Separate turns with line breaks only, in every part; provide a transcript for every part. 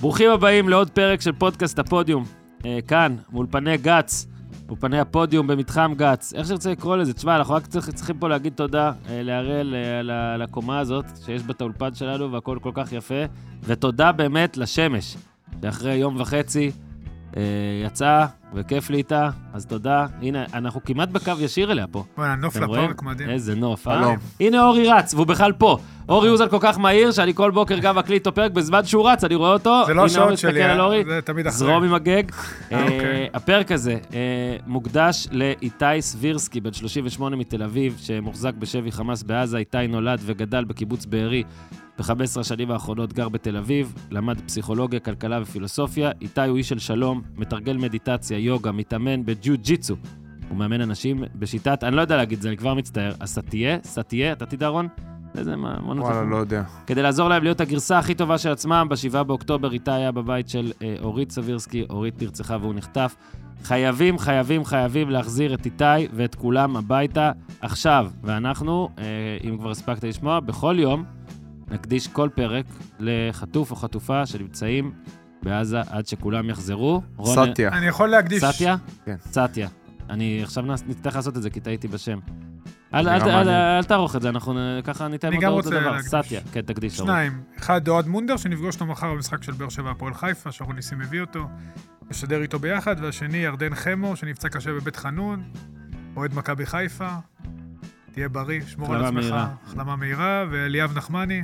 ברוכים הבאים לעוד פרק של פודקאסט הפודיום. אה, כאן, מאולפני גץ, אולפני הפודיום במתחם גץ. איך שרוצה לקרוא לזה, תשמע, אנחנו רק צריך, צריכים פה להגיד תודה אה, להראל אה, על ה- על הקומה הזאת, שיש בה את האולפן שלנו והכל כל כך יפה. ותודה באמת לשמש, שאחרי יום וחצי אה, יצאה, וכיף לי איתה, אז תודה. הנה, אנחנו כמעט בקו ישיר אליה פה.
וואלה, נוף
אתם רואים?
לפארק מדהים.
איזה נוף, אה?
חלום.
הנה אורי רץ, והוא בכלל פה. אורי אוזן כל כך מהיר, שאני כל בוקר גם מקליט אותו פרק בזמן שהוא רץ, אני רואה אותו.
זה
הנה,
לא
אורי
השעות
מסתכל
שלי,
על אורי.
אה? זה תמיד אחרי.
זרום עם הגג.
אה,
אה,
אוקיי.
הפרק הזה אה, מוקדש לאיתי סבירסקי, בן 38 מתל אביב, שמוחזק בשבי חמאס בעזה. איתי נולד וגדל בקיבוץ בארי. ב-15 השנים האחרונות גר בתל אביב, למד פסיכולוגיה, כלכלה ופילוסופיה. איתי הוא איש של שלום, מתרגל מדיטציה, יוגה, מתאמן בג'יו-ג'יצו. הוא מאמן אנשים בשיטת, אני לא יודע להגיד את זה, אני כבר מצטער. הסטייה, סטייה, אתה תדע רון? איזה מה, מה נותן
וואלה,
לך?
לא יודע.
כדי לעזור להם להיות הגרסה הכי טובה של עצמם, ב-7 באוקטובר איתי היה בבית של אה, אורית סבירסקי, אורית נרצחה והוא נחטף. חייבים, חייבים, חייבים להחזיר את איתי ואת כולם הביתה עכשיו. ואנחנו, אה, אם כבר הספקת לשמוע, בכל יום נקדיש כל פרק לחטוף או חטופה שנמצאים בעזה עד שכולם יחזרו. רון,
סטיה.
אני יכול להקדיש.
סטיה?
כן.
סטיה. אני עכשיו נס- נצטרך לעשות את זה, כי טעיתי בשם. אל-
נראה
אל- אל-
מעניין.
אל תערוך את זה, אנחנו נ- ככה ניתן
אני גם
מודעות
רוצה
לדבר.
להקדיש.
סטיה, כן, תקדיש. אורן.
שניים. אחד, אוהד מונדר, שנפגוש אותו מחר במשחק של באר שבע הפועל חיפה, שאנחנו ניסים הביא אותו. נשדר איתו ביחד. והשני, ירדן חמו, שנפצע קשה בבית חנון. אוהד מכבי חיפה. תהיה בריא, שמור על
החלמה
עצמך.
מהירה.
החלמה מהירה. ואליאב נחמני,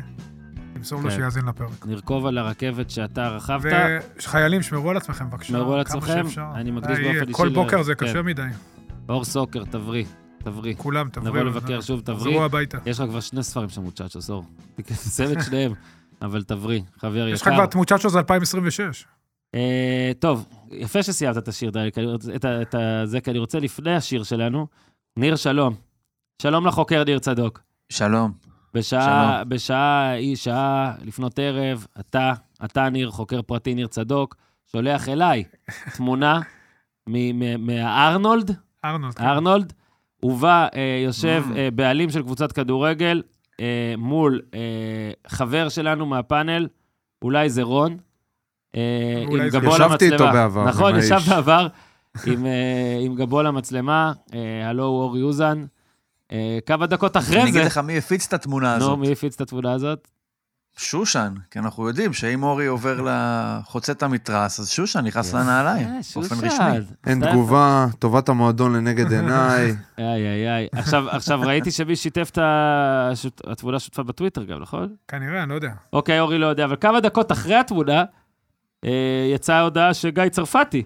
תמסור לו
כן.
שיאזין לפרק.
נרכוב על הרכבת שאתה רכבת.
וחיילים, שמרו על עצמכם בבקשה.
שמרו על
כמה
עצמכם.
שאפשר.
אני מקדיש
די,
באופן אישי
כל
ל-
בוקר זה
כן.
קשה מדי.
אור סוקר, תבריא, תבריא.
כולם, תבריאו.
נבוא לבקר שוב, תבריא.
תחזרו הביתה.
יש לך כבר שני ספרים של מוצ'צ'וס, אור. תסיים את שניהם, אבל תבריא, חבר
יש לך
יקר.
כבר את מוצ'צ'ו 2026.
אה, טוב, יפה שסיימת את השיר, דני, כי אני רוצה- את ה- את ה- זה, כי אני רוצה לפני השיר שלנו, ניר שלום. שלום לחוקר ניר צדוק.
שלום.
בשעה, בשעה, היא שעה, לפנות ערב, אתה, אתה ניר, חוקר פרטי ניר צדוק, שולח אליי תמונה מ- מ- מהארנולד,
ארנולד.
אה?
כן.
ארנולד, ובה אה, יושב
Mm.
אה, בעלים של קבוצת כדורגל אה, מול אה, חבר שלנו מהפאנל, אולי זה רון, אה,
אולי
עם
זה-
גבו למצלמה.
ישבתי איתו בעבר,
נכון,
עם
ישב
האיש.
בעבר עם, אה, עם גבו למצלמה, אה, הלו הוא אורי אוזן. אה, כמה דקות
אני
אחרי זה,
אגיד לך מי הפיץ את התמונה
נו,
הזאת.
מי הפיץ את התמונה הזאת?
שושן, כי אנחנו יודעים שאם אורי עובר ל... חוצה את המתרס, אז שושן נכנס לנעליים,
אה,
באופן
שושן.
רשמי.
אין
סתם.
תגובה, טובת המועדון לנגד עיניי.
איי, איי, איי. עכשיו, עכשיו ראיתי שמי שיתף את ה- השות- התמונה שותפה בטוויטר גם, נכון?
כנראה, אני לא יודע.
אוקיי, אורי לא יודע, אבל כמה דקות אחרי התמונה, אה, יצאה הודעה שגיא צרפתי.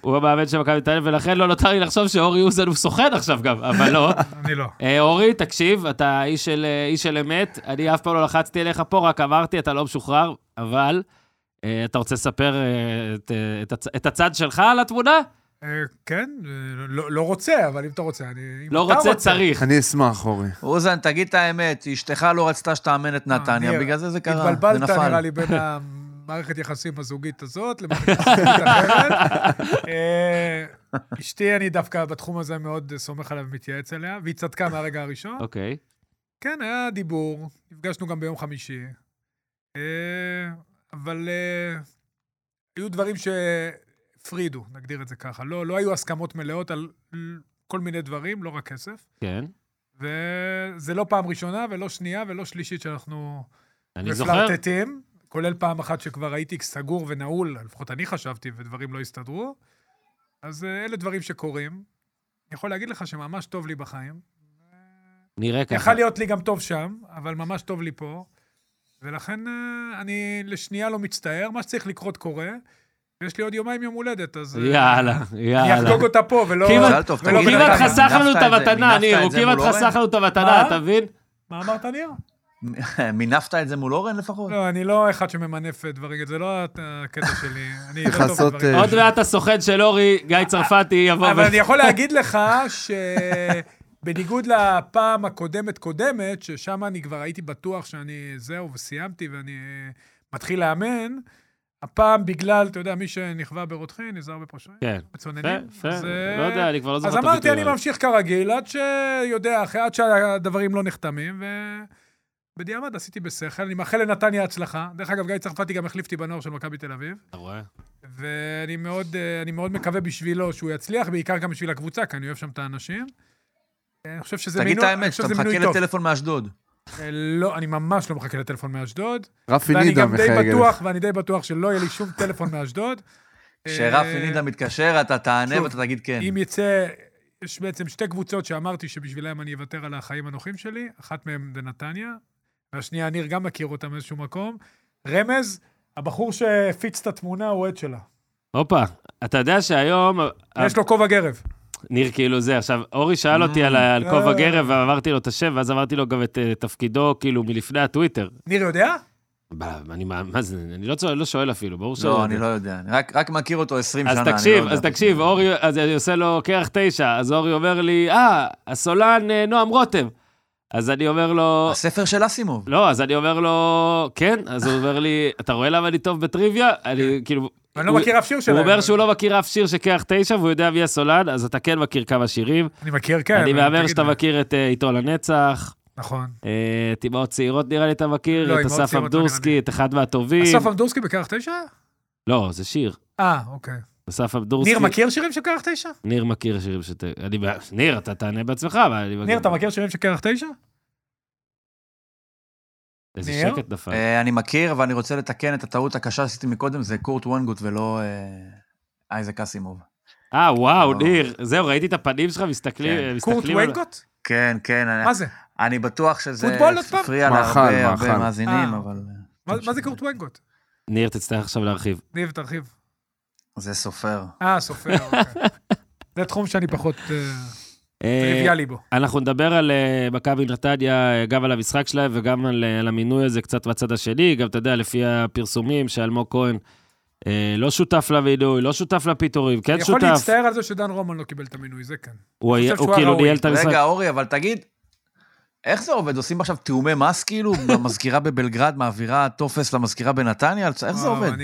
הוא המאמן של מכבי תל אביב, ולכן לא נותר לי לחשוב שאורי אוזן הוא סוכן עכשיו גם, אבל לא.
אני לא.
אה, אורי, תקשיב, אתה איש של, אה, איש של אמת, אני אף פעם לא לחצתי עליך פה, רק אמרתי, אתה לא משוחרר, אבל אה, אתה רוצה לספר אה, את, אה, את, הצ- את הצד שלך על התמונה?
אה, כן, אה, לא לא רוצה, אבל אם אתה רוצה, אני... אם
לא
אתה
רוצה, צריך.
אני אשמח, אורי.
אוזן, תגיד את האמת, אשתך לא רצתה שתאמן את
אה,
נתניה,
ניר,
בגלל זה זה קרה, זה
התבלבלת, נראה
נפל.
לי, בין המערכת יחסים הזוגית הזאת למערכת יחסים אחרת. אה, אשתי, אני דווקא בתחום הזה מאוד סומך עליה ומתייעץ עליה, והיא צדקה מהרגע הראשון.
אוקיי.
כן, היה דיבור, נפגשנו גם ביום חמישי, אה, אבל אה, היו דברים שהפרידו, נגדיר את זה ככה. לא, לא היו הסכמות מלאות על כל מיני דברים, לא רק כסף.
כן.
וזה לא פעם ראשונה ולא שנייה ולא שלישית שאנחנו
אני זוכר.
מפלרטטים, כולל פעם אחת שכבר הייתי סגור ונעול, לפחות אני חשבתי, ודברים לא הסתדרו. אז אה, אלה דברים שקורים. אני יכול להגיד לך שממש טוב לי בחיים.
נראה ככה.
יכל להיות לי גם טוב שם, אבל ממש טוב לי פה. ולכן אה, אני לשנייה לא מצטער, מה שצריך לקרות קורה. יש לי עוד יומיים יום הולדת, אז... אה,
יאללה,
אני
יאללה.
אחגוג אותה פה, ולא...
כמעט-
מזל טוב,
ולא
הוא
תגיד,
בנתניה.
כמעט חסך לנו את
נפת את זה,
המתנה,
נינפת
ניר,
את
הוא
זה לא
כמעט
מול
חסך
אורן?
לנו את המתנה,
מה?
אתה מבין?
מה אמרת, ניר?
מינפת את זה מול אורן לפחות?
לא, אני לא אחד שממנף דברים, זה לא הקטע שלי. אני לא טוב
לכסות,
בדברים.
אה,
עוד מעט הסוכן של אורי, גיא צרפתי, יבוא
אבל
ו-
אני יכול להגיד לך שבניגוד לפעם הקודמת-קודמת, ששם אני כבר הייתי בטוח שאני זהו וסיימתי ואני אה, מתחיל לאמן, הפעם בגלל, אתה יודע, מי שנכווה ברותחין נזהר בפרשנים,
כן.
בצוננים.
יפה, יפה.
אז, אה,
לא יודע, אני כבר לא זוכר
אז
את
אמרתי,
הביטוי
אני
הזה.
ממשיך כרגיל, עד שיודע, אחרי, עד שהדברים לא נחתמים, ו... בדיעבד עשיתי בשכל, אני מאחל לנתניה הצלחה. דרך אגב, גיא צרפתי גם החליף אותי בנוער של מכבי תל אביב,
אתה רואה?
ואני מאוד, אה, אני מאוד מקווה בשבילו שהוא יצליח, בעיקר גם בשביל הקבוצה, כי אני אוהב שם את האנשים. אה, אני חושב שזה
תגיד
מינוי
את
אני
האמת,
חושב
שאתה
שזה מינוי
מחכה
טוב.
לטלפון מאשדוד.
אה, לא, אני ממש לא מחכה לטלפון מאשדוד.
רפי
ואני
נידם
גם די
מחייג אליך.
בטוח, ואני די בטוח שלא יהיה לי שום טלפון מאשדוד.
כן. כשרפי
אה,
נידה מתקשר, אתה תענה
שוב,
ואתה תגיד כן.
אם יצא, יש בעצם שתי קבוצות שאמרתי שבשבילם אני אוותר על החיים הנוחים שלי, אחת מהן זה נתניה, והשנייה, ניר גם מכיר אותה מאיזשהו מקום. רמז, הבחור שהפיץ את התמונה הוא אוהד שלה.
הופה, אתה יודע שהיום...
אה.
יש לו כובע גרב.
ניר כאילו זה, עכשיו, אורי שאל אותי על ה- על
אה.
כובע גרב, ואמרתי לו את השם, ואז אמרתי לו גם את אה, תפקידו, כאילו, מלפני הטוויטר.
ניר יודע?
ב- אני מה- מה זה, אני לא צועק- לא שואל אפילו, ברור
לא, אני לא יודע. אני רק- רק מכיר אותו 20
אז
שנה. אני לא
תקשיב,
יודע.
אז תקשיב, אורי, אז אני עושה לו קרח תשע, אז אורי אומר לי, אה, הסולן אה, נועם רותם. אז אני אומר לו,
הספר של אסימוב.
לא, אז אני אומר לו, כן, אז הוא אומר לי, אתה רואה למה אני טוב בטריוויה? אני כאילו...
אני לא
הוא-
מכיר אף שיר שלהם.
הוא אומר שהוא לא מכיר אף שיר של קרח תשע, והוא יודע מי הסולן, אז אתה כן מכיר כמה שירים.
אני מכיר, כן.
אני
אבל
מהמר
תגיד
שאתה
לי.
מכיר את אה, עיתון הנצח,
נכון.
אה, את אמהות צעירות נראה לי אתה מכיר,
לא,
את
אמהות
אסף
צעירות לא נראה
אמדורסקי,
לי.
את אחד מהטובים.
אסף אמ- אמדורסקי בקרח תשע?
לא, זה שיר.
אה, אוקיי.
אסף אמדורסקי.
ניר מכיר שירים של קרח תשע?
ניר מכיר שירים שאתה... אני... ניר, אתה תענה בעצמך, אבל אני...
ניר, אתה מכיר שירים של קרח תשע?
איזה
ניר?
שקט נפל.
אה, אני מכיר, אבל אני רוצה לתקן את הטעות הקשה שעשיתי מקודם, זה קורט וונגוט ולא אה, אייזק אסימוב.
אה, וואו,
לא.
ניר. זהו, ראיתי את הפנים שלך, מסתכלים...
כן.
מסתכלים
קורט
על-
ויינקוט?
כן, כן, אני-
מה זה?
אני בטוח שזה
פוטבול עוד פעם?
הפריע
מאכל,
להרבה הרבה
מאכל.
מאזינים,
אה.
אבל
מה מה זה קורט ויינקוט?
ניר, תצטרך עכשיו להרחיב.
ניב, תרחיב.
זה סופר.
אה, סופר, אוקיי. זה תחום שאני פחות אה,
אה,
טריוויאלי בו.
אנחנו נדבר על אה, מכבי נתניה, אה, גם על המשחק שלהם וגם על אה, על המינוי הזה קצת בצד השני. גם, אתה יודע, לפי הפרסומים שאלמוג כהן אה, לא שותף למינוי, לא שותף לפיטורים, כן
אני יכול
שותף.
להצטער על זה שדן רומן לא קיבל את המינוי, זה כן.
הוא היה-
חושב שהוא
הוא כאילו
הראוי.
ניהל את המשחק.
רגע, אורי, אבל תגיד, איך זה עובד? עושים עכשיו תיאומי מס כאילו? המזכירה בבלגרד מעבירה טופס למזכירה בנתניה? איך זה
וואו,
עובד?
אה,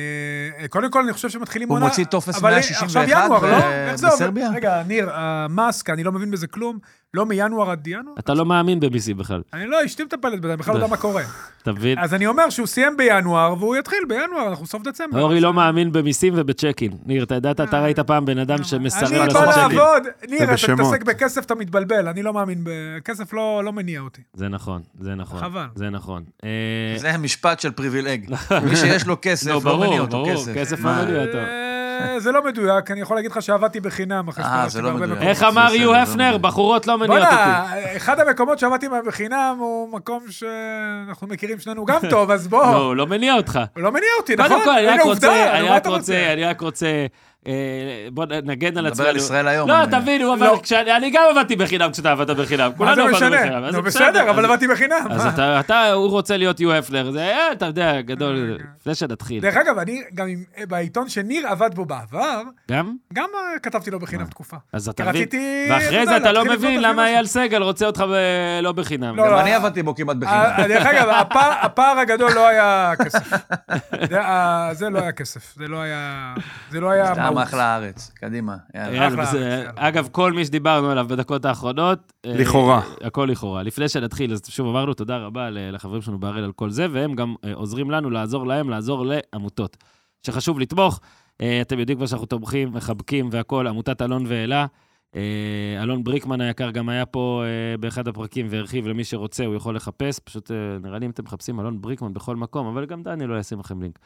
אני- קודם כל, אני חושב שמתחילים
הוא
עונה...
מוציא טופס
אבל אה,
161
עכשיו ינואר,
ב-
לא? איך זה
בסרביה?
עובד? רגע, ניר, המאסק, אני לא מבין בזה כלום. לא מינואר עד ינואר?
אתה לא מאמין במיסים בכלל,
אני לא, אשתי מטפלת בזה, אני בכלל לא יודע מה קורה.
אתה מבין?
אז אני אומר שהוא סיים בינואר, והוא יתחיל בינואר, אנחנו סוף דצמבר.
אורי
אז-
לא מאמין במיסים ובצ'קין. ניר, אתה ידעת, אתה ראית פעם בן אדם שמסרב
אה. אני
לעשות
בא
צ'קין.
לעבוד, ניר, אתה
ובשמות.
מתעסק בכסף, אתה מתבלבל, אני לא מאמין ב... כסף לא לא מניע אותי.
זה נכון, זה נכון.
חבל.
זה נכון. אה,
זה משפט של פריבילג. מי שיש לו כסף,
לא,
לא
ברור,
מניע אותו
ברור,
כסף.
כסף לא
מה?
מניע. אותו.
אה, זה לא מדויק, אני יכול להגיד לך שעבדתי בחינם אחרי
אה,
שהסתובבתי
זה לא
בהרבה
מדויק.
מקומות.
איך אמר
בסדר,
יו
לא
הפנר,
מבין.
בחורות לא מניעות אותי.
בוא'נה, אחד המקומות שעבדתי בהם בחינם הוא מקום שאנחנו מכירים שנינו גם טוב, אז בוא,
לא, הוא לא מניע אותך.
הוא לא מניע אותי, נכון?
קודם כל, אני רק
הנה
רוצה,
עובדה, נו,
אני
מה
רק
אתה
רוצה, אני רק רוצה, אה, בוא נגן על
מדבר
עצמנו.
על ישראל היום,
לא,
אני מניח.
תבינו, אבל
לא.
כשאני אני גם עבדתי בחינם כשאתה עבדת בחינם.
מה זה
כולנו עבדנו בחינם.
משנה?
אז
נו בסדר, אבל
אז-
עבדתי בחינם.
אז
מה?
אתה- אתה, הוא רוצה להיות יו הפנר, זה, אה, אתה יודע, גדול, לפני שנתחיל.
אה, דרך אגב, אני גם עם- אה, בעיתון שניר עבד בו בעבר,
גם?
גם אה, כתבתי לו בחינם תקופה. אה,
אז אתה
כי
מבין.
רציתי,
ואחרי זה
יודע,
אתה לא
להתחיל
מבין
לבנות
למה
אפילו
אייל סגל רוצה אותך ב- לא בחינם.
לא,
גם
לא,
אני
אה,
עבדתי בו כמעט בחינם.
אה, דרך אגב, הפער- הפער הגדול לא היה כסף. זה, אה, זה לא היה כסף, זה לא היה... זה לא היה...
סתם
מהות.
אחלה הארץ, קדימה. יאללה.
אייל,
אחלה,
זה-
אחלה.
אגב, כל מי שדיברנו עליו בדקות האחרונות... אה,
לכאורה.
הכל לכאורה. לפני שנתחיל, אז שוב אמרנו תודה רבה ל- לחברים שלנו בהראל על כל זה, והם גם אה, עוזרים לנו לעזור להם, לעזור לעמותות. שחשוב לתמוך, אה, אתם יודעים כבר שאנחנו תומכים, מחבקים והכול, עמותת אלון ואלה. אה, אלון בריקמן היקר גם היה פה אה, באחד הפרקים והרחיב למי שרוצה, הוא יכול לחפש. פשוט אה, נראה לי אם אתם מחפשים אלון בריקמן בכל מקום, אבל גם דני לא ישים לכם לינק.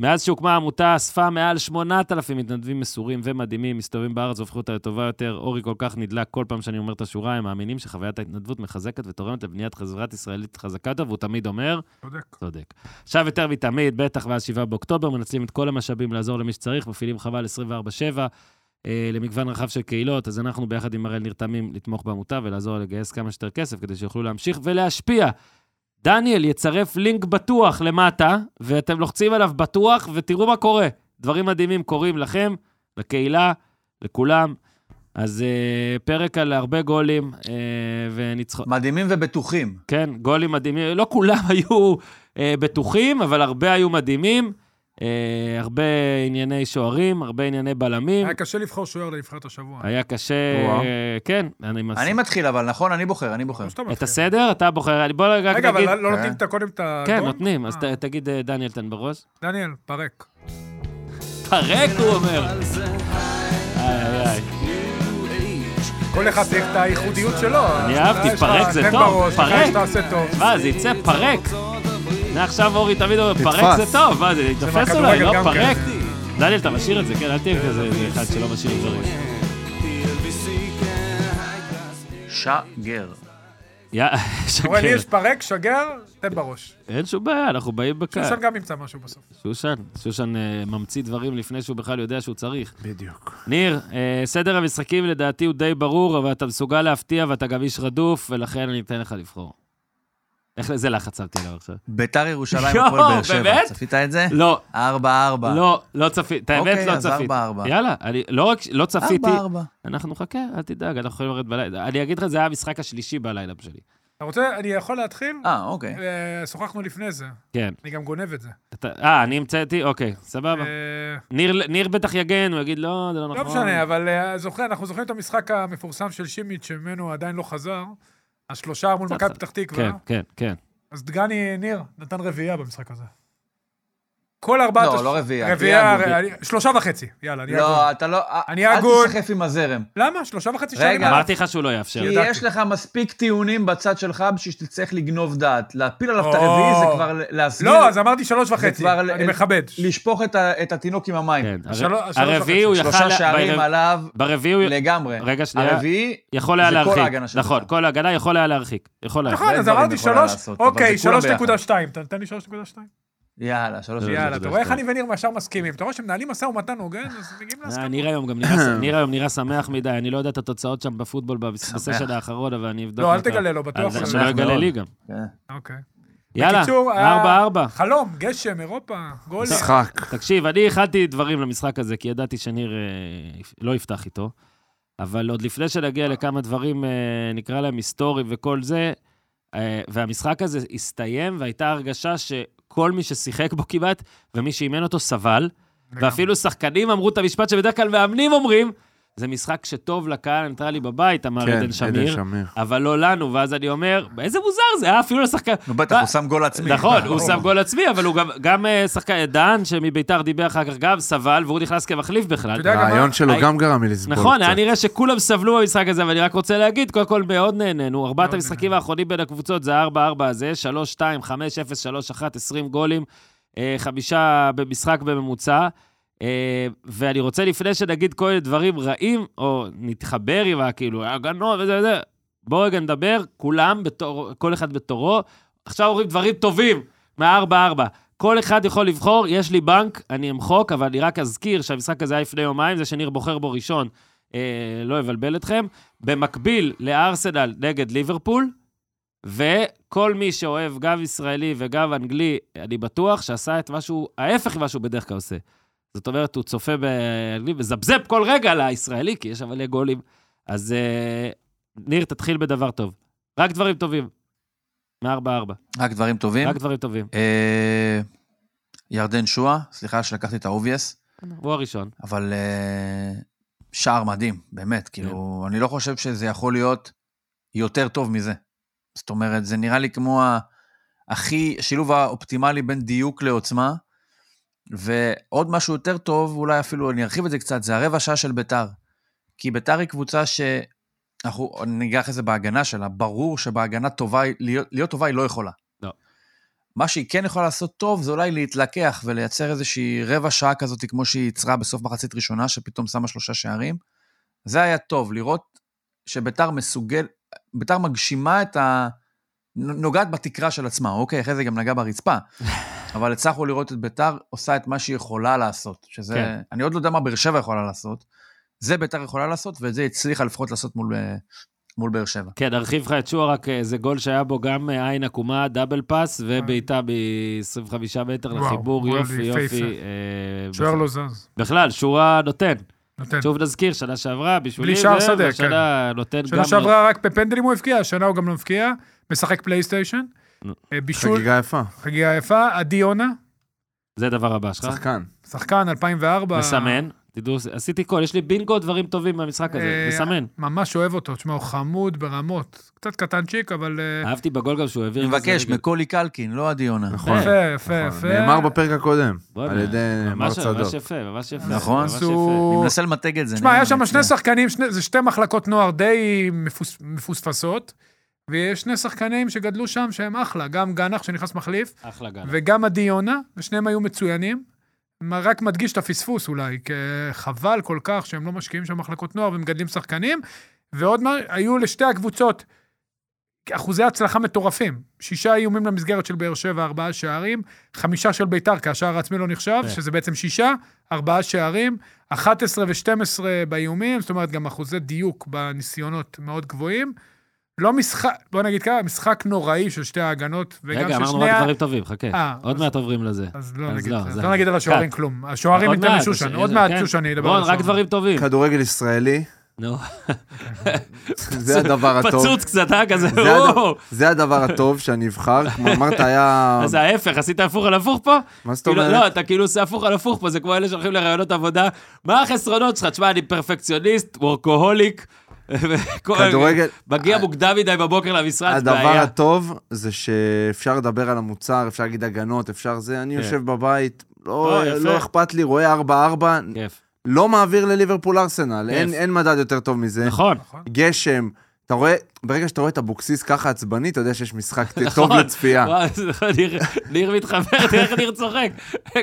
מאז שהוקמה העמותה, אספה מעל 8,000 מתנדבים מסורים ומדהימים, מסתובבים בארץ והופכו אותה לטובה יותר. אורי כל כך נדלק כל פעם שאני אומר את השורה, הם מאמינים שחוויית ההתנדבות מחזקת ותורמת לבניית חברת ישראלית חזקה יותר, והוא תמיד אומר,
צודק.
צודק. עכשיו יותר מתמיד, בטח מאז 7 באוקטובר, מנצלים את כל המשאבים לעזור למי שצריך, מפעילים חבל 24/7 אה, למגוון רחב של קהילות, אז אנחנו ביחד עם הראל נרתמים לתמוך בעמותה ולעזור לגייס כמה שיותר כסף כדי שיוכלו להמשיך ולהשפיע. דניאל יצרף לינק בטוח למטה, ואתם לוחצים עליו בטוח, ותראו מה קורה. דברים מדהימים קורים לכם, לקהילה, לכולם. אז אה, פרק על הרבה גולים אה, וניצחון.
מדהימים ובטוחים.
כן, גולים מדהימים. לא כולם היו אה, בטוחים, אבל הרבה היו מדהימים. אה, הרבה ענייני שוערים, הרבה ענייני בלמים.
היה קשה לבחור שוער לנבחרת השבוע.
היה קשה...
וואו.
אה, כן, אני
אני
מסכים.
מתחיל אבל, נכון? אני בוחר, אני בוחר.
כמו שאתה
את
מתחיל.
הסדר? אתה בוחר. אני- בוא רק
לא רגע, אבל
נגיד...
לא
אה.
נותנים את ה- קודם את ה...
כן,
גול?
נותנים. אז
אה,
ת- תגיד, אה, דניאל, תן בראש.
דניאל, פרק.
פרק, הוא אומר. איי, איי, איי.
כל אחד צריך את הייחודיות שלו.
אני אהבתי,
יש לך-
פרק זה
תן
טוב,
בראש, לך
פרק. אה,
שתעשה טוב.
מה, זה יצא פרק. זה עכשיו אורי תמיד אומר, פרק
נתפס.
זה טוב, מה, זה יתפס
מהכדורגל
אולי, לא
גם
פרק.
כן.
דניאל, אתה משאיר את זה, כן? אל תהיה כזה אחד שלא משאיר דברים.
שגר.
יא,
אורן
שקר.
הירש, פרק, שגר, תן בראש.
אין שום בעיה, אנחנו באים בקהל.
שושן גם ימצא משהו בסוף.
שושן, שושן אה, ממציא דברים לפני שהוא בכלל יודע שהוא צריך.
בדיוק.
ניר, אה, סדר המשחקים לדעתי הוא די ברור, אבל אתה מסוגל להפתיע ואתה גם איש רדוף, ולכן אני אתן לך לבחור. איך לזה לחץ שמתי עליו עכשיו?
ביתר ירושלים,
יואו,
הפועל באר שבע.
באמת?
צפית את זה?
לא,
4-4.
לא, לא צפיתי, את האמת
אוקיי,
לא
אז
צפיתי.
ארבע, ארבע.
יאללה, אני לא רק, ש- לא צפיתי,
4-4.
אנחנו חכה, אל תדאג, אנחנו יכולים לרדת בלילה. אני אגיד לך, זה היה המשחק השלישי בלילה שלי.
אתה רוצה, אני יכול להתחיל?
אה, אוקיי.
אה, שוחחנו לפני זה,
כן.
אני גם גונב את זה.
אתה- אה, אני המצאתי? אוקיי, סבבה.
אה,
ניר- ניר בטח יגן, הוא יגיד, לא, זה לא נכון.
לא משנה, אבל אה, זוכר, אנחנו זוכרים את המשחק המפורסם של שימיץ' שממנו עדיין לא חזר, השלושה מול מכבי פתח תקווה.
כן, כן, כן.
אז דגני ניר נתן רביעייה במשחק הזה. כל ארבעת...
לא,
הש-
לא רביעייה.
רביעייה,
תהיה
ר-
הגון.
אני- שלושה וחצי, יאללה, אני אגון.
לא, אתה לא...
אני
אל
הגון.
תסחף עם הזרם.
למה? שלושה וחצי
רגע.
שנים?
אמרתי לך שהוא לא יאפשר.
כי
ידעתי.
יש לך מספיק טיעונים בצד שלך בשביל שתצטרך לגנוב דעת. להפיל עליו את
או.
הרביעי זה כבר ל- להסביר...
לא, אז אמרתי שלוש וחצי,
כבר ל- אה,
אני מכבד.
לשפוך את ה- את התינוק עם המים.
כן, הר-
השלוש- השלוש
הרביעי
וחצי.
הוא יכל...
שלושה
לה-
שערים
ברב-
עליו
ברביעי הוא
לגמרי.
רגע, שנייה.
הרביעי...
יכול היה
זה כל
להרחיק.
ההגנה שלך.
נכון, כל ההגנה יכול היה להרחיק. יכול היה.
נכון,
הרבה
אז
דברים
אמרתי
אה, יכולה
שלוש,
לעשות, אבל
אוקיי,
זה כולם
שלוש נקודה שתיים. אתה נותן לי שלוש נקודה שתיים?
יאללה, שלוש...
זה-
יאללה, אתה
נקודה
רואה איך אני
שתיים.
וניר ישר מסכימים. אתה רואה שמנהלים משא ומתן הוגן, אז מגיעים
אה,
להסכמה.
ניר היום גם נראה ש- ניר היום נראה שמח מדי, אני לא יודע את התוצאות שם בפוטבול בס- בסשן האחרון, אבל אני אבדוק.
לא, אל
מה קרה.
תגלה לו,
אז
בטוח.
זה-
שלא
שמח
יגלה
מאוד.
לי גם.
כן.
אוקיי.
יאללה,
בקיצור, היה-
ארבע ארבע.
חלום, גשם, אירופה, גולים.
משחק.
תקשיב, אני הכנתי דברים למשחק הזה, כי ידעתי שניר אה, יפ- לא יפתח איתו, אבל עוד לפני שנגיע לכמה דברים, אה, נקרא להם היסטוריים וכל זה, אה, והמשחק הזה הסתיים, והייתה הרגשה שכל מי ששיחק בו כמעט, ומי שאימן אותו סבל, ואפילו שחקנים אמרו את המשפט שבדרך כלל מאמנים אומרים, זה משחק שטוב לקהל הניטרלי בבית, אמר
כן,
עדן שמיר,
שמיר.
אבל לא לנו, ואז אני אומר, איזה מוזר זה, אה, אפילו לשחקן...
נו, בטח,
מה-
הוא שם גול עצמי.
נכון, הוא שם גול עצמי, אבל הוא גם, גם אה, שחקן, דן, שמביתר דיבר אחר כך, גם סבל, והוא נכנס כמחליף בכלל.
אתה יודע גם מה?
הרעיון שלו
הי-
גם גרם לי לסבול.
אה, נכון, היה
קצת.
נראה שכולם סבלו במשחק הזה, אבל אני רק רוצה להגיד, קודם כל מאוד נהנינו. ארבעת
מאוד
המשחקים
נהנינו.
האחרונים בין הקבוצות זה 4-4 הזה, 3-2, 5-0, 3-1, 20 גולים, אה, חמישה במשחק בממוצע. אה, ואני רוצה, לפני שנגיד כל מיני דברים רעים, או נתחבר עם ה... כאילו, הגנות וזה וזה, בואו רגע נדבר, כולם, בתור, כל אחד בתורו. עכשיו אומרים דברים טובים מה-4-4. כל אחד יכול לבחור, יש לי בנק, אני אמחוק, אבל אני רק אזכיר שהמשחק הזה היה לפני יומיים, זה שניר בוחר בו ראשון, אה, לא אבלבל אתכם. במקביל לארסנל נגד ליברפול, וכל מי שאוהב גב ישראלי וגב אנגלי, אני בטוח שעשה את משהו, ההפך ממה שהוא בדרך כלל עושה. זאת אומרת, הוא צופה באנגלי, מזבזב כל רגע לישראלי, כי יש שם מלא גולים. אז אה, ניר, תתחיל בדבר טוב. רק דברים טובים. מ-4-4.
רק דברים טובים.
רק דברים טובים.
אה, ירדן שואה, סליחה שלקחתי את האובייס,
הוא הראשון.
אבל אה, שער מדהים, באמת, כאילו, אני לא חושב שזה יכול להיות יותר טוב מזה. זאת אומרת, זה נראה לי כמו ה- הכי, השילוב האופטימלי בין דיוק לעוצמה, ועוד משהו יותר טוב, אולי אפילו אני ארחיב את זה קצת, זה הרבע שעה של ביתר. כי ביתר היא קבוצה ש... אנחנו ניגע אחרי זה בהגנה שלה, ברור שבהגנה טובה, היא- להיות, להיות טובה היא לא יכולה.
לא.
מה שהיא כן יכולה לעשות טוב, זה אולי להתלקח ולייצר איזושהי רבע שעה כזאת, כמו שהיא יצרה בסוף מחצית ראשונה, שפתאום שמה שלושה שערים. זה היה טוב, לראות שביתר מסוגל, ביתר מגשימה את ה... נוגעת בתקרה של עצמה, אוקיי, אחרי זה גם נגעה ברצפה. אבל הצלחנו לראות את ביתר עושה את מה שהיא יכולה לעשות, שזה...
כן.
כן. אני עוד לא יודע מה באר שבע יכולה לעשות. זה ביתר יכולה לעשות, ואת זה הצליחה לפחות לעשות מול, אה, מול באר שבע.
כן, ארחיב לך את שועה, רק אה, זה גול שהיה בו גם אה, עין עקומה, דאבל פאס, ובעיטה מ-25 מטר
אה. וואו,
לחיבור,
גול
יופי,
יפהפה.
יופי. אה,
שוער
בכלל-
לא זז.
בכלל, שורה נותן.
נותן.
שוב נזכיר, שנה שעברה, בשבילי,
בלי שער
זה,
שדה, כן.
והשנה נותן גם... לא.
שנה שעברה רק בפנדלים הוא הבקיע, השנה הוא גם לא מבקיע. משחק פלייסטיישן.
נו.
אה, בישול,
חגיגה יפה.
חגיגה יפה. עדי יונה,
זה הדבר הבא שלך.
שחקן.
שחקן 2004.
מסמן, תדעו, עשיתי קול, יש לי בינגו דברים טובים במשחק הזה,
אה,
מסמן.
ממש אוהב אותו, תשמע, הוא חמוד ברמות. קצת קטנצ'יק, אבל... אה,
אהבתי בגול גם שהוא העביר...
אני
עם זה
מבקש,
רגל.
מקולי קלקין, לא עדי יונה.
נכון.
אה,
יפה, יפה,
נכון.
יפה.
נאמר בפרק הקודם,
בוא'נה,
על ידי מר
אה, ממש- ממש
צדוק.
יפה, ממש יפה.
נכון,
ממש יפה.
אני
הוא...
מנסה למתג את זה.
תשמע,
אני-
היה שם שני
אני-
שחקנים, שני- זה שתי מחלקות נוער די מפוס- מפוספסות, ויש שני שחקנים שגדלו שם שהם אחלה, גם גנח שנכנס מחליף,
אחלה גן.
וגם עדי יונה, ושניהם היו מצוינים. מה- רק מדגיש את הפספוס אולי, כי חבל כל כך שהם לא משקיעים שם מחלקות נוער ומגדלים שחקנים. ועוד מה, היו לשתי הקבוצות אחוזי הצלחה מטורפים. שישה איומים למסגרת של באר שבע, ארבעה שערים, חמישה של ביתר, כי השער העצמי לא נחשב,
כן.
שזה בעצם שישה, ארבעה שערים, 11 ו-12 באיומים, זאת אומרת גם אחוזי דיוק בניסיונות מאוד גבוהים. לא משחק, בוא נגיד ככה, משחק נוראי של שתי ההגנות, וגם
רגע,
של
אמרנו
שני
רק
ה...
דברים טובים, חכה.
אה,
עוד
אז-
מעט עוברים לזה.
אז לא
אז
נגיד,
לא,
אז
זה-
לא נגיד על השוערים
קאט.
כלום. השוערים
עוד
ייתן
מעט,
לשושן,
אז-
עוד
אה,
מעט
כן.
שושן ידבר
רון,
על
רק
השוערים.
דברים טובים.
כדורגל ישראלי,
נו,
זה הדבר הטוב.
פצוץ קצת, אה, כזה,
זה הד-
וואו.
זה הדבר הטוב שאני אבחר, כמו אמרת, היה...
אז ההפך, עשית הפוך על הפוך פה?
מה זאת
כאילו, לא,
אומרת?
אתה כאילו עושה הפוך על הפוך פה, זה כמו אלה שהולכים לראיונות עבודה. מה החסרונות שלך? תשמע, אני פרפקציוניסט, וורקוהוליק. וכל-
כדורגל, אה,
מגיע מוקדם מדי בבוקר למשרד,
הדבר
בעיה.
הטוב זה שאפשר לדבר על המוצר, אפשר להגיד הגנות, אפשר זה. אני
כן.
יושב בבית, לא
לא, יפה. כן.
לא אכפת לי, רואה 4-4,
כיף.
לא מעביר לליברפול ארסנל.
כיף.
אין- אין מדד יותר טוב מזה.
נכון.
נכון.
גשם, אתה רואה, ברגע שאתה רואה את אבוקסיס ככה עצבני, אתה יודע שיש משחק טוב
נכון.
לצפייה.
וואי, זה נכון, ניר- ניר מתחבר, תראה איך ניר צוחק.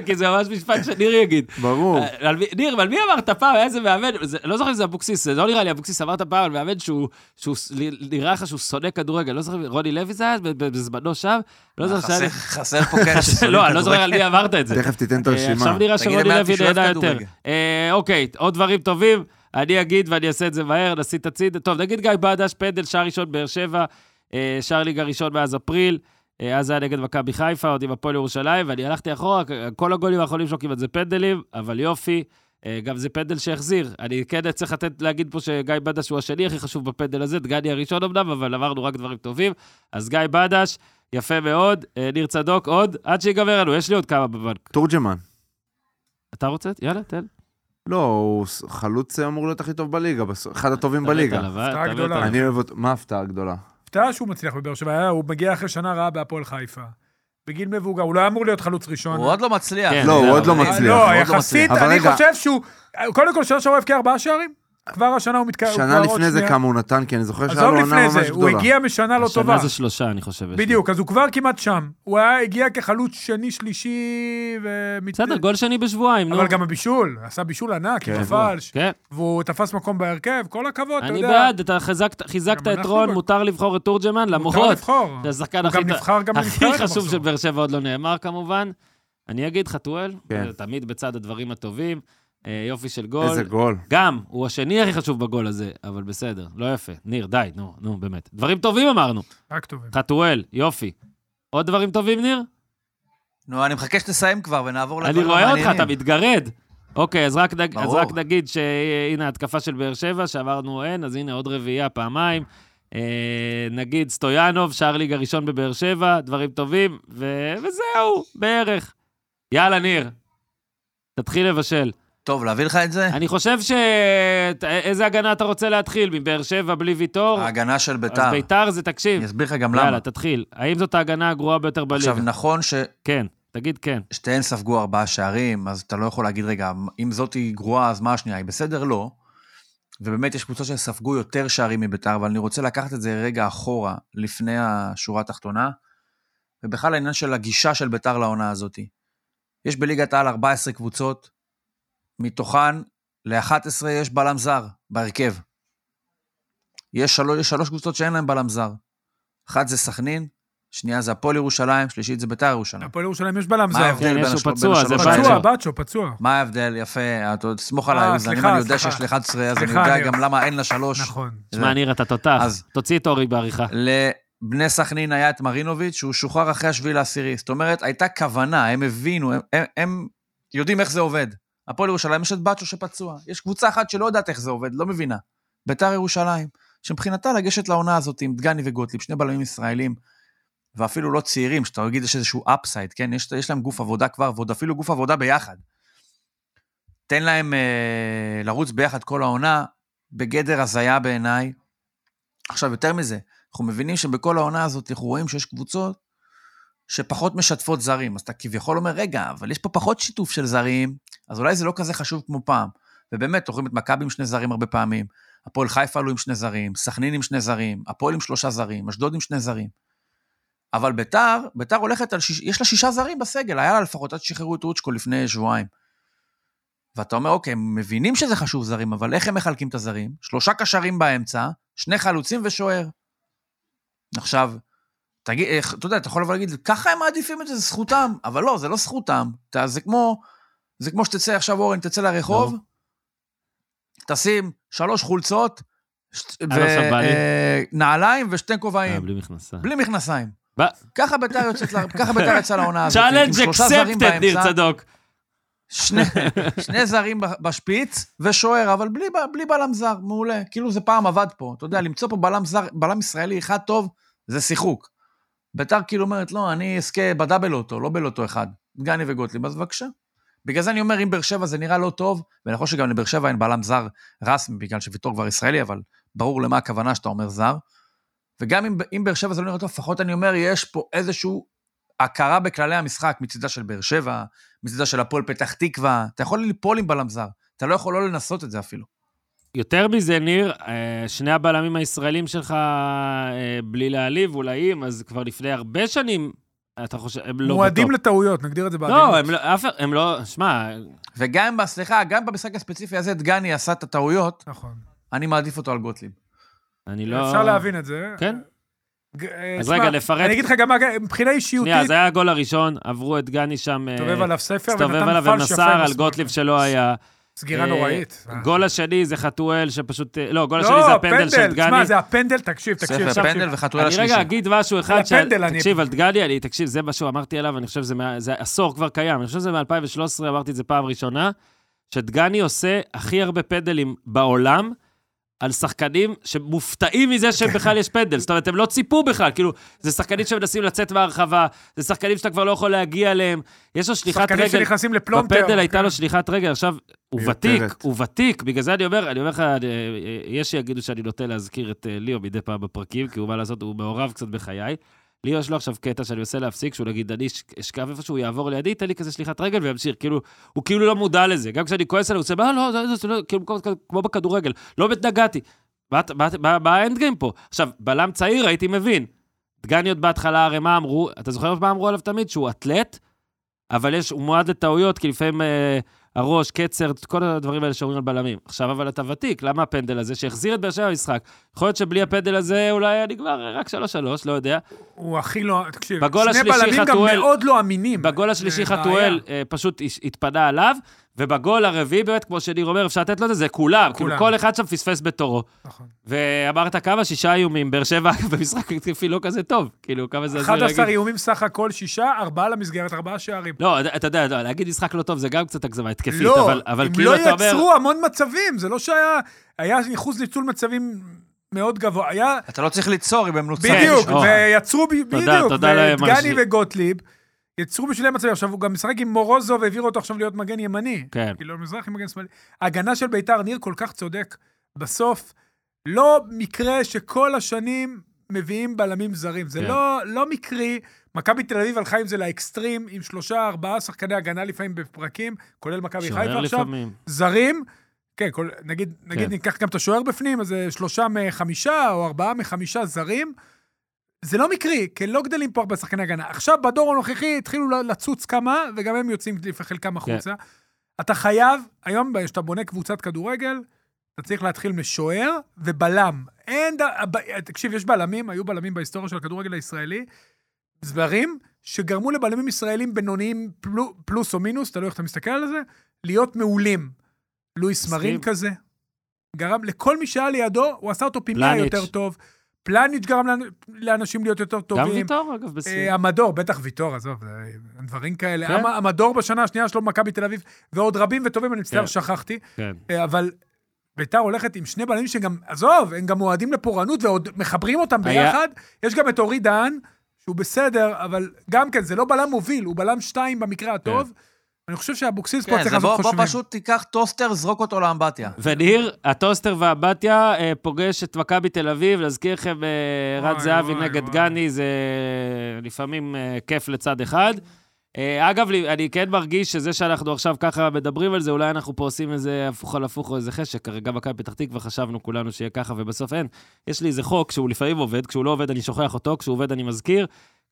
כי זה ממש משפט שניר יגיד.
ברור.
אה, על מי- ניר, על מי אמרת פעם? היה איזה מאמן, זה- לא זוכר אם זה אבוקסיס, זה לא נראה לי אבוקסיס, אמרת פעם על מאמן שהוא, שהוא ס- ל- נראה לך שהוא שונא כדורגל, לא זוכר, אם- רוני לוי זה היה ב- ב- בזמנו שם? לא זוכר
אה, חסר-
שהיה...
חסר פה כאלה
לי-
ששונאים
לא, אני לא זוכר
כדורגל.
על מי אמרת את זה.
תכף תיתן את
אה,
הרשימה.
עכשיו נראה
תגיד
שרוני
להם
לוי
שהוא אוהב
נהנה יותר.
כדורגל.
אה, אוקיי, עוד דברים טובים, אני אגיד ואני אעשה את זה מהר, נשים את הציד. טוב, נגיד גיא בדש, פנדל, שער ראשון באר שבע, אה, שער ליגה ראשון מאז אפריל, אה, אז היה נגד מכבי חיפה, עוד עם הפועל ירושלים, ואני הלכתי אחורה, כל הגולים האחרונים שלו כמעט זה פנדלים, אבל יופי. אה, גם זה פנדל שהחזיר. אני כן צריך לתת, להגיד פה שגיא בדש הוא השני הכי חשוב בפנדל הזה, דגני הראשון אמנם, אבל אמרנו רק דברים טובים. אז גיא בדש, יפה מאוד. אה, ניר צדוק, עוד, עד שיגמר לנו, יש לי עוד כמה בבנק.
תורג'מן.
אתה רוצה? יאללה, תן.
לא, הוא ס- חלוץ אמור להיות הכי טוב בליגה, בס- אחד הטובים
אתה מת
בליגה.
עליו, אה?
הפתעה
אתה מת
גדולה.
עליו.
אני אוהב אותו, מה ההפתעה הגדולה?
הפתעה שהוא מצליח בבאר שבע, היה- הוא מגיע אחרי שנה רעה בהפועל חיפה. בגיל מבוגר, הוא לא היה אמור להיות חלוץ ראשון.
הוא עוד לא מצליח.
כן,
לא, הוא
זה
עוד לא
אבל-
מצליח. הוא
לא,
עוד לא
יחסית,
מצליח. אבל
אני
רגע.
חושב שהוא... קודם כל, שנה שעברה הוא הבקיע ארבעה שערים, כבר השנה הוא מתקרב.
שנה לפני זה כמה הוא נתן, כי אני זוכר שהיה
עזוב
לו עונה
לפני
ממש
זה, הוא
גדולה.
הגיע משנה לא טובה.
השנה זה שלושה, אני חושב. יש לי.
בדיוק, אז הוא כבר כמעט שם. הוא היה- הגיע כחלוץ שני, שלישי, ו...
בסדר, גול שני בשבועיים, נו.
אבל גם הבישול, עשה בישול ענק, עם
כן.
הפלש,
כן,
והוא תפס מקום בהרכב, כל הכבוד, אתה
אני
יודע.
בעד, אתה חזקת- חיזקת
גם
את
אנחנו
רון,
בעד.
מותר לבחור את תורג'מן,
מותר
למרות.
לבחור.
זה השחקן
הוא
הכי
גם
ט-
נבחר, גם
הכי
נבחרת
חשוב
המחזור.
של באר שבע עוד לא נאמר, כמובן. אני אגיד חתואל,
כן.
זה תמיד בצד הדברים הטובים, אה, יופי של גול.
איזה גול.
גם, הוא השני הכי חשוב בגול הזה, אבל בסדר, לא יפה. ניר, די, נו, נו, באמת. דברים טובים אמרנו.
רק טובים.
אה, חתואל, יופי. עוד דברים טובים, ניר?
נו, אני מחכה שתסיים כבר ונעבור לדברים
אני רואה אותך, אתה
המעניינים.
מתגרד. אוקיי, אז רק, נג... אז
ברור.
רק נגיד שהנה התקפה של באר שבע, שעברנו אין, אז הנה עוד רביעייה פעמיים. אה, נגיד סטויאנוב, שער ליגה ראשון בבאר שבע, דברים טובים, ו... וזהו, בערך. יאללה, ניר, תתחיל לבשל.
טוב, להביא לך את זה?
אני חושב ש... ת- איזה הגנה אתה רוצה להתחיל? מבאר שבע בלי ויטור?
ההגנה של
לא- אז
ביתר.
ביתר זה, תקשיב.
אני אסביר לך גם למה.
יאללה, תתחיל. האם זאת ההגנה הגרועה ביותר בליגה?
עכשיו, נכון
כן, תגיד כן.
ששתיהן ספגו ארבעה שערים, אז אתה לא יכול להגיד, רגע, אם זאת היא גרועה, אז מה השנייה? היא בסדר? לא. ובאמת, יש קבוצות שספגו יותר שערים מביתר, אבל אני רוצה לקחת את זה רגע אחורה, לפני השורה התחתונה, ובכלל העניין של הגישה של ביתר לעונה הזאת. יש בליגת העל 14 קבוצות, מתוכן ל-11 יש בלם זר בהרכב. יש שלוש, יש שלוש קבוצות שאין להן בלם זר. אחת זה סכנין, שנייה זה הפועל ירושלים, שלישית זה ביתר ירושלים.
הפועל ירושלים יש בלם
מה
זר.
ההבדל
כן,
בין
יש
השלוש-
הוא
בין
פצוע,
השלוש
זה בעיה.
הקבוצות?
פצוע, בצו, פצוע.
מה ההבדל? יפה, אתה עוד תסמוך עליי,
אה,
אוזן, אם
סליחה,
אני יודע
סליחה.
שיש לי 11, אז אני
סליחה,
יודע
ניר.
גם למה אין לה 3.
נכון.
שמע, ניר, אתה תותח.
אז-
תוציא את אורי בעריכה.
לבני סכנין היה את מרינוביץ', שהוא שוחרר אחרי השביעי לעשירי. זאת אומרת, הייתה כוונה, הם הבינו, הם, הם, הם יודעים איך זה עובד. הפועל ירושלים, יש את בצ'ו שפצוע. יש קבוצה אחת שלא יודעת איך זה עובד, לא מבינה. ביתר ירושלים, שמבחינתה לגשת לעונה הזאת עם דגני וגוטליב, שני בלמים ישראלים, ואפילו לא צעירים, שאתה תגיד יש איזשהו אפסייד, כן? יש, יש להם גוף עבודה כבר, ועוד אפילו גוף עבודה ביחד. תן להם אה, לרוץ ביחד כל העונה, בגדר הזיה בעיניי. עכשיו, יותר מזה, אנחנו מבינים שבכל העונה הזאת אנחנו רואים שיש קבוצות שפחות משתפות זרים. אז אתה כביכול אומר, רגע, אבל יש פה פחות שיתוף של זרים, אז אולי זה לא כזה חשוב כמו פעם. ובאמת, רואים את מכבי עם שני זרים הרבה פעמים, הפועל חיפה עלו עם שני זרים, סכנין עם שני זרים, הפועל עם שלושה זרים, אשדוד עם שני זרים. אבל ביתר, ביתר הולכת על שיש, יש לה שישה זרים בסגל, היה לה לפחות עד ששחררו את רוצ'קו לפני שבועיים. ואתה אומר, אוקיי, הם מבינים שזה חשוב זרים, אבל איך הם מחלקים את הזרים? שלושה קשרים באמצע, שני חלוצים ושוער. עכשיו, תגיד, איך- אתה יודע, אתה יכול לבוא להגיד, ככה הם מעדיפים את זה, זה זכותם, אבל לא, זה לא זכותם. אתה, זה כמו, זה כמו שתצא עכשיו, אורן, תצא לרחוב,
נו.
תשים שלוש חולצות,
עכשיו בא לי.
ונעליים ושתי
אה,
כובעים,
בלי מכנסה.
בלי מכנסיים.
ב-
ככה ביתר יוצאת, ל- ככה ביתר יצאה לעונה הזאת.
צ'אלנג'
אה, עם שלושה זרים
אקספטד, ניר
באמצע,
צדוק.
שני, שני זרים ב- בשפיץ ושוער, אבל בלי, ב- בלי בלם זר, מעולה. כאילו זה פעם עבד פה. אתה יודע, למצוא פה בלם זר, בלם ישראלי אחד טוב, זה שיחוק. ביתר כאילו אומרת, לא, אני אזכה בדאבל אוטו, לא בלוטו אחד. דגני וגוטליב, אז בבקשה. בגלל זה אני אומר, אם באר שבע זה נראה לא טוב, ונכון שגם לבאר שבע אין בלם זר רסמי, בגלל שוויטור כבר ישראלי, אבל ברור למה הכוונה שאתה אומר זר. וגם אם, אם באר שבע זה לא נראה טוב, לפחות אני אומר, יש פה איזשהו הכרה בכללי המשחק מצידה של באר שבע, מצידה של הפועל פתח תקווה, אתה יכול ליפול עם בלם זר, אתה לא יכול לא לנסות את זה אפילו.
יותר מזה, ניר, אה, שני הבלמים הישראלים שלך, אה, בלי להעליב, אולי אם, אז כבר לפני הרבה שנים, אתה חושב, הם לא
מועדים
בטופ.
לטעויות, נגדיר את זה בעדינות.
לא, הם לא, אף הם לא, שמע,
וגם, ב- סליחה, גם במשחק הספציפי הזה, דגני עשה את הטעויות,
נכון.
אני מעדיף אותו על גוטליב.
אני לא...
אפשר להבין את זה.
כן?
ג- אה,
אז
תשמע,
רגע, לפרט.
אני אגיד לך גם מה, מבחינה אישיותית,
שנייה, אז היה הגול הראשון, עבר את גני שם, אה,
הסתובב עליו ספר
הסתובב
ונתן
עליו
פלש יפה.
ומסר על
לשמאל.
גוטליב שלא היה.
סגירה
אה,
נוראית.
גול השני זה חתואל שפשוט... אה, לא, גול השני זה
לא,
הפנדל של דגני.
תשמע, זה הפנדל, תקשיב, תקשיב,
ספר
עכשיו,
פנדל וחתואל
אני רגע
השלישי.
אגיד משהו אחד,
על הפנדל אני-
תקשיב, על דגני, אני, תקשיב, זה מה שאמרתי עליו, אני חושב שזה מה- זה עשור כבר קיים, אני חושב שזה מ-2013, אמרתי את זה פעם ראשונה, שדגני עושה הכי הרבה פנדלים בעולם. על שחקנים שמופתעים מזה שבכלל יש פנדל. זאת אומרת, הם לא ציפו בכלל, כאילו, זה שחקנים שמנסים לצאת מהרחבה, זה שחקנים שאתה כבר לא יכול להגיע אליהם, יש לו שליחת
שחקנים
רגל.
שנכנסים לא כן. לפלונטר.
בפנדל הייתה לו שליחת רגל, עכשיו, הוא
מיותרת.
ותיק, הוא ותיק, בגלל זה אני אומר, אני אומר לך, אה, אה, יש שיגידו שאני נוטה להזכיר את אה, ליאו מדי פעם בפרקים, כי הוא מה לעשות, הוא מעורב קצת בחיי. ליאו יש לו עכשיו קטע שאני מנסה להפסיק, שהוא נגיד, אני אש- אשכב איפה שהוא יעבור לידי, ייתן לי כזה שליחת רגל וימשיך, כאילו, הוא כאילו לא מודע לזה. גם כשאני כועס עליו, הוא עושה, מה, לא, זה, זה, זה, לא, כאילו, כמו- כמו בכדורגל, לא באמת נגעתי. מה אתה- מה אתה- מה- מה האנד גיים פה? עכשיו, בלם צעיר הייתי מבין. דגניות בהתחלה, הרי מה אמרו? אתה זוכר מה אמרו עליו תמיד? שהוא אתלט, אבל יש, הוא מועד לטעויות, כי לפעמים אה, הראש, קצר, כל הדברים האלה שאומרים על בלמים. עכשיו, אבל אתה ותיק, למה הפנדל הזה שהחזיר את באר שבע למשחק? יכול להיות שבלי הפנדל הזה אולי היה נגמר רק 3-3, לא יודע.
הוא הכי לא... תקשיב,
בגול
שני
השלישי
בלמים גם
חתואל-
מאוד לא אמינים.
בגול השלישי
זה בעיה.
חתואל אה, פשוט הש- התפנה עליו, ובגול הרביעי באמת, כמו שניר אומר, אפשר לתת לו את זה, זה כולם, כאילו
כולם.
כל אחד שם פספס בתורו.
נכון.
ואמרת כמה? שישה איומים, באר שבע במשחק התקפי לא כזה טוב, כאילו כמה זה... הזוי
11
להגיד.
איומים סך הכל, שישה, ארבעה למסגרת, ארבעה שערים.
לא, אתה- אתה יודע, לא, להגיד משחק לא טוב זה גם קצת הגזמה התקפית,
לא,
אבל, אבל
הם
כאילו
לא
אתה אומר...
יצרו המון מצבים, זה לא שהיה... היה אחוז ניצול מצבים מאוד גבוה. היה...
אתה לא צריך ליצור אם הם נוצרים.
בדיוק,
כן, אוה.
ויצרו, ב- בדיוק,
תודה להם,
ודגני
אנשים.
וגוטליב יצרו בשבילם מצבים. עכשיו, הוא גם משחק עם מורוזוב, והעבירו אותו עכשיו להיות מגן ימני.
כן.
כאילו, מזרחי מגן שמאלי. ההגנה של ביתר, ניר כל כך צודק. בסוף, לא מקרה שכל השנים מביאים בלמים זרים. זה
כן.
לא, לא מקרי. מכבי תל אביב הלכה עם זה לאקסטרים, עם שלושה, ארבעה שחקני הגנה לפעמים בפרקים, כולל מכבי
שוער
חיפה עכשיו.
לפעמים.
זרים, כן, כל, נגיד, נגיד
כן.
ניקח גם את השוער בפנים, אז זה שלושה מחמישה או ארבעה מחמישה זרים. זה לא מקרי, כי לא גדלים פה הרבה שחקני הגנה. עכשיו, בדור הנוכחי התחילו ל- לצוץ כמה, וגם הם יוצאים לפ-
כן.
חלקם החוצה. אתה חייב, היום כשאתה בונה קבוצת כדורגל, אתה צריך להתחיל משוער ובלם. אין ד... הב- תקשיב, יש בלמים, היו בלמים בהיסטוריה של הכדורגל הישראלי, זרים, שגרמו לבלמים ישראלים בינוניים פלו, פלוס או מינוס, תלוי איך אתה מסתכל על זה, להיות מעולים. לואיס
מסכים.
מרין כזה, גרם לכל מי שהיה לידו, הוא עשה אותו פי מאה
פלניץ'.
יותר טוב. פלניץ' גרם לאנ- לאנשים להיות יותר
גם
טובים.
ויטור, אגב, בסדר.
אה, המדור, בטח ויטור, עזוב, אה, דברים כאלה.
כן.
המ- המדור בשנה השנייה שלו במכבי תל אביב, ועוד רבים וטובים, אני מצטער,
כן.
שכחתי.
כן.
אה, אבל ביתר הולכת עם שני בלמים שגם, עזוב, הם גם מועדים לפורענות ועוד מחברים אותם
היה-
ביחד. יש גם את אורי דהן, שהוא בסדר, אבל גם כן, זה לא בלם מוביל, הוא בלם שתיים במקרה הטוב.
כן.
אני חושב שאבוקסיס פה
כן,
צריך
זה
לעשות
בוא, בוא
חושבים.
פשוט תיקח טוסטר, זרוק אותו לאמבטיה.
וניר, הטוסטר והבתיה אה, פוגש את מכבי תל אביב, להזכיר לכם, אה, רן
וואי,
זהבי
וואי,
נגד
וואי.
גני, זה לפעמים אה, כיף לצד אחד. אה, אגב, לי- אני כן מרגיש שזה שאנחנו עכשיו ככה מדברים על זה, אולי אנחנו פה עושים איזה הפוך על הפוך או איזה חשק, הרי גם מכבי פתח תקווה חשבנו כולנו שיהיה ככה, ובסוף אין. יש לי איזה חוק שהוא לפעמים עובד, כשהוא לא עובד אני שוכח אותו, כשהוא עובד אני מזכיר.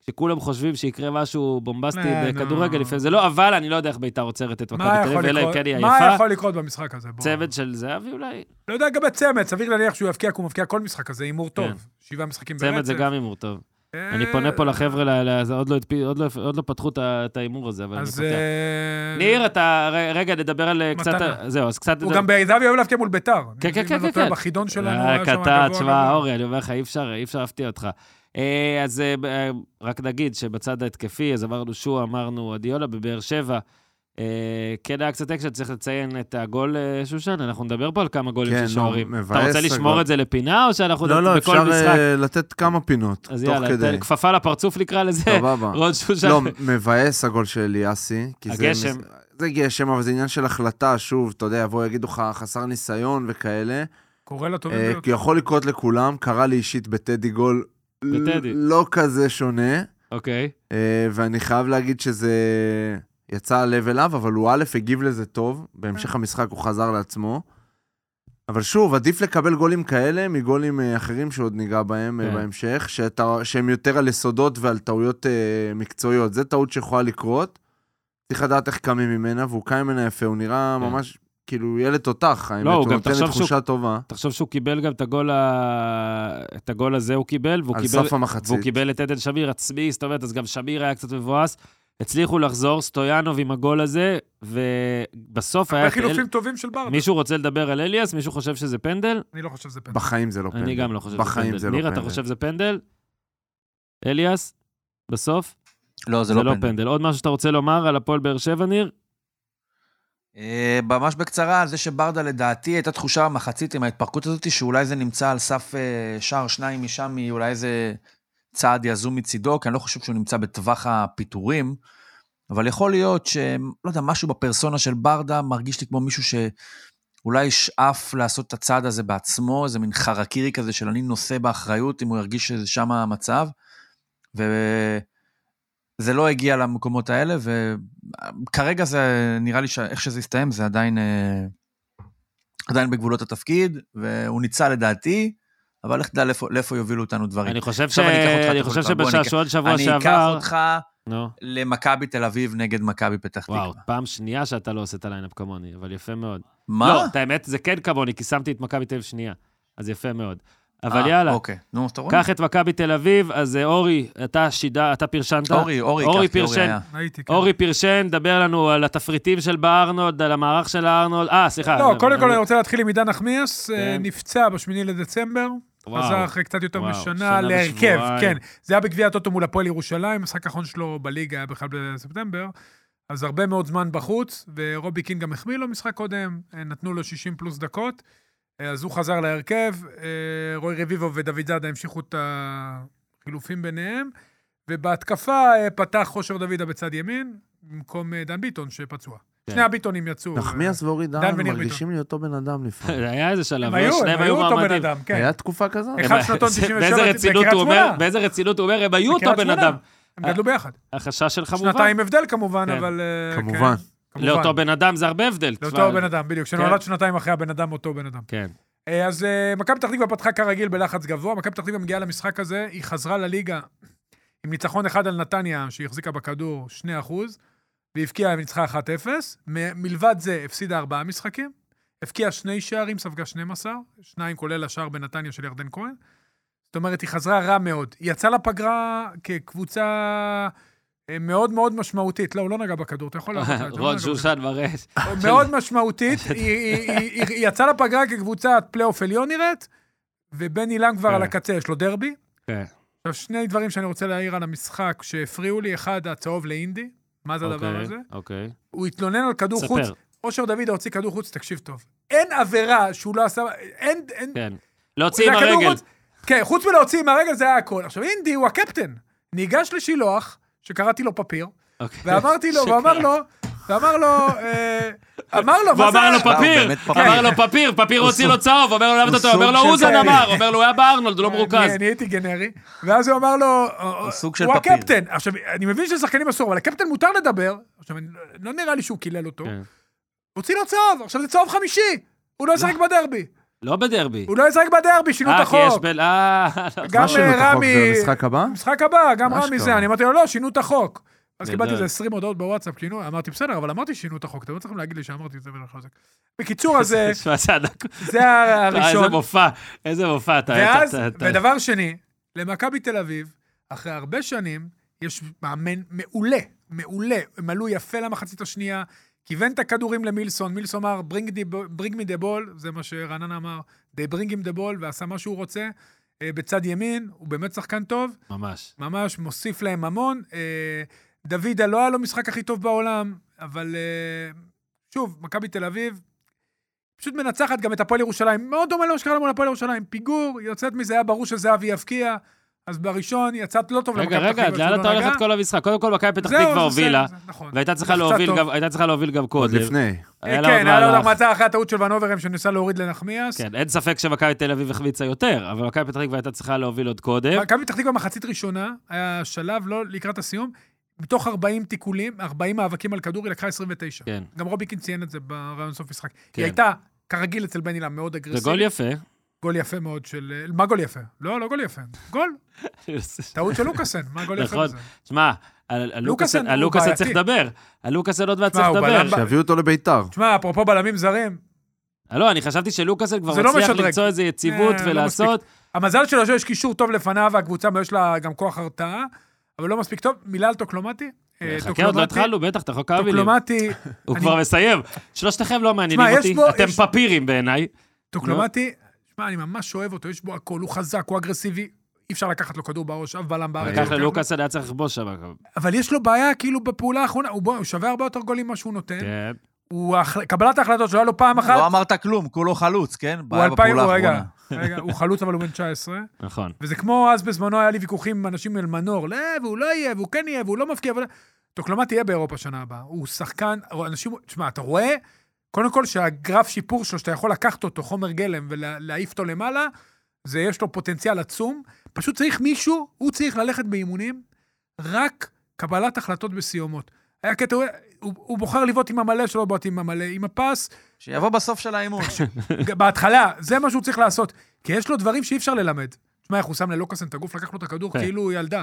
כשכולם חושבים שיקרה משהו בומבסטי
לא,
בכדורגל,
לא.
לפעמים זה לא, אבל אני לא יודע איך ביתר עוצרת את מכבי
מה
תל אביב,
יכול
אלא אם
לקרות-
כן היא
מה
עייפה.
יכול לקרות במשחק הזה? בוא.
צוות של זהבי אולי?
לא יודע לגבי צמד, סביר להניח שהוא יבקיע, כי הוא מבקיע כל משחק כזה, הימור
כן.
טוב. שבעה משחקים ברצף.
צמד זה גם הימור טוב.
אה,
אני פונה פה לחבר'ה, ל- ל- זה עוד לא הדפי- עוד לא- עוד לא פתחו את ה- את ההימור הזה, אבל אני
אז...
פותח.
אה,
ניר, אתה... ר- רגע, נדבר על אה, קצת...
מתנה.
זהו, אז קצת...
הוא
נדבר-
גם בעזבי אוהב להבקיע מול ביתר.
כן, כן,
אם אני לא
כן,
טועה,
כן.
בחידון שלנו
רק
היה שם
אתה,
גבוה,
תשמע,
גבוה.
אורי, אני אומר לך, אי אפשר, אי אפשר להפתיע אותך. אה, אז אה, ב- אה, רק נגיד שבצד ההתקפי, אז אמרנו שועה, אמרנו אדיולה בבאר שבע. אה, כן היה קצת אקשן, צריך לציין את הגול, אה, שושן, אנחנו נדבר פה על כמה גולים
כן,
של
נו,
שוערים. אתה
מבאס
רוצה לשמור
הגול.
את זה לפינה, או שאנחנו
לא, לא,
בכל
אפשר
משחק?
אה, לתת כמה פינות,
אז
תוך
יאללה,
כדי.
תן כפפה לפרצוף נקרא לזה.
סבבה.
רון שושן.
לא, מבאס הגול של אליאסי. כי זה
הגשם.
מס- זה גשם, אבל זה עניין של החלטה, שוב, אתה יודע, יבואו, יגידו לך, חסר ניסיון וכאלה.
קורא לטובים
אה,
ביותר.
כי יכול לקרות לכולם, קרה לי אישית בטדי גול ל-
בטדי.
לא כזה שונה,
אוקיי.
אה, ואני חייב להגיד שזה יצא הלב אליו, אבל הוא א', הגיב לזה טוב, בהמשך המשחק הוא חזר לעצמו. אבל שוב, עדיף לקבל גולים כאלה מגולים אה, אחרים שעוד ניגע בהם אה,
כן.
בהמשך, שאתה, שהם יותר על יסודות ועל טעויות אה, מקצועיות. זו טעות שיכולה לקרות. צריך לדעת איך קמים ממנה, והוא קם ממנה יפה, הוא נראה
כן. לא,
ממש כאילו ילד תותח, האמת,
הוא
הוא
גם
נותן
תחשוב שהוא-
תחושה טובה.
תחשוב שהוא קיבל גם את הגול, ה... את הגול הזה הוא קיבל, והוא
על
קיבל,
סף המחצית.
והוא קיבל את עדן שמיר עצמי, זאת אומרת, אז גם שמיר היה קצת מבואס. הצליחו לחזור, סטויאנוב עם הגול הזה, ובסוף היה...
הרבה
את אה, אל-
חילופים טובים של ברדה.
מישהו רוצה לדבר על אליאס? מישהו חושב שזה פנדל?
אני לא חושב שזה פנדל.
בחיים זה לא פנדל.
אני גם לא חושב שזה פנדל.
בחיים זה לא
ניר, אתה
פנדל.
חושב שזה פנדל? אליאס? בסוף?
לא, זה לא פנדל.
פנדל. עוד משהו שאתה רוצה לומר על הפועל באר שבע, ניר?
אה, ממש בקצרה, על זה שברדה לדעתי הייתה תחושה מחצית עם ההתפרקות הזאת, שאולי זה נמצא על סף אה, שער שניים משם, מאולי איזה צעד יזום מצידו, כי אני לא חושב שהוא נמצא בטווח הפיטורים, אבל יכול להיות ש... לא יודע, משהו בפרסונה של ברדה מרגיש לי כמו מישהו שאולי ישאף לעשות את הצעד הזה בעצמו, איזה מין חרקירי כזה של אני נושא באחריות, אם הוא ירגיש שזה שם המצב, וזה לא הגיע למקומות האלה, ו... כרגע זה נראה לי שאיך שזה יסתיים זה עדיין אה, עדיין בגבולות התפקיד והוא ניצל לדעתי אבל לך תדע לאיפה, לאיפה יובילו אותנו דברים.
אני חושב ש...
עכשיו אני אקח אותך,
אני
אתה
חושב
יכול- בוא, אני אקח-
שבשעשועון שבוע
אני אקח
שעבר...
אותך
נו.
למכבי תל אביב נגד מכבי פתח
וואו,
תקווה.
פעם שנייה שאתה לא עושה את הליינאפ כמוני, אבל יפה מאוד.
מה?
לא, את האמת, זה כן כמוני, כי שמתי את מכבי תל אביב שנייה. אז יפה מאוד. אבל
אה,
יאללה,
אוקיי, נו, אתה רואה?
קח את מכבי תל אביב, אז אה, אורי, אתה שידה, אתה פרשנת.
אורי, אורי,
אורי
קח, כי
פרשן.
היה.
הייתי, כן.
אה, אורי פרשן, דבר לנו על התפריטים של בארנולד, על המערך של הארנולד. אה, סליחה.
לא, קודם כל אני
וואו,
רוצה להתחיל עם עידן נחמיאס, אה,
כן.
נפצע בשמיני לדצמבר, חזר אחרי קצת יותר
וואו,
משנה
שנה
להרכב,
ושבועיים.
כן. זה היה בגביע הטוטו מול הפועל ירושלים, המשחק האחרון שלו בליגה היה בכלל בספטמבר, אז הרבה מאוד זמן בחוץ, ורובי קין גם החמיא לו משחק קודם, אה, נתנו לו 60 פלוס דקות, אה, אז הוא חזר להרכב, אה, רוי רביבו ודוד זאדה המשיכו את החילופים ביניהם, ובהתקפה אה, פתח חושר דוידה בצד ימין, במקום אה, דן ביטון שפצוע.
כן.
שני הביטונים יצאו. אה,
נחמיאס ואורי
דן
דהן
וניר
מרגישים לי אותו בן אדם לפעמים.
זה היה איזה שלב, לא?
הם היו,
שניהם
הם היו אותו בן
מועמדים.
אדם, כן.
היה תקופה כזאת?
אחד
הם-
שנתון
זה-
97
באיזה
בקריית
רצינות הוא אומר-
שמונה.
באיזה רצינות הוא אומר, הם היו אותו
בקריית
בן
שמונה.
אדם.
הם גדלו ביחד.
החשש של חמובן.
שנתיים הבדל כמובן,
כן.
אבל... אה,
כמובן.
כן, כמובן.
לאותו בן אדם זה הרבה הבדל. כבר-
לאותו בן אדם, בדיוק. שנולד שנתיים אחרי הבן אדם, אותו בן אדם.
כן.
אה, אז אה, מכבי פתח תקווה פתחה כרגיל בלחץ גבוה, מכבי פתח תקווה מגיעה למשחק הזה, היא חזרה לליגה עם ניצחון אחד על נתניה, שהיא החזיקה בכדור 2%, והבקיעה וניצחה 1-0. מ- מלבד זה, הפסידה ארבעה משחקים, הבקיעה שני שערים, ספגה 12, שניים כולל השער בנתניה של ירדן כהן. זאת אומרת, היא חזרה רע מאוד. היא יצאה לפגרה כקבוצה אה, מאוד מאוד משמעותית. לא, הוא לא נגע בכדור, אתה לא יכול לעבוד.
רון שושן מראה.
מאוד משמעותית, היא- היא היא- היא יצאה לפגרה כקבוצת פלייאוף עליון נראית, ובני לם כבר
כן.
על הקצה, יש לו דרבי.
כן.
עכשיו, שני דברים שאני רוצה להעיר על המשחק שהפריעו לי, אחד, הצהוב לאינדי, מה זה לא הדבר הזה?
אוקיי.
הוא התלונן על כדור חוץ,
ספר,
אושר דוד הוציא כדור חוץ, תקשיב טוב. אין עבירה שהוא לא עשה, אין, אין,
כן. להוציא עם
זה הכדור
הרגל.
חוץ- כן, חוץ מלהוציא עם הרגל זה היה הכל. עכשיו, אינדי הוא הקפטן. ניגש לשילוח, שקראתי לו פפיר,
אוקיי.
ואמרתי לו,
שקרן.
ואמר לו, ואמר לו, אה, אמר לו, מה זה...
ואמר לו
וואו,
פפיר,
באמת פפיר.
אמר לו פפיר, פפיר הוציא לו צהוב, אומר לו למה אתה
הוא
טועה, אומר
סוג
לו
של
אוזן
פפיר.
אמר, אומר לו הוא היה בארנולד, הוא לא
אה, אני
מרוכז.
אני הייתי גנרי, ואז הוא אמר לו,
סוג של
הוא
פפיר.
הקפטן. עכשיו, אני מבין שלשחקנים אסור, אבל לקפטן מותר לדבר. עכשיו, אני- לא נראה לי שהוא קילל אותו.
כן.
הוציא לו צהוב, עכשיו זה צהוב חמישי. הוא לא ישחק בדרבי.
לא בדרבי.
הוא לא ישחק בדרבי, שינו את
אה, כי יש
החוק.
בל... אה, לא.
גם
מה שינו את החוק?
רמי-
זה המשחק הבא?
משחק הבא, גם
מה
רמי זה.
שקרה.
אני אמרתי לו, לא, שינו את החוק. אז
גדול.
קיבלתי איזה 20 הודעות בוואטסאפ, שינו, אמרתי, בסדר, אבל אמרתי שינו את החוק, אתם לא צריכים להגיד לי שאמרתי את זה ולא חזק. בקיצור, אז אה,
תשמע, זה ענק.
זה
אה, איזה
הראשון.
מופע, איזה מופע אתה...
ואז,
אתה- אתה-
ודבר שני, למכבי תל אביב, אחרי הרבה שנים, יש מאמן מעולה, מעולה, הם עלו יפה למחצית השנייה, כיוון את הכדורים למילסון, מילסון אמר, ברינג מי דה בול, זה מה שרענן אמר, they bring him the ball, ועשה מה שהוא רוצה, אה, בצד ימין, הוא באמת שחקן טוב,
ממש.
ממש מוסיף להם המון. אה, דוידה לא היה לו משחק הכי טוב בעולם, אבל אה, שוב, מכבי תל אביב פשוט מנצחת גם את הפועל ירושלים. מאוד דומה למה שקרה מול הפועל ירושלים. פיגור, היא יוצאת מזה, היה ברור שזהבי יבקיע, אז בראשון יצאת לא טוב
רגע,
למכבי
רגע, עד לאן אתה הולך את כל המשחק? קודם כל, מכבי פתח
זהו,
תקווה
זה
הובילה,
בסדר, זה נכון.
והייתה צריכה
לחצה
להוביל
טוב.
גם- הייתה צריכה להוביל גם
עוד
קודם.
לפני.
היה לה עוד
כן, היה לו
מהלך.
עוד מצא אחרי הטעות של ונוברם שניסה להוריד לנחמיאס.
כן, אין ספק שמכבי תל אביב החמיצה יותר, אבל מכבי פתח תקווה הייתה צריכה להוביל עוד קודם.
מכבי פתח תקווה מחצית ראשונה, היה שלב, לא לקראת הסיום, מתוך 40 תיקולים, 40 מאבקים על כדור, היא לקחה 29.
כן.
גם רוביקין ציין את זה ברעיון סוף משחק.
כן.
היא הייתה, כרגיל אצל בן הילה, מאוד אגרסיבית.
זה גול יפה.
גול יפה מאוד של... מה גול יפה? לא, לא גול יפה. גול. טעות של לוקאסן, מה גול יפה
נכון.
בזה?
שמע, על- על לוקאסן
לוקאסן
על
הוא
לוקאסן
בעייתי.
צריך לדבר. על לוקאסן עוד מעט
שמע,
צריך
הוא
לדבר.
בלם ב-
שיביאו אותו לביתר.
תשמע, אפרופו בלמים זרים,
אה, לא, אני חשבתי שלוקאסן כבר
זה לא
מצליח
משדרג.
למצוא איזה יציבות
אה, לא
ולעשות.
המזל שלו שיש קישור טוב לפניו, והקבוצה יש לה גם כוח הרתעה, אבל לא מספיק טוב. מילה על טוקלומטי. אה,
חכה, עוד לא
טוקלומטי-
התחלנו, לא. בטח, אתה יכול כמה מילים.
טוקלומטי,
הוא
אני-
כבר מסיים. שלושתכם לא מעניינים
שמע, יש
אותי,
בו- יש- אה,
אתם פפירים בעיניי.
טוקלומטי, שמע, אני ממש אוהב אותו, יש בו הכל, הוא חזק, הוא אגרסיבי, אי אפשר לקחת לו כדור בראש, אף בלם בארץ.
לקח
לא לוקח.
ללוקאסן היה צריך לכבוש שם.
אבל יש לו בעיה, כאילו, בפעולה האחרונה, הוא בוא- הוא שווה הרבה יותר גולים ממה שהוא נותן.
כן.
הוא, ההחל- קבלת ההחלטות שלו, היה לו פעם אחת,
לא אמרת כלום, כולו חלוץ, כן?
הוא
בעיה
אלפיים,
בפעולה
הוא רגע,
האחרונה.
רגע, הוא חלוץ אבל הוא בן 19,
נכון.
וזה כמו אז בזמנו היה לי ויכוחים עם אנשים אל מנור, לא, והוא לא יהיה, והוא כן יהיה, והוא לא מבקיע, אבל... טוקלומט יהיה באירופה שנה הבאה, הוא שחקן, אנשים, תשמע, אתה רואה, קודם כל שהגרף שיפור שלו, שאתה יכול לקחת אותו, חומר גלם, ולהעיף אותו למעלה, זה יש לו פוטנציאל עצום, פשוט צריך מישהו, הוא צריך ללכת באימונים, רק קבלת החלטות בסיומות. היה קטע, הוא, הוא בוחר לבעוט עם המלא שלא בועט עם המלא, עם הפס,
שיבוא בסוף של
אה,
האימון. אה,
בהתחלה, זה מה שהוא צריך לעשות. כי יש לו דברים שאי אפשר ללמד. תשמע, איך הוא שם ללוקאסן את הגוף, לקח לו את הכדור
כן.
כאילו הוא ילדה.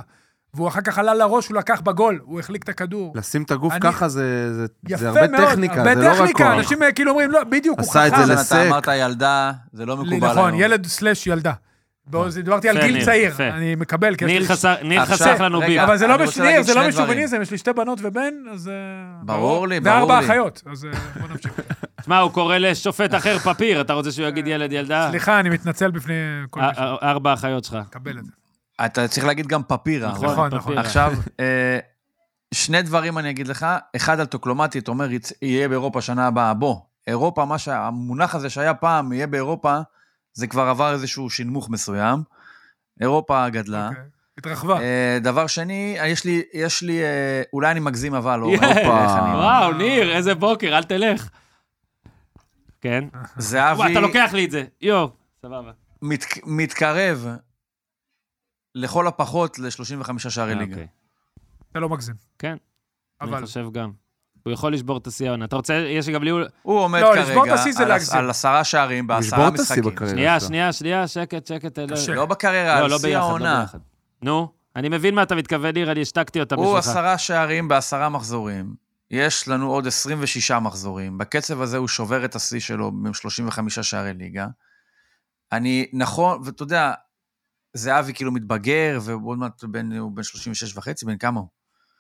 והוא אחר כך עלה לראש, הוא לקח בגול, הוא החליק את הכדור.
לשים את הגוף
אני-
ככה זה- זה
יפה
זה
מאוד,
הרבה טכניקה, זה לא
הרבה
רק
טכניקה,
כוח.
אנשים אה, כאילו אומרים, לא, בדיוק, הוא חכם.
עשה את זה
אבל
לסק.
אתה אמרת ילדה, זה לא מקובל היום.
נכון, ילד סלאש ילדה. בוא,
נכון.
זה- דיברתי על
יפה,
גיל
ניר,
צעיר,
יפה.
אני מקבל, כי
ניר
כן, יש לי...
חסך- ניר
עכשיו,
חסך לנו
רגע,
בירה.
אבל זה לא
אני רוצה
בש-
להגיד
זה לא
שני דברים.
משוביניזם, יש לי שתי בנות ובן, אז... אה,
ברור לי, ברור
וארבע
לי.
אחיות, אז אה, בוא נמשיך.
שמע, הוא קורא לשופט אחר פפיר, אתה רוצה שהוא יגיד ילד, ילדה?
אה, סליחה, אני מתנצל בפני כל מי
אה, אה, ארבע אחיות שלך.
שמקבל את זה.
אתה צריך להגיד גם פפירה.
נכון,
אבל-
נכון.
פפירה.
עכשיו, אה, שני דברים אני אגיד לך. אחד על טוקלומטית, אומר, יצ- יהיה באירופה שנה הבאה. בוא, אירופה, מה שה- המונח הזה שהיה פעם, יהיה באירופה, זה כבר עבר איזשהו שינמוך מסוים. אירופה גדלה.
אוקיי. התרחבה.
אה, דבר שני, יש לי, יש לי, אה, אולי אני מגזים, אבל לא,
יש.
הופה, איך אני-
וואו, ניר, איזה בוקר, אל תלך. כן. וואי,
זהבי
אתה לוקח לי את זה. יואו, סבבה.
מת, מתקרב לכל הפחות ל-35 שערי
אה,
ליגה.
אוקיי.
אתה לא מגזים.
כן.
אבל...
אני חושב גם. הוא יכול לשבור את השיא העונה. אתה רוצה, יש לי גם לי...
הוא עומד
לא, לשבור את
כרגע
השיא זה
על,
להגזים.
על עשרה שערים
הוא ישבור
בעשרה
את השיא
משחקים.
בקריירה
שנייה,
שלו.
שנייה, שנייה, שקט, שקט. אה, לא-
קשה.
לא בקריירה,
לא,
על
לא
שיא
ביחד, לא
העונה.
ביחד. נו, אני מבין מה אתה מתכוון, ניר, אני השתקתי אותה
הוא
בשבילך.
עשרה שערים בעשרה מחזורים. יש לנו עוד 26 מחזורים. בקצב הזה הוא שובר את השיא שלו עם 35 שערי ליגה. אני, נכון, ואתה יודע, זהבי כאילו מתבגר, ועוד מעט בן- הוא בן 36 וחצי, בן כמה הוא?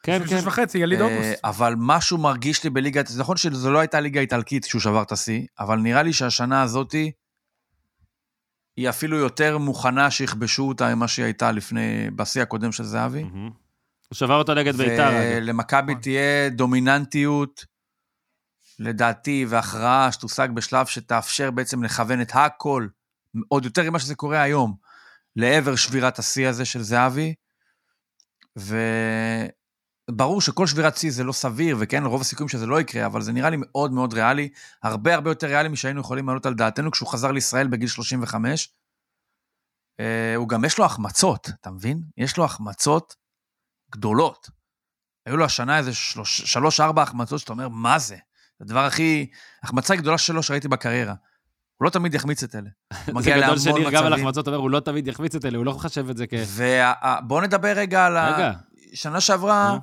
כן, כן.
שש וחצי, יליד
אה,
אוגוסט.
אבל משהו מרגיש לי בליגה, זה נכון שזו לא הייתה ליגה איטלקית שהוא שבר את השיא, אבל נראה לי שהשנה הזאתי, היא אפילו יותר מוכנה שיכבשו אותה ממה שהיא הייתה לפני, בשיא הקודם של זהבי.
מהמם. הוא שבר אותו נגד ביתר. אגב.
ולמכבי
נכון.
תהיה דומיננטיות, לדעתי, והכרעה שתושג בשלב שתאפשר בעצם לכוון את הכל, עוד יותר ממה שזה קורה היום, לעבר שבירת השיא הזה של זהבי, וברור שכל שבירת שיא זה לא סביר, וכן, רוב הסיכויים שזה לא יקרה, אבל זה נראה לי מאוד מאוד ריאלי, הרבה הרבה יותר ריאלי משהיינו יכולים לעלות על דעתנו כשהוא חזר לישראל בגיל 35. אה, הוא גם, יש לו החמצות, אתה מבין? יש לו החמצות גדולות. היו לו השנה איזה שלוש, שלוש, ארבע החמצות, שאתה אומר, מה זה? זה הדבר הכי, החמצה הגדולה שלו שראיתי בקריירה. הוא לא תמיד יחמיץ את אלה. הוא
זה
מגיע
גדול
להמון
שניר גם על
מצבים.
החמצות אומר, הוא לא תמיד יחמיץ את אלה, הוא לא חשב את זה כ...
ובואו נדבר רגע על ה...
רגע,
שנה שעברה,
נו.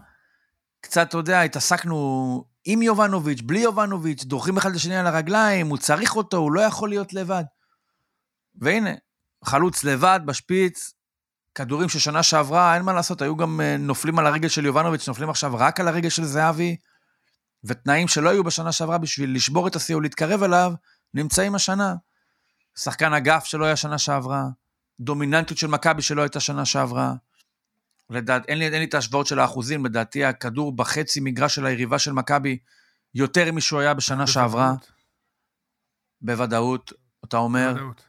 קצת, אתה יודע, התעסקנו עם יובנוביץ', בלי יובנוביץ', דורכים אחד לשני על הרגליים, הוא צריך אותו, הוא לא יכול להיות לבד. והנה, חלוץ לבד בשפיץ, כדורים ששנה שעברה, אין מה לעשות, היו גם אה, נופלים על הרגל של יובנוביץ', נופלים עכשיו רק על הרגל של זהבי, ותנאים שלא היו בשנה שעברה בשביל לשבור את השיא או להתקרב אליו, נמצאים השנה. שחקן אגף שלא היה שנה שעברה, דומיננטיות של מכבי שלא הייתה שנה שעברה. לדעת, אין לי, אין לי את ההשוואות של האחוזים, לדעתי הכדור בחצי מגרש של היריבה של מכבי יותר משהוא היה בשנה שעברה, בוודאות, אתה אומר.
בוודאות.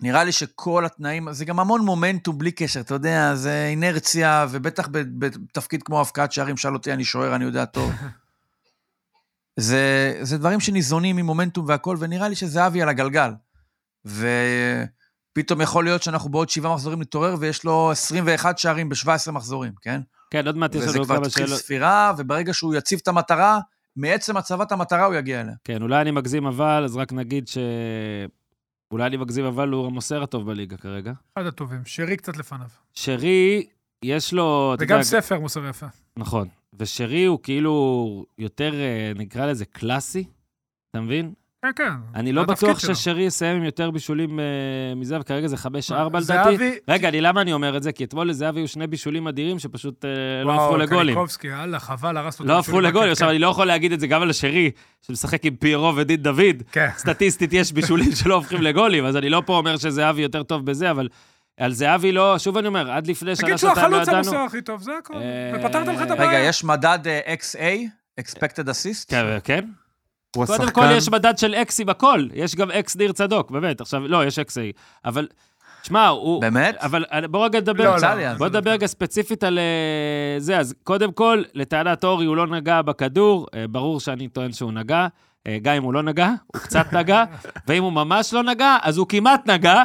נראה לי שכל התנאים, זה גם המון מומנטום בלי קשר, אתה יודע, זה אינרציה, ובטח ב- בתפקיד כמו הבקעת שערים, שאל אותי, אני שוער, אני יודע טוב. זה, זה דברים שניזונים ממומנטום והכול, ונראה לי שזהבי על הגלגל. ופתאום יכול להיות שאנחנו בעוד שבעה מחזורים נתעורר, ויש לו 21 שערים ב-17 מחזורים, כן?
כן, עוד מעט יש
וזה
לנו
כבר
כמה
תתחיל
שאלות.
ספירה, וברגע שהוא יציב את המטרה, מעצם הצבת המטרה הוא יגיע אליה.
כן, אולי אני מגזים אבל, אז רק נגיד ש... אולי אני מגזים אבל, הוא המוסר הטוב בליגה כרגע.
אחד הטובים, שרי קצת לפניו.
שרי, יש לו... אתה
וגם
יודע,
ספר מוסר יפה.
נכון. ושרי הוא כאילו יותר, אה, נקרא לזה, קלאסי, אתה מבין?
כן, כן.
אני
זה
לא
התפקיד
בטוח
שלו.
ששרי יסיים עם יותר בישולים אה, מזה, וכרגע זה 5-4 לדעתי.
אה, זהבי-
רגע, אני, למה אני אומר את זה? כי אתמול לזהבי היו שני בישולים אדירים שפשוט אה, לא
וואו,
הפכו לגולים.
קניקובסקי, כן. יאללה, חבל, הרס לו את
לא הפכו
הבישולים
לגולים.
בקרקע.
עכשיו, אני לא יכול להגיד את זה גם על שרי, שמשחק עם פיירו ודין דוד.
כן.
סטטיסטית יש בישולים שלא הופכים לגולים, אז אני לא פה אומר שזהבי יותר טוב בזה, אבל על זהבי לא, שוב אני אומר, עד לפני שנה
תגיד שהוא
שנתיים לא
החלוץ
ידענו.
המוסר הכי טוב, זה הכל.
אה,
ופתרת לך את
רגע,
רגע,
הבעיה.
יש מדד אה, XA, Expected Assist?
כן, כן.
הוא
קודם
השחקן...
כל יש מדד של אקסים הכל, יש גם אקס ניר צדוק, באמת, עכשיו, לא, יש אקס איי, אבל, שמע, הוא...
באמת?
אבל אה, בוא רגע נדבר,
לא, יצא לי, אז
בוא נדבר רגע ספציפית על אה, זה, אז קודם כל, לטענת אורי, הוא לא נגע בכדור, אה, ברור שאני טוען שהוא נגע, אה, גם אם הוא לא נגע, הוא קצת נגע, ואם הוא ממש לא נגע, אז הוא כמעט נגע.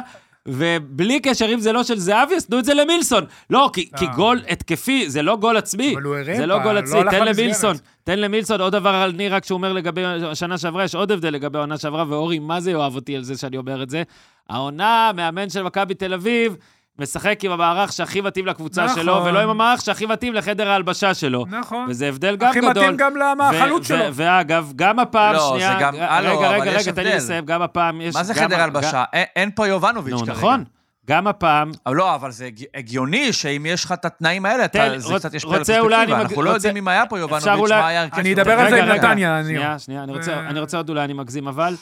ובלי קשר, אם זה לא של זהבי, אז תנו את זה למילסון. לא, כי,
לא.
כי גול התקפי, זה לא גול עצמי.
אבל הוא הרים
זה לא
פעם,
גול
לא
עצמי,
הלך
תן
למסגרת.
למילסון. תן למילסון עוד דבר על ניר, רק שהוא אומר לגבי השנה שעברה, יש עוד הבדל לגבי העונה שעברה, ואורי, מה זה יאהב אותי על זה שאני אומר את זה? העונה, מאמן של מכבי תל אביב, משחק עם המערך שהכי מתאים לקבוצה
נכון.
שלו, ולא עם המערך שהכי מתאים לחדר ההלבשה שלו.
נכון.
וזה הבדל גם
הכי
גדול.
מתאים גם
ו-
למאכלות
ו-
שלו.
ואגב, גם הפעם,
לא, זה
שנייה,
גם- הלו,
רגע,
אבל
רגע,
יש
רגע, תן לי
הבדל.
לסיים, גם הפעם יש...
מה זה
גם-
חדר
גם-
הלבשה? אין- אין פה יובנוביץ'
נו,
כרגע.
נכון. גם הפעם,
אבל לא, אבל זה הג- הגיוני שאם יש לך את התנאים האלה, אתה-
תן,
זה
רוצ-
קצת
רוצה
ישפיע על
אולי אני
הפרספקטיבה.
מג-
אנחנו לא
רוצה-
יודעים אם היה פה יובנוביץ',
אולי-
מה היה הרכב
אני
שלו.
אדבר על
רגע,
זה עם
רגע.
נתניה, אני...
שנייה, שנייה, אני רוצה,
אה.
אני רוצה עוד אולי, אני מגזים, אבל...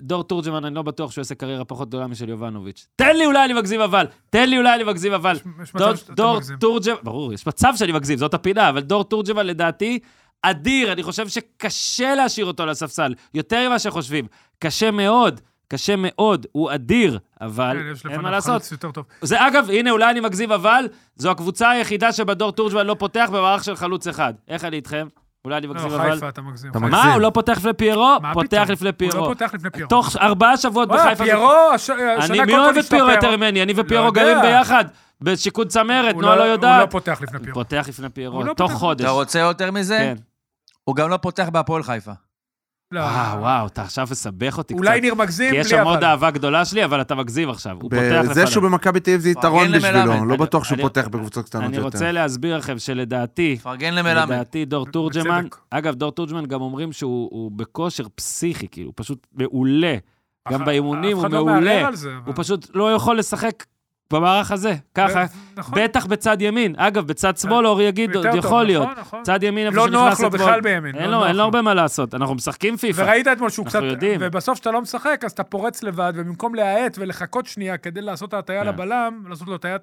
דור תורג'מן, אני לא בטוח שהוא יעשה קריירה פחות גדולה משל יובנוביץ'. תן לי אולי אני מגזים אבל, תן לי אולי אני מגזים אבל.
יש מצב
דור,
שאתה
דור
מגזים.
תורג'מן, ברור, יש מצב שאני מגזים, זאת הפינה, אבל דור תורג'מן לדעתי אדיר, אני חושב שקשה להשאיר אותו על הספסל, יותר ממה שחושבים. קשה מאוד, קשה מאוד, הוא אדיר, אבל
כן, יש
אין
לפניו
מה לעשות.
חלוץ יותר טוב.
זה אגב, הנה, אולי אני מגזים, אבל זו הקבוצה היחידה שבדור תורג'מן לא פותח במערך של חלוץ אחד. איך אני איתכם? אולי אני
לא,
מגזים, אבל...
חיפה אתה מגזים.
אתה
חיפה.
מגזים.
מה, הוא לא פותח לפני פיירו?
מה
פותח
פתאום?
לפני
הוא לא
פיירו.
פותח לפני פיירו.
תוך ארבעה שבועות
וואי,
בחיפה...
פיירו, הש- השנה
אני,
כל
מי
כך
אוהב את פיירו
השתפר.
יותר ממני? אני ופיירו
לא
גרים
יודע.
ביחד, בשיכון צמרת,
הוא
נועה לא
הוא
יודעת.
לא פותח לפני פיירו.
פותח לפני פיירו,
הוא לא
תוך
פותח.
חודש.
אתה רוצה יותר מזה?
כן.
הוא גם לא פותח בהפועל חיפה.
לא.
אה, וואו, וואו, אתה עכשיו מסבך אותי קצת.
אולי ניר מגזים,
כי
בלי אבל.
יש שם עוד אהבה גדולה שלי, אבל אתה מגזים עכשיו. הוא פותח לפניו.
זה שהוא במכבי תל אביב זה יתרון
פרגן למלמד.
בשבילו, לא
אני-
בטוח שהוא
אני-
פותח בקבוצות קטנות
אני
יותר.
רוצה להסביר לכם שלדעתי,
פרגן למלמד.
לדעתי דור תורג'מן,
בצדק.
אגב, דור תורג'מן גם אומרים שהוא הוא בכושר פסיכי, כאילו, הוא פשוט מעולה.
אף-
גם באימונים
אף
הוא
אחד לא
מעולה.
מערער על זה, אבל-
הוא פשוט לא יכול לשחק במערך הזה, ככה.
נכון. כן.
בטח בצד ימין. אגב, בצד שמאל אור יגיד,
יותר
עוד
טוב,
יכול להיות.
נכון, נכון.
צד ימין, איפה
לא
שנכנס
נוח לו
אתמול.
בכלל בימין,
אין
לא
לו-
נוח
אין לו
לו.
הרבה מה לעשות, אנחנו משחקים פיפ"א.
וראית אתמול שהוא
אנחנו
קצת...
יודעים.
ובסוף כשאתה לא משחק, אז אתה פורץ לבד, ובמקום להאט ולחכות שנייה כדי לעשות את ההטייה
כן.
לבלם, לעשות לו הטיית...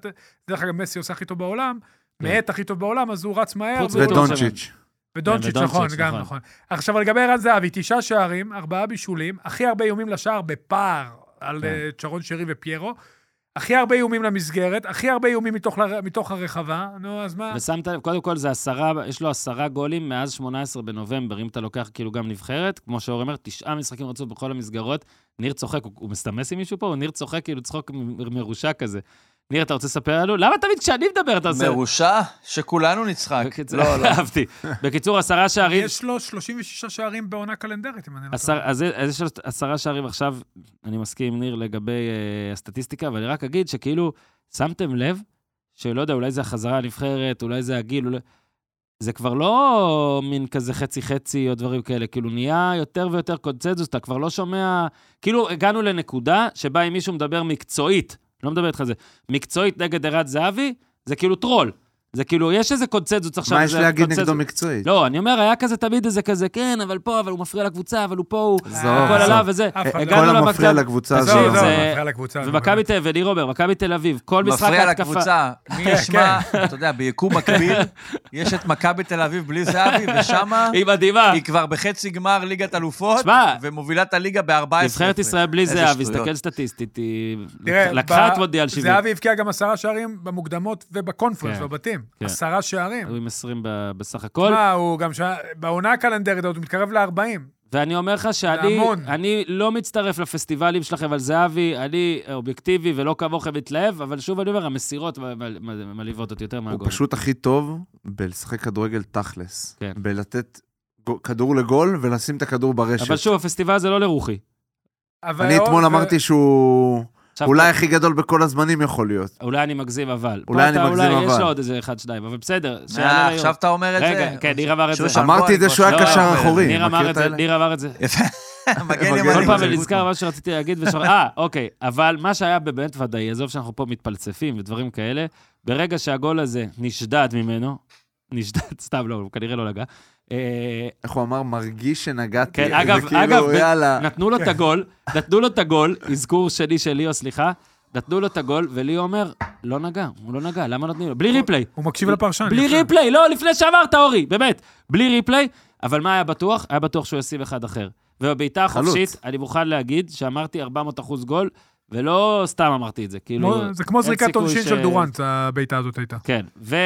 דרך אגב, מסי עושה הכי טוב בעולם,
כן.
מאט הכי טוב בעולם, אז הוא רץ מהר.
חוץ
והוא-
מטון.
ודונצ'יץ'.
ודונצ'יץ',
כן,
נכון,
ודונצ'יץ',
גם
נכון.
נכון. עכשיו, לגבי ערן זהבי, תשעה שערים, ארבעה בישולים, הכי הרבה איומים לשער בפער על
כן.
אה, צ'רון שרי ופיירו. הכי הרבה איומים למסגרת, הכי הרבה איומים מתוך, לר- מתוך הרחבה, נו, אז מה?
ושמת לב, קודם כל זה עשרה, יש לו עשרה גולים מאז 18 בנובמבר, אם אתה לוקח כאילו גם נבחרת, כמו שאור אומר, תשעה משחקים רצו בכל המסגרות, ניר צוחק, הוא, הוא מסתמס עם מישהו פה? הוא ניר צוחק כאילו צחוק מ- מרושע כזה. ניר, אתה רוצה לספר לנו? למה תמיד כשאני מדבר אתה עושה...
מרושע שכולנו נצחק.
בקיצור,
לא, לא.
אהבתי. בקיצור, עשרה שערים,
יש לו 36 שערים בעונה קלנדרית, אם אני לא
עשר,
טועה.
אז, אז יש עשרה שערים עכשיו, אני מסכים עם ניר לגבי אה, הסטטיסטיקה, אבל אני רק אגיד שכאילו, שמתם לב, שלא יודע, אולי זה החזרה הנבחרת, אולי זה הגיל, אולי... זה כבר לא מין כזה חצי-חצי או דברים כאלה, כאילו נהיה יותר ויותר קונצנזוס, אתה כבר לא שומע... כאילו, הגענו לנקודה שבה אם מישהו מדבר מקצועית, לא מדבר איתך על זה, מקצועית נגד ערד זהבי, זה כאילו טרול. זה כאילו, יש איזה קונצנזוס עכשיו.
מה יש
זה
להגיד
קונצנזוס.
נגדו מקצועית?
לא, אני אומר, היה כזה תמיד איזה כזה, כן, אבל פה, אבל הוא מפריע לקבוצה, אבל הוא פה, הוא...
עזוב,
הכל
הכל
עזוב.
עליו וזה.
אף אחד לא-
הגענו
כל
למצב-
המפריע לקבוצה
תקשיב,
עזוב,
הזאת.
עזוב,
זה-
מפריע לקבוצה. נו,
ומכבי
באמת.
תל אביב, וניר עובר, מכבי תל אביב, כל משחק כן,
מפריע
התקפה.
לקבוצה. מי ישמע, אתה יודע, ביקום מקביל, יש את מכבי תל אביב בלי זהבי, ושמה
היא מדהימה.
היא כבר בחצי גמר ליגת אלופות,
שמע,
ומובילה את הליגה ב-14.
נבחרת ישראל בלי
איזה
זהבי,
שטויות.
הסתכל סטטיסטית, היא
תראה,
לקחה
ב-
את מודיעל 70.
זהבי הבקיע גם עשרה שערים במוקדמות ובקונפרנס,
כן,
בבתים.
כן.
עשרה שערים.
הוא עם 20 ב- בסך הכל.
מה, הוא גם שעה, בעונה הקלנדרית הזאת הוא מתקרב ל-40.
ואני אומר לך שאני
המון.
אני לא מצטרף לפסטיבלים שלכם על זהבי, אני אובייקטיבי ולא כמוכם מתלהב, אבל שוב אני אומר, המסירות מ- מ- מ- מלהיבות אותי יותר
הוא
מהגול.
פשוט הכי טוב בלשחק כדורגל תכלס.
כן.
בלתת גו- כדור לגול ולשים את הכדור ברשת.
אבל שוב, הפסטיבל הזה לא לרוחי.
אבל
אני
עוד-
אתמול
ו-
אמרתי שהוא
עכשיו, אוקיי.
אולי הכי גדול בכל הזמנים יכול להיות.
אולי אני מגזים, אבל. פה
אולי אני
אתה-
מגזים,
אולי יש
אבל.
לו עוד איזה אחד, שניים, אבל בסדר. שיעלה
אה,
ליום.
עכשיו אתה אומר את זה?
רגע, כן, ניר אמר את
שהוא
זה. לא,
שם
אמרתי את זה
גול,
שהוא היה
כבר
קשר
שנה.
אחורי.
ניר אמר
מכיר
את
את
זה,
האלה? כן,
ניר אמר את זה.
יפה. מגן
כל
כל
ימני.
פעם
זה
אני
גוטמן.
נזכר מה שרציתי להגיד, ושואל, אה, אוקיי, אבל מה שהיה באמת ודאי, עזוב שאנחנו פה מתפלצפים ודברים כאלה, ברגע שהגול הזה נשדד ממנו, נשדד, סתם לא, הוא כנראה לא נגע, אה,
איך הוא אמר? מרגיש שנגעתי.
כן,
זה
אגב,
כאילו,
אגב, ב-
יאללה.
נתנו לו את הגול, נתנו לו את הגול, אזכור שני של ליאו, סליחה, נתנו לו את הגול, וליאו אומר, לא נגע, הוא לא נגע, למה נותנים לו? בלי ריפליי.
הוא מקשיב לפרשן.
בלי
יפה.
ריפליי, לא, לפני שאמרת, אורי, באמת. בלי ריפליי, אבל מה היה בטוח? היה בטוח שהוא ישים אחד אחר. ובבעיטה
חלוץ.
החופשית, אני מוכן להגיד שאמרתי 400 אחוז גול, ולא סתם אמרתי את זה, כאילו...
כמו- זה כמו
אין
זריקת
סיכוי
עונשין
ש-
של דורנט, הבעיטה הזאת הייתה.
כן, ו...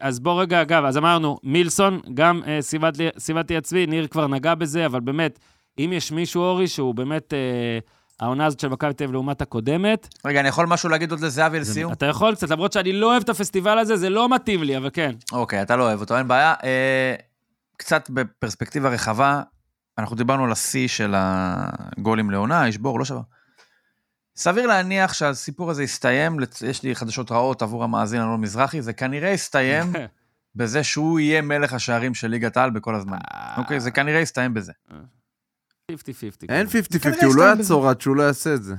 אה, אז בוא רגע, אגב, אז אמרנו, מילסון, גם אה, סיבת לי- סיבתי עצמי, ניר כבר נגע בזה, אבל באמת, אם יש מישהו, אורי, שהוא באמת... אה, העונה הזאת של מכבי תל אביב לעומת הקודמת,
רגע, אני יכול משהו להגיד עוד לזהבי לסיום?
אתה יכול קצת, למרות שאני לא אוהב את הפסטיבל הזה, זה לא מתאים לי, אבל כן.
אוקיי, אתה לא אוהב אותו, אין בעיה. אה, קצת בפרספקטיבה רחבה, אנחנו דיברנו על השיא של הגולים לעונה, ישבור, לא שבר. סביר להניח שהסיפור הזה יסתיים, לצ- יש לי חדשות רעות עבור המאזין אלון מזרחי, זה כנראה יסתיים בזה שהוא יהיה מלך השערים של ליגת העל בכל הזמן. אוקיי, זה כנראה יסתיים בזה.
50-50.
אין
כאילו.
50-50,
כנראה
הוא לא
סתם
יעצור עד שהוא לא יעשה את זה.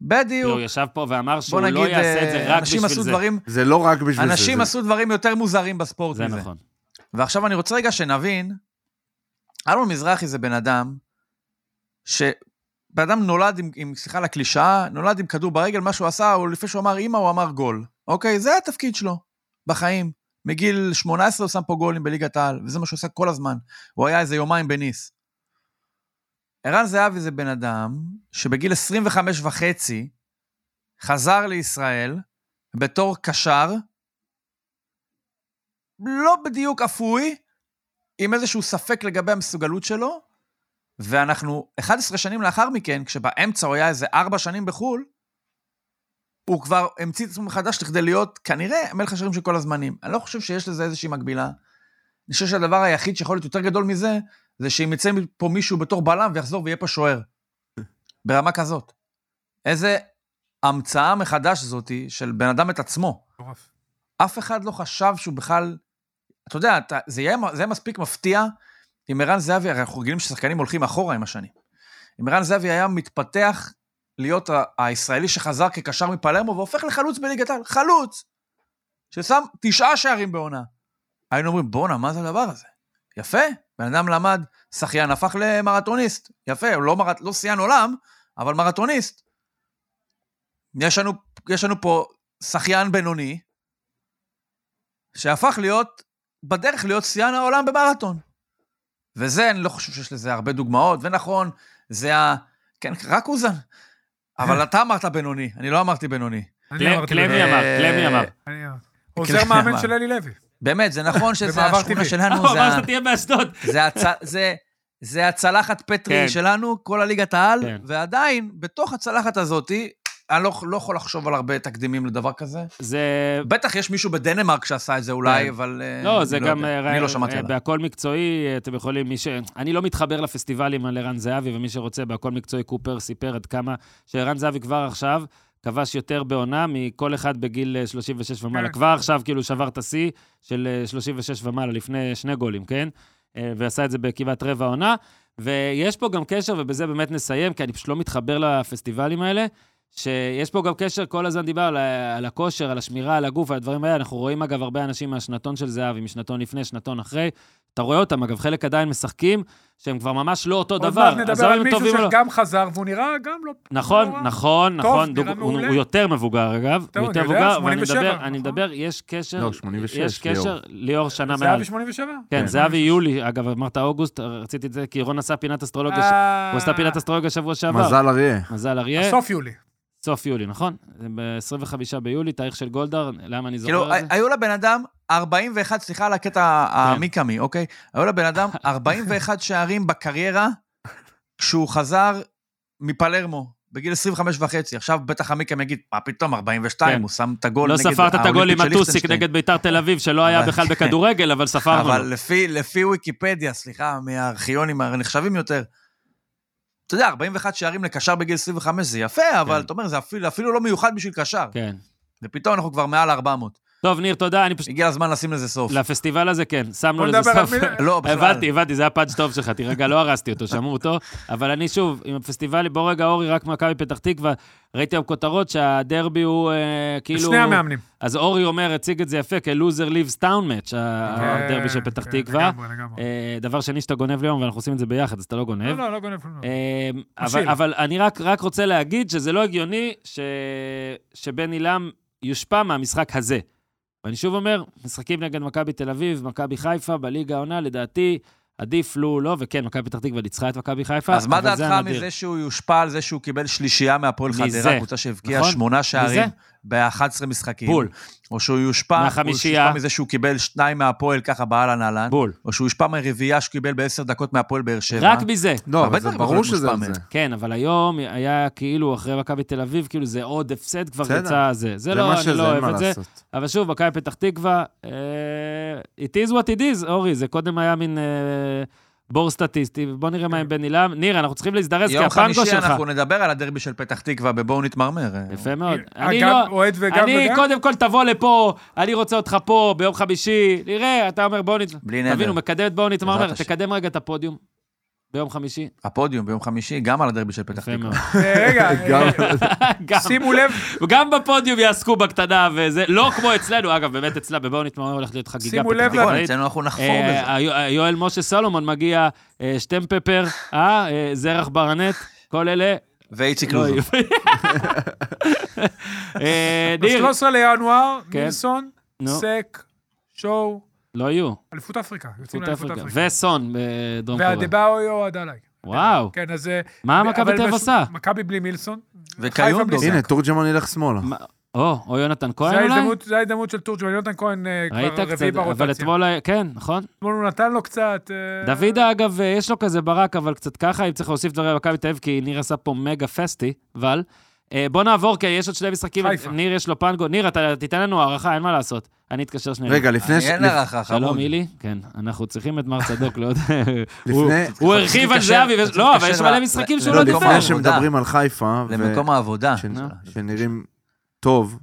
בדיוק.
הוא ישב פה ואמר
בוא
שהוא
נגיד,
לא יעשה את זה
אה,
רק
אנשים
בשביל
עשו
זה.
דברים,
זה לא רק בשביל זה.
אנשים
זה-
עשו דברים יותר מוזרים בספורט
זה
מזה.
נכון.
ועכשיו אני רוצה רגע שנבין, אלון מזרחי זה בן אדם, שבן אדם נולד עם, עם, סליחה על הקלישאה, נולד עם כדור ברגל, מה שהוא עשה, הוא, לפני שהוא אמר אימא, הוא אמר גול. אוקיי? זה התפקיד שלו בחיים. מגיל 18 הוא שם פה גולים בליגת העל, וזה מה שהוא עושה כל הזמן. הוא היה איזה יומיים בניס. ערן זהבי זה בן אדם שבגיל 25 וחצי חזר לישראל בתור קשר, לא בדיוק אפוי, עם איזשהו ספק לגבי המסוגלות שלו, ואנחנו 11 שנים לאחר מכן, כשבאמצע הוא היה איזה 4 שנים בחו"ל, הוא כבר המציא את עצמו מחדש לכדי להיות כנראה מלך השערים של כל הזמנים. אני לא חושב שיש לזה איזושהי מקבילה. אני חושב שהדבר היחיד שיכול להיות יותר גדול מזה, זה שאם יצא פה מישהו בתור בלם ויחזור ויהיה פה שוער. ברמה כזאת. איזה המצאה מחדש זאתי של בן אדם את עצמו.
מטורף.
אף אחד לא חשב שהוא בכלל... אתה יודע, אתה, זה, יהיה, זה יהיה מספיק מפתיע אם ערן זהבי, הרי אנחנו רגילים ששחקנים הולכים אחורה עם השנים. אם ערן זהבי היה מתפתח להיות ה- הישראלי שחזר כקשר מפלרמו והופך לחלוץ בליגת העל, חלוץ, ששם תשעה שערים בעונה. היינו אומרים, בואנה, מה זה הדבר הזה? יפה, בן אדם למד, שחיין הפך למרתוניסט. יפה, הוא לא, מרת, לא שיאן עולם, אבל מרתוניסט. יש לנו, יש לנו פה שחיין בינוני, שהפך להיות, בדרך להיות שיאן העולם במרתון. וזה, אני לא חושב שיש לזה הרבה דוגמאות, ונכון, זה ה... כן, רק אוזן. אבל אתה אמרת בינוני, אני לא אמרתי בינוני.
אני לא
קל-
אמרתי
קלמי
לו.
אמר,
אה,
קלמי אמר.
אני אמרתי. עוזר מאמן של אלי לוי.
באמת, זה נכון שזה
במעבר
השכונה
טבעי.
אה,
שלנו,
הוא
זה
אמר
ה-
שאתה תהיה באשדוד.
זה הצ- זה- זה הצלחת
כן.
פטרי שלנו, כל הליגת העל,
כן.
ועדיין, בתוך הצלחת הזאת, אני לא לא יכול לחשוב על הרבה תקדימים לדבר כזה.
זה...
בטח יש מישהו בדנמרק שעשה את זה
כן.
אולי, אבל... אה,
לא,
אני
זה גם...
יודע.
אה,
אני
אה,
לא שמעתי עליו.
בהכל מקצועי, אה, אתם יכולים, מי ש... אני לא מתחבר לפסטיבלים על ערן זהבי, ומי שרוצה, בהכל מקצועי, קופר סיפר עד כמה שערן זהבי כבר עכשיו כבש יותר בעונה מכל אחד בגיל אה, 36 ומעלה.
כן.
כבר עכשיו כאילו שבר את השיא של אה, 36 ומעלה, לפני שני גולים, כן? אה, ועשה את זה בכמעט רבע עונה. ויש פה גם קשר, ובזה באמת נסיים, כי אני פשוט לא מתחבר לפסטיבלים האלה, שיש פה גם קשר, כל הזמן דיבר על, ה- על הכושר, על השמירה, על הגוף, על הדברים האלה. אנחנו רואים, אגב, הרבה אנשים מהשנתון של זהבי, משנתון לפני, שנתון אחרי. אתה רואה אותם, אגב, חלק עדיין משחקים, שהם כבר ממש לא אותו
עוד
דבר.
מעט נדבר
עזוב אם
על
הם
מישהו
טובים או לא.
שגם חזר, והוא נראה גם לא...
נכון,
לא רע.
נכון,
טוב,
נכון.
נראה
דוג- הוא
מעולה.
הוא יותר מבוגר, אגב.
טוב,
הוא יותר
אני יודע,
מבוגר, ואני
87,
מדבר, אני
נכון?
מדבר, יש קשר...
לא, 86,
יש קשר,
ליאור.
ליאור שנה מעל.
זהבי 87?
כן,
כן.
זהבי יולי, אגב, אמרת אוגוסט, רציתי את זה, כי רון עשה פינת אסטרולוגיה, ש-
אה,
לא הוא עשה כן. פינת אסטרולוגיה שבוע שעבר.
מזל אריה.
מזל אריה,
סוף יולי.
סוף יולי, נכון? ב-25 ביולי, תאריך של גולדהר, למה אני
כאילו,
זוכר את זה? כן.
היו לבן אדם 41, סליחה על הקטע המיקמי, אוקיי? היו לבן אדם 41 שערים בקריירה כשהוא חזר מפלרמו, בגיל 25 וחצי. עכשיו בטח המיקם יגיד, מה פתאום, 42,
כן.
הוא שם את הגול
לא
נגד
ספרת את הגול עם
האולימפית של
הטוסיק
ליכטנשטיין.
נגד ביתר תל אביב, שלא היה
אבל-
בכלל בכדורגל, אבל ספרנו.
אבל לפי, לפי ויקיפדיה, סליחה, מהארכיונים הנחשבים יותר, אתה יודע, 41 שערים לקשר בגיל 25 זה יפה, אבל
כן.
אתה אומר, זה אפילו, אפילו לא מיוחד בשביל קשר.
כן.
ופתאום אנחנו כבר מעל 400.
טוב, ניר, תודה, אני פשוט...
הגיע הזמן לשים לזה סוף.
לפסטיבל הזה, כן, שמנו
בוא
לזה
נדבר על
סוף.
מילה.
לא, בכלל.
הבנתי, הבנתי, זה היה פאנץ' טוב שלך, תירגע, לא הרסתי אותו, שמעו אותו. אבל אני שוב, עם הפסטיבל, בוא רגע, אורי, רק מכבי פתח תקווה, ראיתי היום כותרות שהדרבי הוא אה, כאילו...
שני המאמנים.
אז אורי אומר, הציג את זה יפה, כלוזר ליבס טאון מאץ', הדרבי של פתח
כן,
תקווה.
לגמרי, לגמרי.
אה, דבר שני שאתה גונב לי היום, ואנחנו עושים את זה ביחד, אז אתה לא גונב.
לא, לא, לא גונב. לא.
אה, אבל,
משיל.
אבל אני רק, רק רוצה להגיד שזה לא הגיוני ש... שבן עילם יושפע מהמשחק הזה. ואני שוב אומר, משחקים נגד מכבי תל אביב, מכבי חיפה, בליגה העונה, לדעתי, עדיף לו לא, וכן, מכבי פתח תקווה ניצחה את מכבי חיפה,
אז מה
אבל זה
דעתך
הנדיר.
מזה שהוא יושפע על זה שהוא קיבל שלישייה מהפועל
מזה,
חדרה, קבוצה שהבקיעה
נכון?
שמונה שערים
מזה?
ב-11 משחקים?
בול,
או שהוא יושפע, הוא
מהחמישייה.
יושפע מזה שהוא קיבל שניים מהפועל ככה באהלן אהלן,
בול.
או שהוא יושפע מהרביעייה שהוא קיבל בעשר דקות מהפועל באר שבע.
רק מזה.
לא,
הרבה
אבל זה
דברים
ברור
יכולים
שזה
להיות
על זה.
מוספמים.
כן, אבל היום היה כאילו, אחרי מכבי תל אביב, כאילו זה עוד הפסד כבר
בסדר.
יצא זה. זה
זה
לא,
מה
אני לא
שזה, אין
אוהב
מה
את זה.
לעשות.
אבל שוב, מכבי פתח תקווה, אה, it is what it is, אורי, זה קודם היה מין אה, בור סטטיסטי, בוא נראה מה עם בן עילם. ניר, אנחנו צריכים להזדרז, כי
כן. יום
הפנגו
חמישי
שלך.
אנחנו נדבר על הדרבי של פתח תקווה בבואו נתמרמר.
יפה מאוד.
אה,
אני
גם
לא...
אוהד וגם
אני,
וגם?
קודם כל, תבוא לפה, אני רוצה אותך פה ביום חמישי, נראה, אתה אומר בואו נתמרמר.
בלי נדר.
תבינו, מקדם את בואו נתמרמר,
בעזרת השם.
תקדם רגע את הפודיום ביום חמישי.
הפודיום ביום חמישי, גם על הדרבי של
יפה
פתח תקווה.
מאוד.
אה, רגע,
גם-
אה,
גם-
שימו לב,
גם בפודיום יעסקו בקטנה וזה, לא כמו אצלנו, אגב, באמת אצלה, בבואו נתמרמר הולכת להיות חגיגה
שימו
פתח
לב
תקוואית.
נכון, אצלנו אנחנו נחפור
אוקיי. אה,
בזה.
היו- יואל משה סלומון מגיע, אה, שטמפפר, אה, אה, זרח ברנט, כל אלה.
ואיציק
לא
לוזון.
יהיו. אה, ניר,
ב-13 לינואר,
כן.
מילסון,
נו,
סק, שואו,
לא יהיו,
אליפות אפריקה. יוצאים
צפות
לאליפות
אפריקה.
אפריקה.
וסון בדרום קוריאה.
והדבאויו עד עליי.
וואו,
כן, אז... אה,
מה מכבי
אבל
תל אביב
בש-
עושה?
מכבי בלי מילסון. חיפה
וקיונדו.
בלי
הנה, תורג'מן ילך שמאלה.
מה- או, או יונתן
זה
כהן אולי?
ההזדמנות- זה ההזדמנות של תורג'מן. יונתן כהן אה,
ראית
כבר
קצת,
רביעי
אבל
ברוטציה.
אתמול, היה- כן, נכון.
אתמול הוא נתן לו קצת... אה,
דוידה, אגב, אה, יש לו כזה ברק, אבל קצת ככה, אם צריך להוסיף דברים על מכבי תל אביב, כי ניר עשה פה מגה פסטי, אבל... אה, בוא נעבור, כי יש עוד שני משחקים,
חיפה.
ניר יש לו פנגו. ניר, אתה תיתן לנו הערכה, אין מה לעשות. אני אתקשר שנייה.
רגע, לפני... ש-
אין הערכה,
שלום,
חמוד.
אילי. כן, אנחנו צריכים את מר צדוק לעוד... הוא-
לפני...
הוא הרחיב על
תתקשר-
זהבי, ויש- לא, אבל יש
תתקשר
מלא
ל-
משחקים
ל-
שהוא
לא,
לא
למקום
דיבר.
לפני
העבודה.
שמדברים על חיפה, ו-
למקום העבודה.
ש-
נו.
שנראים טוב,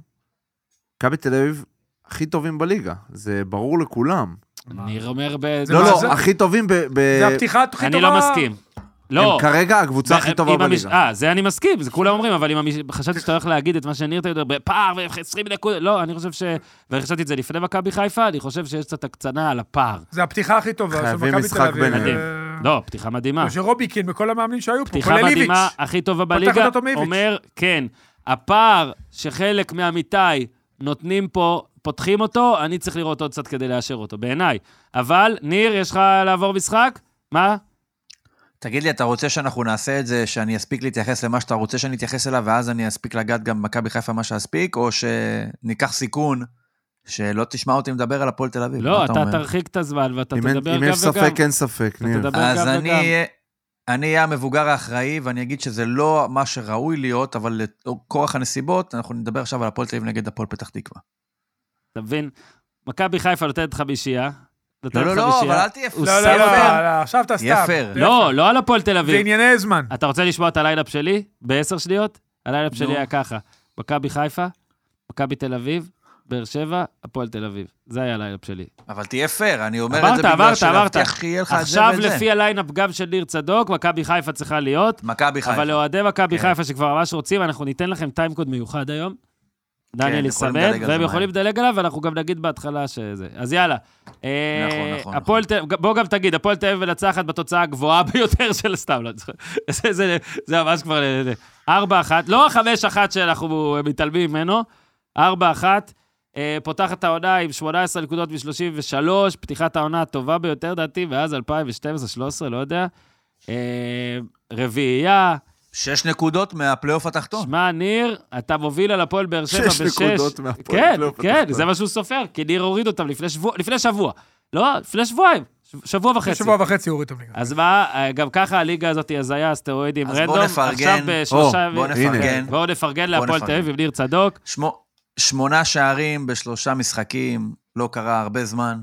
מכבי תל אביב הכי טובים בליגה, זה ברור לכולם.
מה?
ניר אומר ב...
זה
לא,
מה,
לא,
זה-
הכי טובים ב... ב-
זה הפתיחה הכי טובה.
אני לא מסכים. לא.
הם כרגע הקבוצה הכי טובה
עם המש-
בליגה.
אה, זה אני מסכים, זה כולם אומרים, אבל אם המש- חשבתי שאתה הולך להגיד את מה שניר אתה יודע, בפער ו-20 נקודות, לא, אני חושב ש... וחשבתי את זה לפני מכבי חיפה, אני חושב שיש קצת הקצנה על הפער.
זה הפתיחה הכי טובה של
חייבים
מכבי תל
משחק
אביב.
ביניהם.
אה,
לא, פתיחה מדהימה.
שרוביקין וכל המאמנים שהיו פה,
פתיחה
כולל איביץ'.
מדהימה, הכי טובה בליגה,
אותו מאיביץ'.
אומר, כן, הפער שחלק מעמיתיי נותנים פה, פותחים אותו, אני צריך לראות עוד קצת כדי לאשר אותו, בעיניי. אבל, ניר, יש לך לעבור משחק? מה?
תגיד לי, אתה רוצה שאנחנו נעשה את זה, שאני אספיק להתייחס למה שאתה רוצה שאני אתייחס אליו, ואז אני אספיק לגעת גם במכבי חיפה מה שאספיק, או שניקח סיכון שלא תשמע אותי מדבר על הפועל תל אביב? מה
לא, אתה
אומר?
תרחיק את הזמן ואתה
אם אין-
תדבר גם
אם יש
וגם.
ספק, אין ספק, ניר.
תדבר גם
אז אני
וגם.
אהיה- אני אהיה המבוגר האחראי, ואני אגיד שזה לא מה שראוי להיות, אבל לכורח הנסיבות, אנחנו נדבר עכשיו על הפועל תל אביב נגד הפועל פתח תקווה.
אתה מבין? מכבי חיפה נותנת חמישייה. נותנת
לא, לא, לא, אבל
חמישייה.
אל תהיה
הוא
לא,
שם
לא, לא,
אותם.
לא, עכשיו אתה סתם.
יהיה פייר.
זה-
לא, אה, לא על הפועל תל
זה
אביב.
ענייני זמן.
אתה רוצה לשמוע את הליילאפ שלי? בעשר שניות? הליילאפ שלי
נו.
היה ככה. מכבי חיפה, מכבי תל אביב, באר שבע, הפועל תל אביב. זה היה הליילאפ שלי.
אבל תהיה פייר, אני אומר
עברת,
את זה בגלל
עברת,
שלהבטיח
עברת.
שיהיה לך את זה
עכשיו
ואת זה.
לפי הליינאפ גם של ניר צדוק, מכבי חיפה צריכה להיות,
מכבי חיפה.
אבל לא- לאוהדי מכבי
כן.
חיפה שכבר ממש רוצים, אנחנו ניתן לכם טיימקוד מיוחד היום. דניאל
כן, יכולים
יסמן,
לדלג על זה
והם
מהר.
יכולים לדלג עליו, ואנחנו גם נגיד בהתחלה שזה. אז יאללה. אה,
נכון, נכון,
הפועל תל- בוא גם תגיד, הפועל תל אביב מנצחת בתוצאה הגבוהה ביותר של סתם, לא, זה- זה- זה ממש כבר... אה, אה, 4-1, לא ה-5-1 שאנחנו אה, מתעלמים ממנו, 4-1, אה, פותחת העונה עם 18 נקודות מ-33, פתיחת העונה הטובה ביותר, דעתי, מאז 2012-2013, לא יודע. אה, רביעייה,
שש נקודות מהפלייאוף התחתון.
שמע, ניר, אתה מוביל על הפועל באר שבע בשש.
שש נקודות מהפועל. לא
כן,
פלייאוף
כן,
התחתון.
זה מה שהוא סופר, כי ניר הוריד אותם לפני שבוע, לפני שבוע. לא, לפני שבועיים, ש- שבוע
לפני
וחצי.
שבוע וחצי הוריד אותם ליגה.
אז מה, אה, גם ככה הליגה הזאת היא הזיה, סטרואידים
אז בוא
רנדום.
נפרגן.
עכשיו אה, בשלושה...
או,
בוא
הנה.
נפרגן.
בואו נפרגן
בוא
להפועל תל
נפרגן.
אביב עם ניר צדוק.
שמו- שמונה שערים בשלושה משחקים, לא קרה הרבה זמן,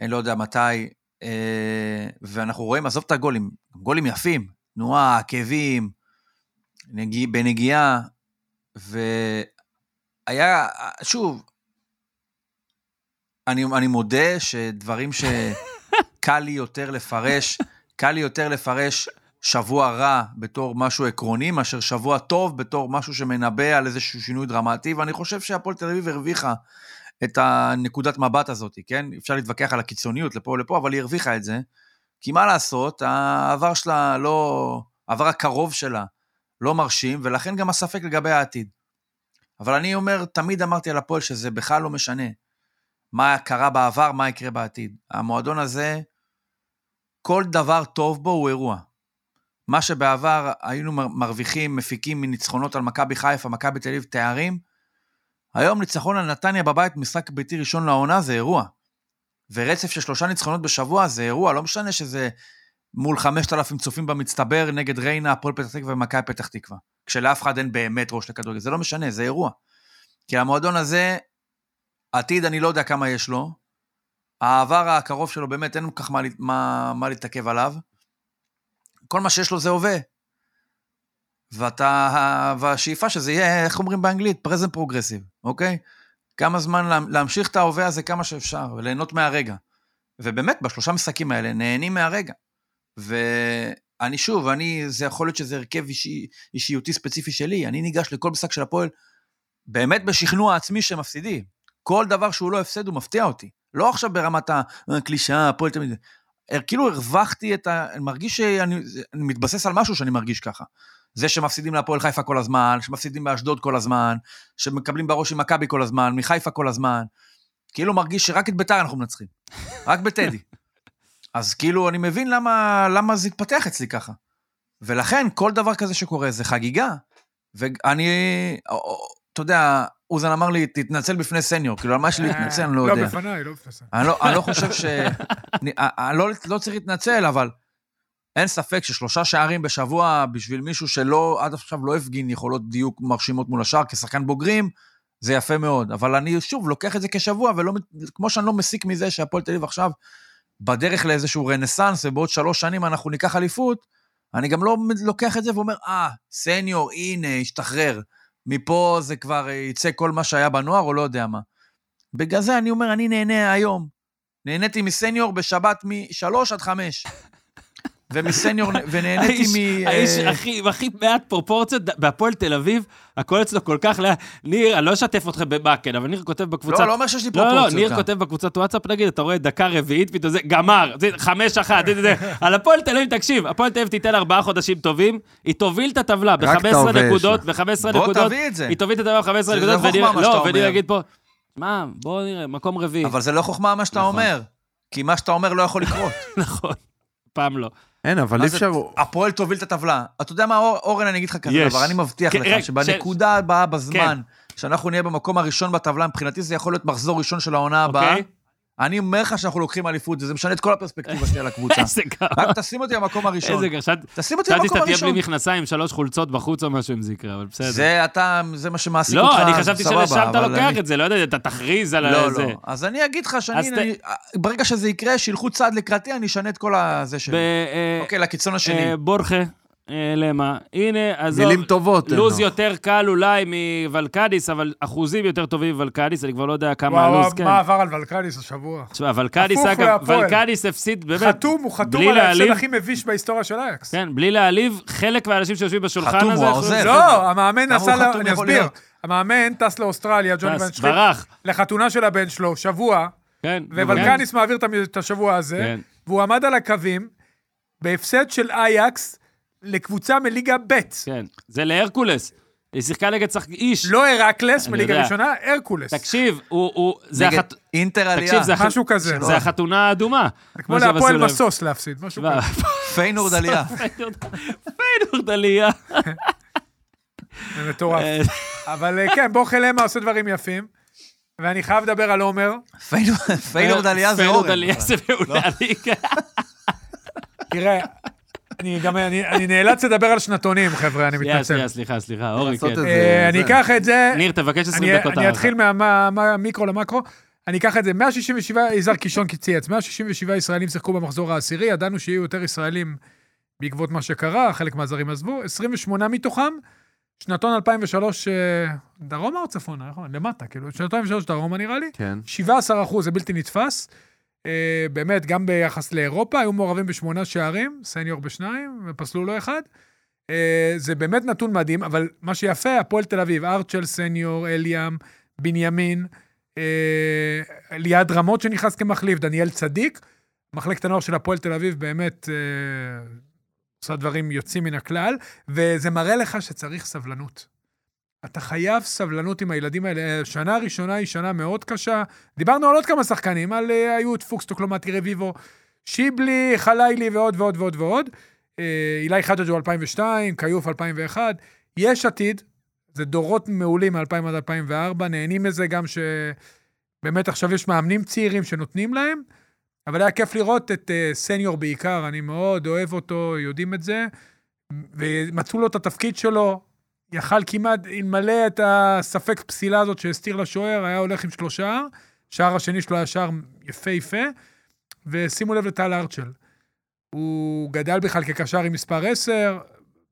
אני לא יודע מתי, אה, ואנחנו רואים, עזוב את הגולים, גולים יפים, תנועה, עקבים, נגיע, בנגיעה, והיה, שוב, אני, אני מודה שדברים שקל לי יותר לפרש, קל לי יותר לפרש שבוע רע בתור משהו עקרוני, מאשר שבוע טוב בתור משהו שמנבא על איזשהו שינוי דרמטי, ואני חושב שהפועל תל אביב הרוויחה את הנקודת מבט הזאת, כן? אפשר להתווכח על הקיצוניות לפה ולפה, אבל היא הרוויחה את זה. כי מה לעשות, העבר שלה לא... העבר הקרוב שלה לא מרשים, ולכן גם הספק לגבי העתיד. אבל אני אומר, תמיד אמרתי על הפועל שזה בכלל לא משנה מה קרה בעבר, מה יקרה בעתיד. המועדון הזה, כל דבר טוב בו הוא אירוע. מה שבעבר היינו מר- מרוויחים, מפיקים מניצחונות על מכבי חיפה, מכבי תל אביב, תארים, היום ניצחון על נתניה בבית, משחק ביתי ראשון לעונה, זה אירוע. ורצף של שלושה ניצחונות בשבוע זה אירוע, לא משנה שזה מול 5,000 צופים במצטבר נגד ריינה, הפועל פתח תקווה ומכבי פתח תקווה. כשלאף אחד אין באמת ראש לכדורגל, זה לא משנה, זה אירוע. כי המועדון הזה, עתיד אני לא יודע כמה יש לו, העבר הקרוב שלו באמת אין כל כך מה, לה- מה, מה להתעכב עליו. כל מה שיש לו זה הווה. ואתה, והשאיפה שזה יהיה, איך אומרים באנגלית? present progressive, אוקיי? כמה זמן לה- להמשיך את ההווה הזה כמה שאפשר, וליהנות מהרגע. ובאמת, בשלושה משחקים האלה, נהנים מהרגע. ואני שוב, אני, זה יכול להיות שזה הרכב אישי, אישיותי ספציפי שלי, אני ניגש לכל משחק של הפועל באמת בשכנוע עצמי שהם מפסידים. כל דבר שהוא לא הפסד הוא מפתיע אותי. לא עכשיו ברמת הקלישאה, הפועל תמיד... כאילו הרווחתי את ה... אני מרגיש שאני אני מתבסס על משהו שאני מרגיש ככה. זה שמפסידים להפועל חיפה כל הזמן, שמפסידים באשדוד כל הזמן, שמקבלים בראש עם מכבי כל הזמן, מחיפה כל הזמן. כאילו מרגיש שרק את ביתר אנחנו מנצחים, רק בטדי. אז כאילו, אני מבין למה, למה זה התפתח אצלי ככה. ולכן, כל דבר כזה שקורה זה חגיגה. ואני, או- או- אתה יודע, אוזן אמר לי, תתנצל בפני סניור, כאילו, על מה
אה,
יש לי להתנצל, אני לא יודע.
לא, בפניי, לא בפניי.
אני לא, אני לא חושב ש... אני, אני לא, לא צריך להתנצל, אבל אין ספק ששלושה שערים בשבוע בשביל מישהו שלא, עד עכשיו לא הפגין יכולות דיוק מרשימות מול השאר כשחקן בוגרים, זה יפה מאוד. אבל אני שוב לוקח את זה כשבוע, ולא, מת- כמו שאני לא מסיק מזה שהפועל תל אביב עכשיו בדרך לאיזשהו רנסאנס, ובעוד שלוש שנים אנחנו ניקח אליפות, אני גם לא מ- לוקח את זה ואומר, אה, סניור, הנה, השתחרר. מפה זה כבר אה, יצא כל מה שהיה בנוער, או לא יודע מה. בגלל זה אני אומר, אני נהנה היום. נהניתי מסניור בשבת מ-3 עד 5. ומסניור, ונהניתי
האיש-
מ...
האיש
אה,
הכי- עם הכי מעט פרופורציות, ד- בהפועל תל אביב, הכל אצלו כל כך לאט. ניר, אני לא אשתף אתכם במה, כן, אבל ניר כותב בקבוצת...
לא, לא אומר שיש לי
לא,
פרופורציות.
לא, ניר
כאן.
כותב בקבוצת וואטסאפ, נגיד, אתה רואה דקה רביעית, פתאום זה, גמר, זה חמש אחת, זה, זה, זה. על הפועל תל אביב, תקשיב, הפועל תל אביב תיתן ארבעה חודשים טובים, היא תוביל את הטבלה
רק את ההווה
ב-15
יש
נקודות,
לה.
ב-15
בוא
נקודות,
תביא את זה.
היא תוביל את הטבלה ב-15
זה לא
נקודות,
חוכמה
וניר-
מה שאתה
לא, וניר
אומר.
יגיד פה, מה, בוא נראה, מקום רביעי.
אבל זה לא חוכמה מה שאתה
נכון.
אומר, כי מה שאתה אומר לא יכול לקרות.
נכון, פעם לא.
אין, אבל אי
אז
אפשר...
את- הפועל תוביל את הטבלה. אתה יודע מה, אור- אורן, אני אגיד לך כזה
יש.
דבר, אני מבטיח
כן, רק,
לך שבנקודה הבאה בזמן, שאנחנו נהיה במקום הראשון בטבלה, מבחינתי זה יכול להיות מחזור ראשון של העונה הבאה.
אוקיי?
אני אומר לך שאנחנו לוקחים אליפות, וזה משנה את כל הפרספקטיבה שלי על הקבוצה.
איזה גרוע.
רק תשים אותי במקום הראשון.
איזה גרוע. שאלתי
תשים אותי
שאלתי
במקום
שאתה תהיה
הראשון.
בלי מכנסיים, שלוש חולצות בחוץ או משהו אם זה יקרה, אבל בסדר.
זה אתה, זה מה שמעסיק אותך,
לא, אני חשבתי
סבבה,
שלשם אתה
אבל
לוקח
אני-
את זה, לא יודע, אתה תכריז על
לא,
זה.
לא. אז אני אגיד לך שאני,
אז ת-
אני- ברגע שזה יקרה, שילכו צעד לקראתי, אני אשנה את כל הזה
ב-
שלי.
אה,
אוקיי, לקיצון השני.
אה, בורחה, אה, למה? הנה, עזוב.
מילים טובות.
אה,
אין
לוז
לו.
יותר קל אולי מוולקדיס, אבל אחוזים יותר טובים מוולקדיס, אני כבר לא יודע כמה
וואו,
הלוז,
וואו,
כן.
מה עבר על ולקניס השבוע?
תשמע, ולקדיס,
הפוך
אגב,
להפועל.
ולקדיס הפסיד, באמת.
חתום, הוא חתום
בלי
על ההפסד
להעליב.
הכי מביש בהיסטוריה של אייקס.
כן, בלי להעליב, חלק מהאנשים שיושבים בשולחן הזה...
חתום, הוא
חושבים-
העוזר.
לא, המאמן
אה, כמה הוא
עשה, לה-
חתום
אני
יכול
אסביר.
להיות.
המאמן טס לאוסטרליה, ג'וני
טס,
בן שחק,
ברח.
לחתונה של הבן שלו, שבוע,
כן.
ווולקניס מעביר את המ- את השבוע הזה,
כן.
והוא עמד על הקווים, בהפסד של אייקס לקבוצה מליגה ב'.
כן, זה להרקולס. היא שיחקה נגד שחק... איש.
לא הרקלס
אני
מליגה
יודע.
ראשונה, הרקולס.
תקשיב, הוא... הוא... זה
נגד אה.
החת...
אינטר עלייה.
תקשיב, זה, הח...
משהו כזה.
זה החתונה האדומה.
זה כמו להפועל בסוס להפסיד, משהו כזה.
פיינורד עלייה.
פיינורד עלייה.
זה מטורף. אבל אה, כן, בורחה למה עושה דברים יפים, ואני חייב לדבר על עומר.
פיינורד- פיינורד עלייה זה אורן.
פיינורד עלייה
אבל.
אה, זה מעולה. כן. ליגה.
תראה, אני גם, אני אני נאלץ לדבר על שנתונים, חבר'ה, אני
שנייה,
מתנצל.
שנייה, סליחה, סליחה, אורי,
לעשות
כן.
את זה.
אה, אני אקח את זה,
ניר, תבקש 20
אני-
דקות.
אני
הארכה.
אתחיל מהמיקרו למקרו. אני אקח את זה, 167, יזהר קישון צייץ, 167 ישראלים שיחקו במחזור העשירי, ידענו שיהיו יותר ישראלים בעקבות מה שקרה, חלק מהזרים עזבו, 28 מתוכם, שנתון 2003 אה, דרומה או צפונה, נכון? למטה, כאילו, שנתון 2003 דרומה נראה לי,
כן.
17 אחוז, זה בלתי נתפס. אה, באמת, גם ביחס לאירופה, היו מעורבים בשמונה שערים, סניור בשניים, ופסלו לו אחד. אה, זה באמת נתון מדהים, אבל מה שיפה, הפועל תל אביב, ארצ'ל, סניור, אליאם, בנימין, אה, ליעד רמות שנכנס כמחליף, דניאל צדיק. מחלקת הנוער של הפועל תל אביב באמת אה, עושה דברים יוצאים מן הכלל, וזה מראה לך שצריך סבלנות. אתה חייב סבלנות עם הילדים האלה. השנה הראשונה היא שנה מאוד קשה. דיברנו על עוד כמה שחקנים, על אה, היוט, פוקס, טוקלומטי, רביבו, שיבלי, חלילי ועוד ועוד ועוד ועוד. אה, אילי חג'ג'ו 2002, כיוף 2001. יש עתיד, זה דורות מעולים מ-2000 עד 2004, נהנים מזה גם שבאמת עכשיו יש מאמנים צעירים שנותנים להם, אבל היה כיף לראות את אה, סניור בעיקר, אני מאוד אוהב אותו, יודעים את זה, ומצאו לו את התפקיד שלו, יכל כמעט, אלמלא את הספק פסילה הזאת שהסתיר לשוער, היה הולך עם שלושה, שער השני שלו היה שער יפהפה, ושימו לב לטל ארצ'ל. הוא גדל בכלל כקשר עם מספר 10,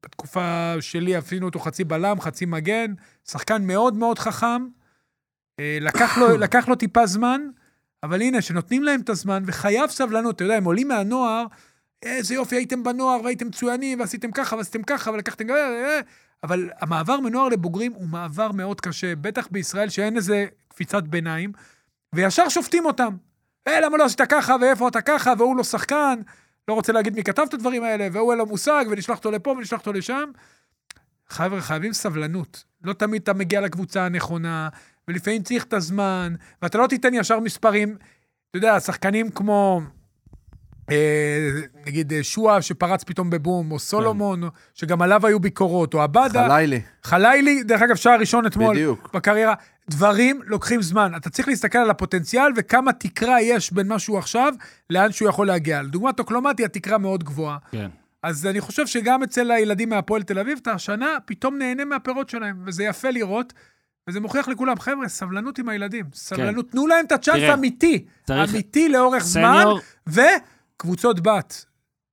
בתקופה שלי עשינו אותו חצי בלם, חצי מגן, שחקן מאוד מאוד חכם, אה, לקח לו, לקח לו טיפה זמן, אבל הנה, שנותנים להם את הזמן, וחייב סבלנות, אתה יודע, הם עולים מהנוער, "אה, איזה יופי, הייתם בנוער והייתם מצוינים, ועשיתם ככה, ועשיתם ככה, ולקחתם... אה, אה, אבל המעבר מנוער לבוגרים הוא מעבר מאוד קשה, בטח בישראל שאין איזה קפיצת ביניים, וישר שופטים אותם. אה, למה לא עשית ככה, ואיפה אתה ככה, והוא לא שחקן, לא רוצה להגיד מי כתב את הדברים האלה, והוא אין לו מושג, ונשלח אותו לפה ונשלח אותו לשם. חבר'ה, חייבים סבלנות. לא תמיד אתה מגיע לקבוצה הנכונה, ולפעמים צריך את הזמן, ואתה לא תיתן ישר מספרים. אתה יודע, שחקנים כמו, אה, נגיד, אה, שואה שפרץ פתאום בבום, או סולומון, שגם עליו היו ביקורות, או עבדה.
חלילי,
חלילי, דרך אגב, שער ראשון אתמול.
בדיוק.
בקריירה. דברים לוקחים זמן. אתה צריך להסתכל על הפוטנציאל וכמה תקרה יש בין מה שהוא עכשיו לאן שהוא יכול להגיע. לדוגמה, טוקלומטי, התקרה מאוד גבוהה.
כן.
אז אני חושב שגם אצל הילדים מהפועל תל אביב, אתה השנה פתאום נהנה מהפירות שלהם, וזה יפה לראות. וזה מוכיח לכולם, חבר'ה, סבלנות עם הילדים. סבלנות, תנו להם את הצ'אנס
תראה,
האמיתי.
צריך-
אמיתי לאורך זמן,
סניור,
וקבוצות בת.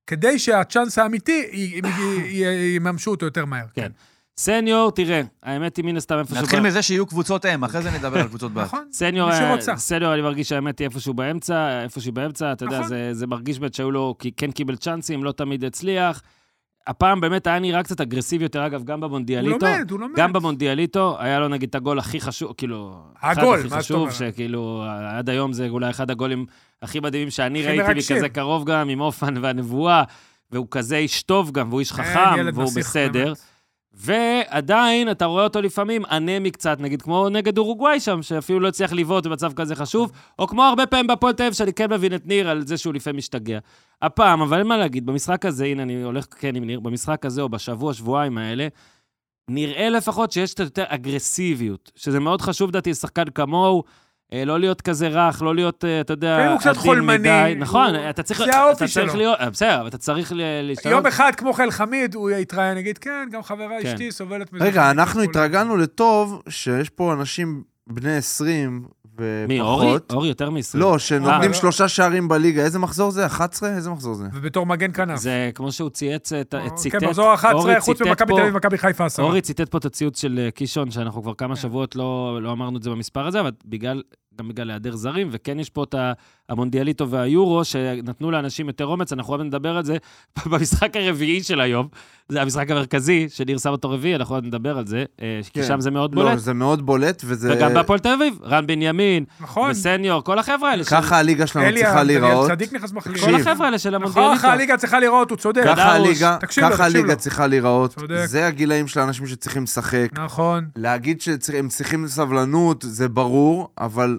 כדי שהצ'אנס האמיתי, י- י- י- יממשו אותו יותר מהר.
כן. סניור, תראה, האמת היא מן הסתם איפה
נתחיל מזה שיהיו קבוצות אם, אחרי זה נדבר על קבוצות בת.
נכון?
סניור,
מי
אה,
שרוצה.
סניור, אני מרגיש שהאמת היא איפשהו באמצע, איפשהו באמצע, אתה יודע,
נכון.
זה, זה מרגיש באמת שהיו לו, כי כן קיבל צ'אנסים, לא תמיד הצליח. הפעם באמת היה נראה קצת אגרסיבי יותר, אגב, גם
הוא
במונדיאליטו.
לומד, הוא לומד.
גם במונדיאליטו, היה לו נגיד את הגול הכי חשוב, כאילו... אחד
הגול,
הכי
מה זאת
חשוב,
אומרת?
שכאילו, עד היום זה אולי אחד הגולים הכי מדהימים שאני
הכי
ראיתי,
מרגשים.
מכזה קרוב גם, עם אופן והנבואה, והוא כזה איש טוב גם, והוא איש
כן,
חכם,
ילד
והוא
נסיך,
בסדר.
באמת.
ועדיין, אתה רואה אותו לפעמים אנמי קצת, נגיד, כמו נגד אורוגוואי שם, שאפילו לא הצליח לבעוט במצב כזה חשוב, או כמו הרבה פעמים בהפועל תל אביב, שאני כן מבין את ניר על זה שהוא לפעמים משתגע. הפעם, אבל אין מה להגיד, במשחק הזה, הנה, אני הולך כן עם ניר, במשחק הזה, או בשבוע, שבועיים האלה, נראה לפחות שיש קצת יותר אגרסיביות, שזה מאוד חשוב, לדעתי, לשחקן כמוהו. אה, לא להיות כזה רך, לא להיות, אה, אתה יודע,
כן, הוא קצת
עדין
חולמני,
מדי.
הוא-
נכון, אתה צריך...
זה
אתה
האופי
צריך
שלו.
להיות- אה, בסדר, אבל אתה צריך ל- להשתנות.
יום אחד, כמו חיל חמיד, הוא יתראיין, יגיד, כן, גם חברה
כן.
אשתי סובלת מזה.
רגע, אנחנו התרגלנו לטוב שיש פה אנשים בני 20 ופחות.
מי, אורי? אורי יותר מ-20.
לא, שנותנים
אה, לא.
שלושה שערים בליגה. איזה מחזור זה? 11? איזה מחזור זה?
ובתור מגן כנף.
זה כמו שהוא צייץ, את-
או-
ציטט,
כן, מחזור 11,
אורי
חוץ
ציטט
ממכבי תל אביב
פה,
ומכבי חיפה עשרה.
אורי ציטט פה את הציוץ של אה, קישון, שאנחנו כבר
כן.
כמה שבועות לא לא אמרנו את זה במספר הזה, אבל בגלל, גם בגלל היעדר זרים, וכן יש פה את ה- המונדיאליטו והיורו, שנתנו לאנשים יותר אומץ, אנחנו עוד נדבר על זה במשחק הרביעי של היום, זה המשחק המרכזי, שניר שם אותו רביעי, אנחנו עוד נדבר על זה, אה, כי
כן.
שם זה מאוד
לא,
בולט,
זה מאוד בולט, וזה...
וגם בהפועל תל אביב, רן בנימין,
נכון.
וסניור, כל החבר'ה האלה, של-
ככה הליגה שלנו
אלי
צריכה
דניאל
להיראות.
צדיק נכנס מחליף.
כל
תקשיב.
החבר'ה האלה של
נכון,
המונדיאליטו.
ככה הליגה צריכה להיראות, הוא צודק.
ככה
דרוש.
הליגה,
תקשיב לו,
ככה
תקשיב
הליגה
לו.
צריכה להיראות.
צודק.
זה הגילאים של האנשים שצריכים לשחק.
אה,
נכון.
להגיד שהם צריכים סבלנות, זה ברור, אבל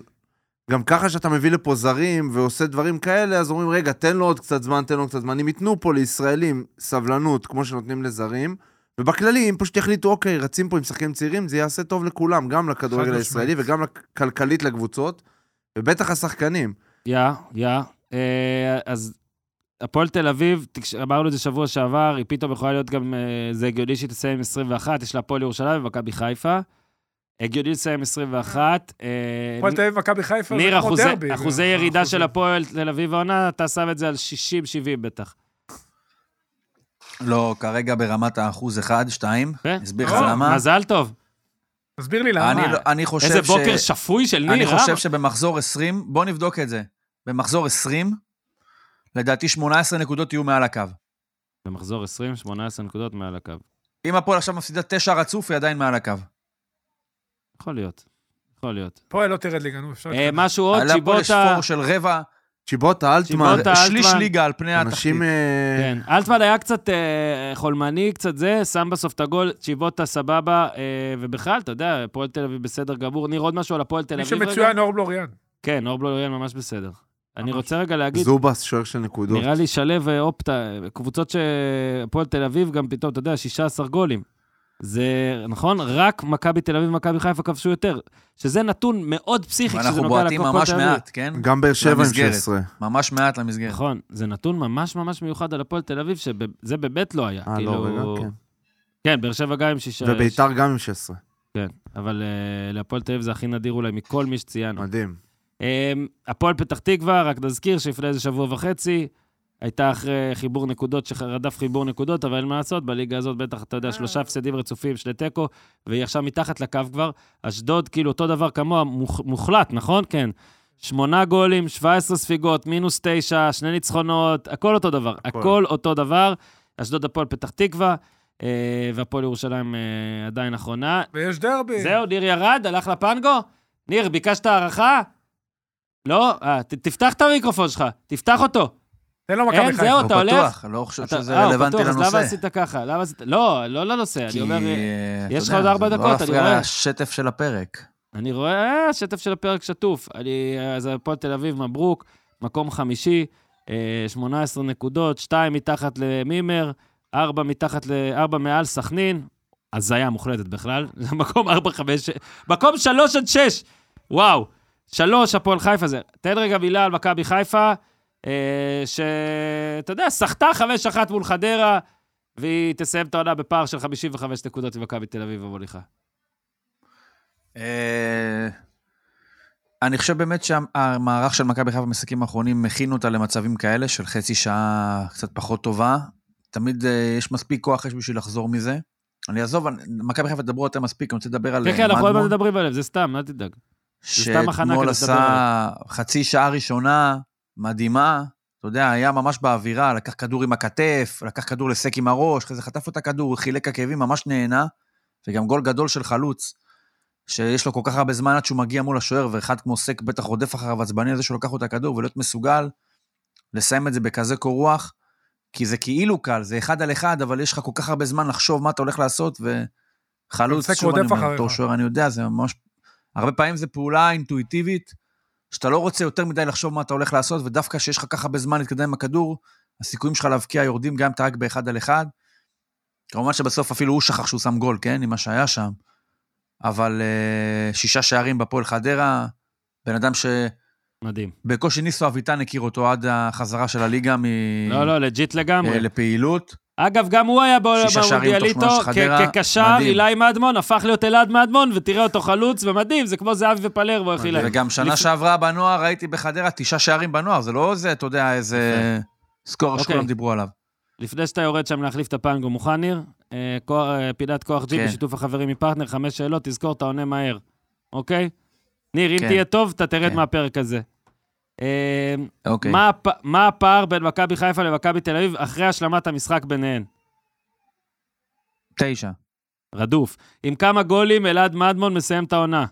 גם ככה שאתה מביא לפה זרים ועושה דברים כאלה, אז אומרים, רגע, תן לו עוד קצת זמן, תן לו עוד קצת זמן. אם ייתנו פה לישראלים סבלנות, כמו שנותנים לזרים, ובכללי, אם פשוט יחליטו, אוקיי, רצים פה עם שחקנים צעירים, זה יעשה טוב לכולם, גם לכדורגל
משמעית.
הישראלי וגם כלכלית לקבוצות, ובטח השחקנים.
יא, יא. אה, אז הפועל תל אביב, תקש- אמרנו את זה שבוע שעבר, היא פתאום יכולה להיות גם, אה, זה הגיוני שהיא תסיים עם 21, יש לה הפועל ירושלים ומכבי חיפה. הגיוני לסיים עם 21. אה,
הפועל תל אביב ומכבי חיפה זה
ניר,
כמו
אחוזי-
דרבי. אה,
אחוזי
זה-
ירידה
אחוזים.
של הפועל תל אביב העונה, אתה שם את זה על 60-70 בטח.
לא, כרגע ברמת האחוז 1, 2.
כן.
אסביר לך
לא,
למה.
מזל טוב.
תסביר לי למה.
אני לא- אני חושב
איזה
ש-
בוקר שפוי של ניר. אה?
אני
למה?
חושב שבמחזור 20, בוא נבדוק את זה. במחזור 20, לדעתי 18 נקודות יהיו מעל הקו.
במחזור 20, 18 נקודות מעל הקו.
אם הפועל עכשיו מפסידה 9 רצוף, היא עדיין מעל הקו.
יכול להיות. יכול להיות.
הפועל לא תרד ליגה, נו, אפשר...
אה, משהו עוד,
עלה פה
צ'יבוטה.
לשפור של רבע,
צ'יבוטה אלטמן,
צ'יבוטה,
שליש
אלטמן.
ליגה על פני התחתית.
אנשים... אה,
כן, אלטמן היה קצת אה, חולמני, קצת זה, שם בסוף את הגול, צ'יבוטה סבבה, אה, ובכלל, אתה יודע, הפועל תל אביב בסדר גמור. ניר, עוד משהו על הפועל תל
מי
אביב רגע?
שמצוין, אור בלוריאן.
כן, אור בלוריאן ממש בסדר. אני
ממש.
רוצה רגע להגיד,
זובס, שוער של נקודות.
נראה לי שלו ואופטה, קבוצות שהפועל תל אביב גם פתאום, אתה יודע, 16 גולים. זה, נכון? רק מכבי תל אביב ומכבי חיפה כבשו יותר. שזה נתון מאוד פסיכי כשזה
ואנחנו
נוגע
בועטים
להפועל
ממש
תל אביב.
מעט, כן?
גם באר שבע עם
למסגרת.
16.
ממש מעט למסגרת.
נכון, זה נתון ממש ממש מיוחד על הפועל תל אביב, שזה באמת לא היה.
אה, לא,
כאילו-
רגע, כן.
כן, באר שבע גם עם שישה...
וביתר גם עם 16.
כן, אבל אה, להפועל תל אביב זה הכי נדיר אולי מכל מי שציינו.
מדהים.
אה, הפועל פתח תקווה, רק נזכיר שלפני איזה שבוע וחצי, הייתה אחרי חיבור נקודות, שרדף חיבור נקודות, אבל אין מה לעשות, בליגה הזאת בטח, אתה יודע, שלושה הפסדים רצופים, שני תיקו, והיא עכשיו מתחת לקו כבר. אשדוד, כאילו, אותו דבר כמוה, מוח- מוחלט, נכון? כן. שמונה גולים, 17 ספיגות, מינוס תשע, שני ניצחונות, הכל אותו דבר.
הכל.
הכל אותו דבר. אשדוד הפועל פתח תקווה, אה, והפועל ירושלים אה, עדיין אחרונה.
ויש דרבי.
זהו, ניר ירד, הלך לפנגו? ניר, ביקשת הערכה? לא? אה, ת- תפתח את המיקרופון שלך, תפתח אותו.
תן לו מכבי
אין,
חיפה.
זהו,
לא
אתה הולך?
פתוח, לא חושב
אתה-
שזה
אה, הוא
רלוונטי
פתוח, אז למה
לנושא.
עשית ככה? למה עשית... לא, לא לנושא, אני אומר... אה,
אה,
יש
אתה
לך עוד
יודע,
ארבע
זה
דקות, אני
לא
רואה.
להפריע לשטף של הפרק.
אני רואה, אה, שטף של הפרק שטוף. אני... אה, אז הפועל תל אביב, מברוק, מקום חמישי, אה, 18 נקודות, 2 מתחת למימר, 4 מתחת ל... 4 מעל סכנין. הזיה מוחלטת בכלל. זה מקום 4, 5, מקום 3 עד 6. וואו. 3, הפועל חיפה זה. תן רגע מילה על מכבי חיפה, אה, שאתה יודע, סחטה 5-1 מול חדרה, והיא תסיים את העונה בפער של 55 נקודות ממכבי תל אביב המוליכה.
אה, אני חושב באמת שהמערך של מכבי חיפה במשחקים האחרונים מכין אותה למצבים כאלה של חצי שעה קצת פחות טובה. תמיד אה, יש מספיק כוח אש בשביל לחזור מזה. אני אעזוב, אני- מכבי חיפה תדברו יותר מספיק, אני רוצה לדבר על אה,
כן, כן, אנחנו עוד מעט
מדמון,
מדברים עליהם, זה סתם, אל תדאג. סתם הכנה
שאתמול
כדי לדבר
עשה חצי שעה ראשונה מדהימה. אתה יודע, היה ממש באווירה, לקח כדור עם הכתף, לקח כדור לסק עם הראש, אחרי זה חטף לו את הכדור, חילק עקבים, ממש נהנה. וגם גול גדול של חלוץ, שיש לו כל כך הרבה זמן עד שהוא מגיע מול השוער, ואחד כמו סק בטח רודף אחריו עצבני על זה שהוא לקח לו את הכדור, ולהיות מסוגל לסיים את זה בכזה קור רוח, כי זה כאילו קל, זה אחד על אחד, אבל יש לך כל כך הרבה זמן לחשוב מה אתה הולך לעשות, וחלוץ,
המשחק
שוב אני
רודף
אומר,
אחריך.
בתור שוער, אני יודע, זה ממש... הרבה פעמים זו פעולה אינטואיטיבית, שאתה לא רוצה יותר מדי לחשוב מה אתה הולך לעשות, ודווקא כשיש לך כל כך הרבה זמן להתקדם עם הכדור, הסיכויים שלך להבקיע יורדים גם אם אתה רק באחד על אחד. כמובן שבסוף אפילו הוא שכח שהוא שם גול, כן? עם מה שהיה שם. אבל אה, שישה שערים בפועל חדרה, בן אדם שבקושי
מדהים.
ניסו אביטן הכיר אותו עד החזרה של הליגה מ...
לא, לא, לג'יט לגמרי.
Mm. אה, לפעילות.
אגב, גם הוא היה בעולם
שישה שערים
המונדיאליטו,
תוך שמונה של
כ-
חדרה,
כקשר,
מדהים.
אילי מדמון, הפך להיות אלעד מדמון, ותראה אותו חלוץ, ומדהים, זה כמו זהבי ופלר, בוא אחי להם.
וגם שנה
כן. לפ-
שעברה בנוער ראיתי בחדרה תשעה שערים בנוער, זה לא איזה, אתה יודע, איזה סקור
אוקיי.
שכולם דיברו עליו.
לפני שאתה יורד שם להחליף את הפנגו, מוכן ניר? אה, כוח- אה, פינת כוח ג'י
כן.
בשיתוף החברים מפרטנר, חמש שאלות, תזכור, אתה עונה מהר, אוקיי? ניר, אם
כן.
תהיה טוב, אתה תרד
כן.
מהפרק הזה. אה,
אוקיי.
מה הפ- מה הפער בין מכבי חיפה למכבי תל אביב אחרי השלמת המשחק ביניהן?
תשע.
רדוף. עם כמה גולים אלעד מדמון מסיים את העונה?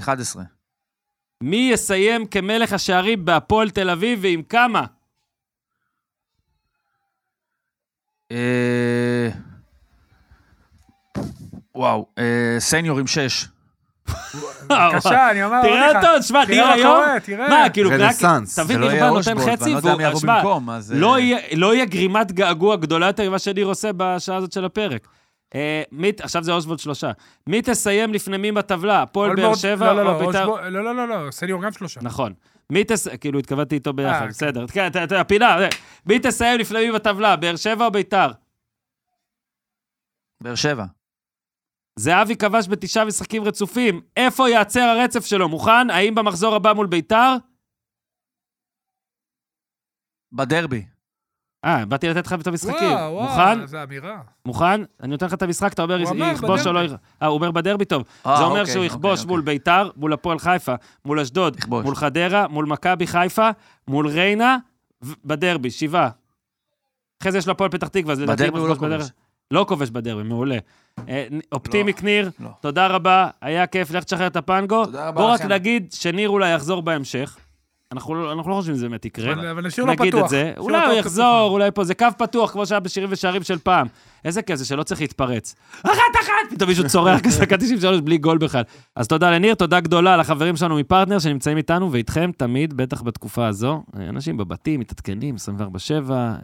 11.
מי יסיים כמלך השערים בהפועל תל אביב ועם כמה?
אה, וואו, אה, סניור עם שש.
קשה, אני אומר,
תראה
אומר לך,
אותו, תשמע, ניר
תראה מה
היום...
קורה, תראה.
מה, כאילו, רק...
רנסאנס.
תבין,
זה לא
ניר בא
יהיה
נותן
אושבולט,
חצי,
ואני לא יודע
והוא...
מי יבוא
שמע,
במקום, אז... אה,
לא יהיה- לא יהיה גרימת געגוע גדולה יותר ממה שניר עושה בשעה הזאת של הפרק. אה, מי- עכשיו זה אושבולד שלושה. מי תסיים לפני מי בטבלה? הפועל באר
אולמרט-
שבע
לא, לא, לא,
או בית"ר?
אושבולט- לא, לא, לא, לא, סניור גם שלושה.
נכון. מי תס... כאילו, התכוונתי איתו ביחד,
כן.
בסדר. כן, אתה אתה יודע, פינה. אה. מי תסיים לפני מי בטבלה? באר שבע או בית"ר?
באר שבע.
זהבי כבש בתשעה משחקים רצופים. איפה ייעצר הרצף שלו? מוכן? האם במחזור הבא מול ביתר?
בדרבי.
אה, באתי לתת לך את המשחקים.
וואו, וואו,
מוכן?
זו אמירה.
מוכן? אני נותן לך את המשחק, אתה אומר
הוא אמר
יכבוש או לא
בדרבי.
יכבוש. אה, הוא אומר בדרבי טוב.
אה,
זה אומר
אוקיי,
שהוא
אוקיי,
יכבוש
אוקיי.
מול ביתר, מול הפועל חיפה, מול אשדוד,
יכבוש.
מול חדרה, מול מכבי חיפה, מול ריינה, ו- בדרבי, שבעה. אחרי זה יש לו הפועל פתח תקווה, אז לדעתי
בדרבי הוא לא
יכבוש בדרבי.
כובש.
לא כובש בדרבי, מעולה. אה, נ- אופטימי
לא,
ניר,
לא.
תודה רבה, היה כיף, לך תשחרר את הפנגו.
תודה רבה
בוא רק
לכם.
נגיד שניר אולי יחזור בהמשך. אנחנו לא אנחנו לא חושבים שזה באמת יקרה.
אבל אבל נשאיר לו לא פתוח.
נגיד את זה.
נשאיר לו
אולי הוא
את האופציה
יחזור, אולי פה, זה קו פתוח, כמו שהיה בשירים ושערים של פעם. איזה כיף זה שלא צריך להתפרץ. אחת אחת! פתאום מישהו צורח כזה, דקה 93 בלי גול בכלל. אז תודה לניר, תודה גדולה לחברים שלנו מפרטנר שנמצאים איתנו ואיתכם תמיד, בטח בתקופה הזו. אה, אנשים בבתים, מתעדכנים, 24-7, אה,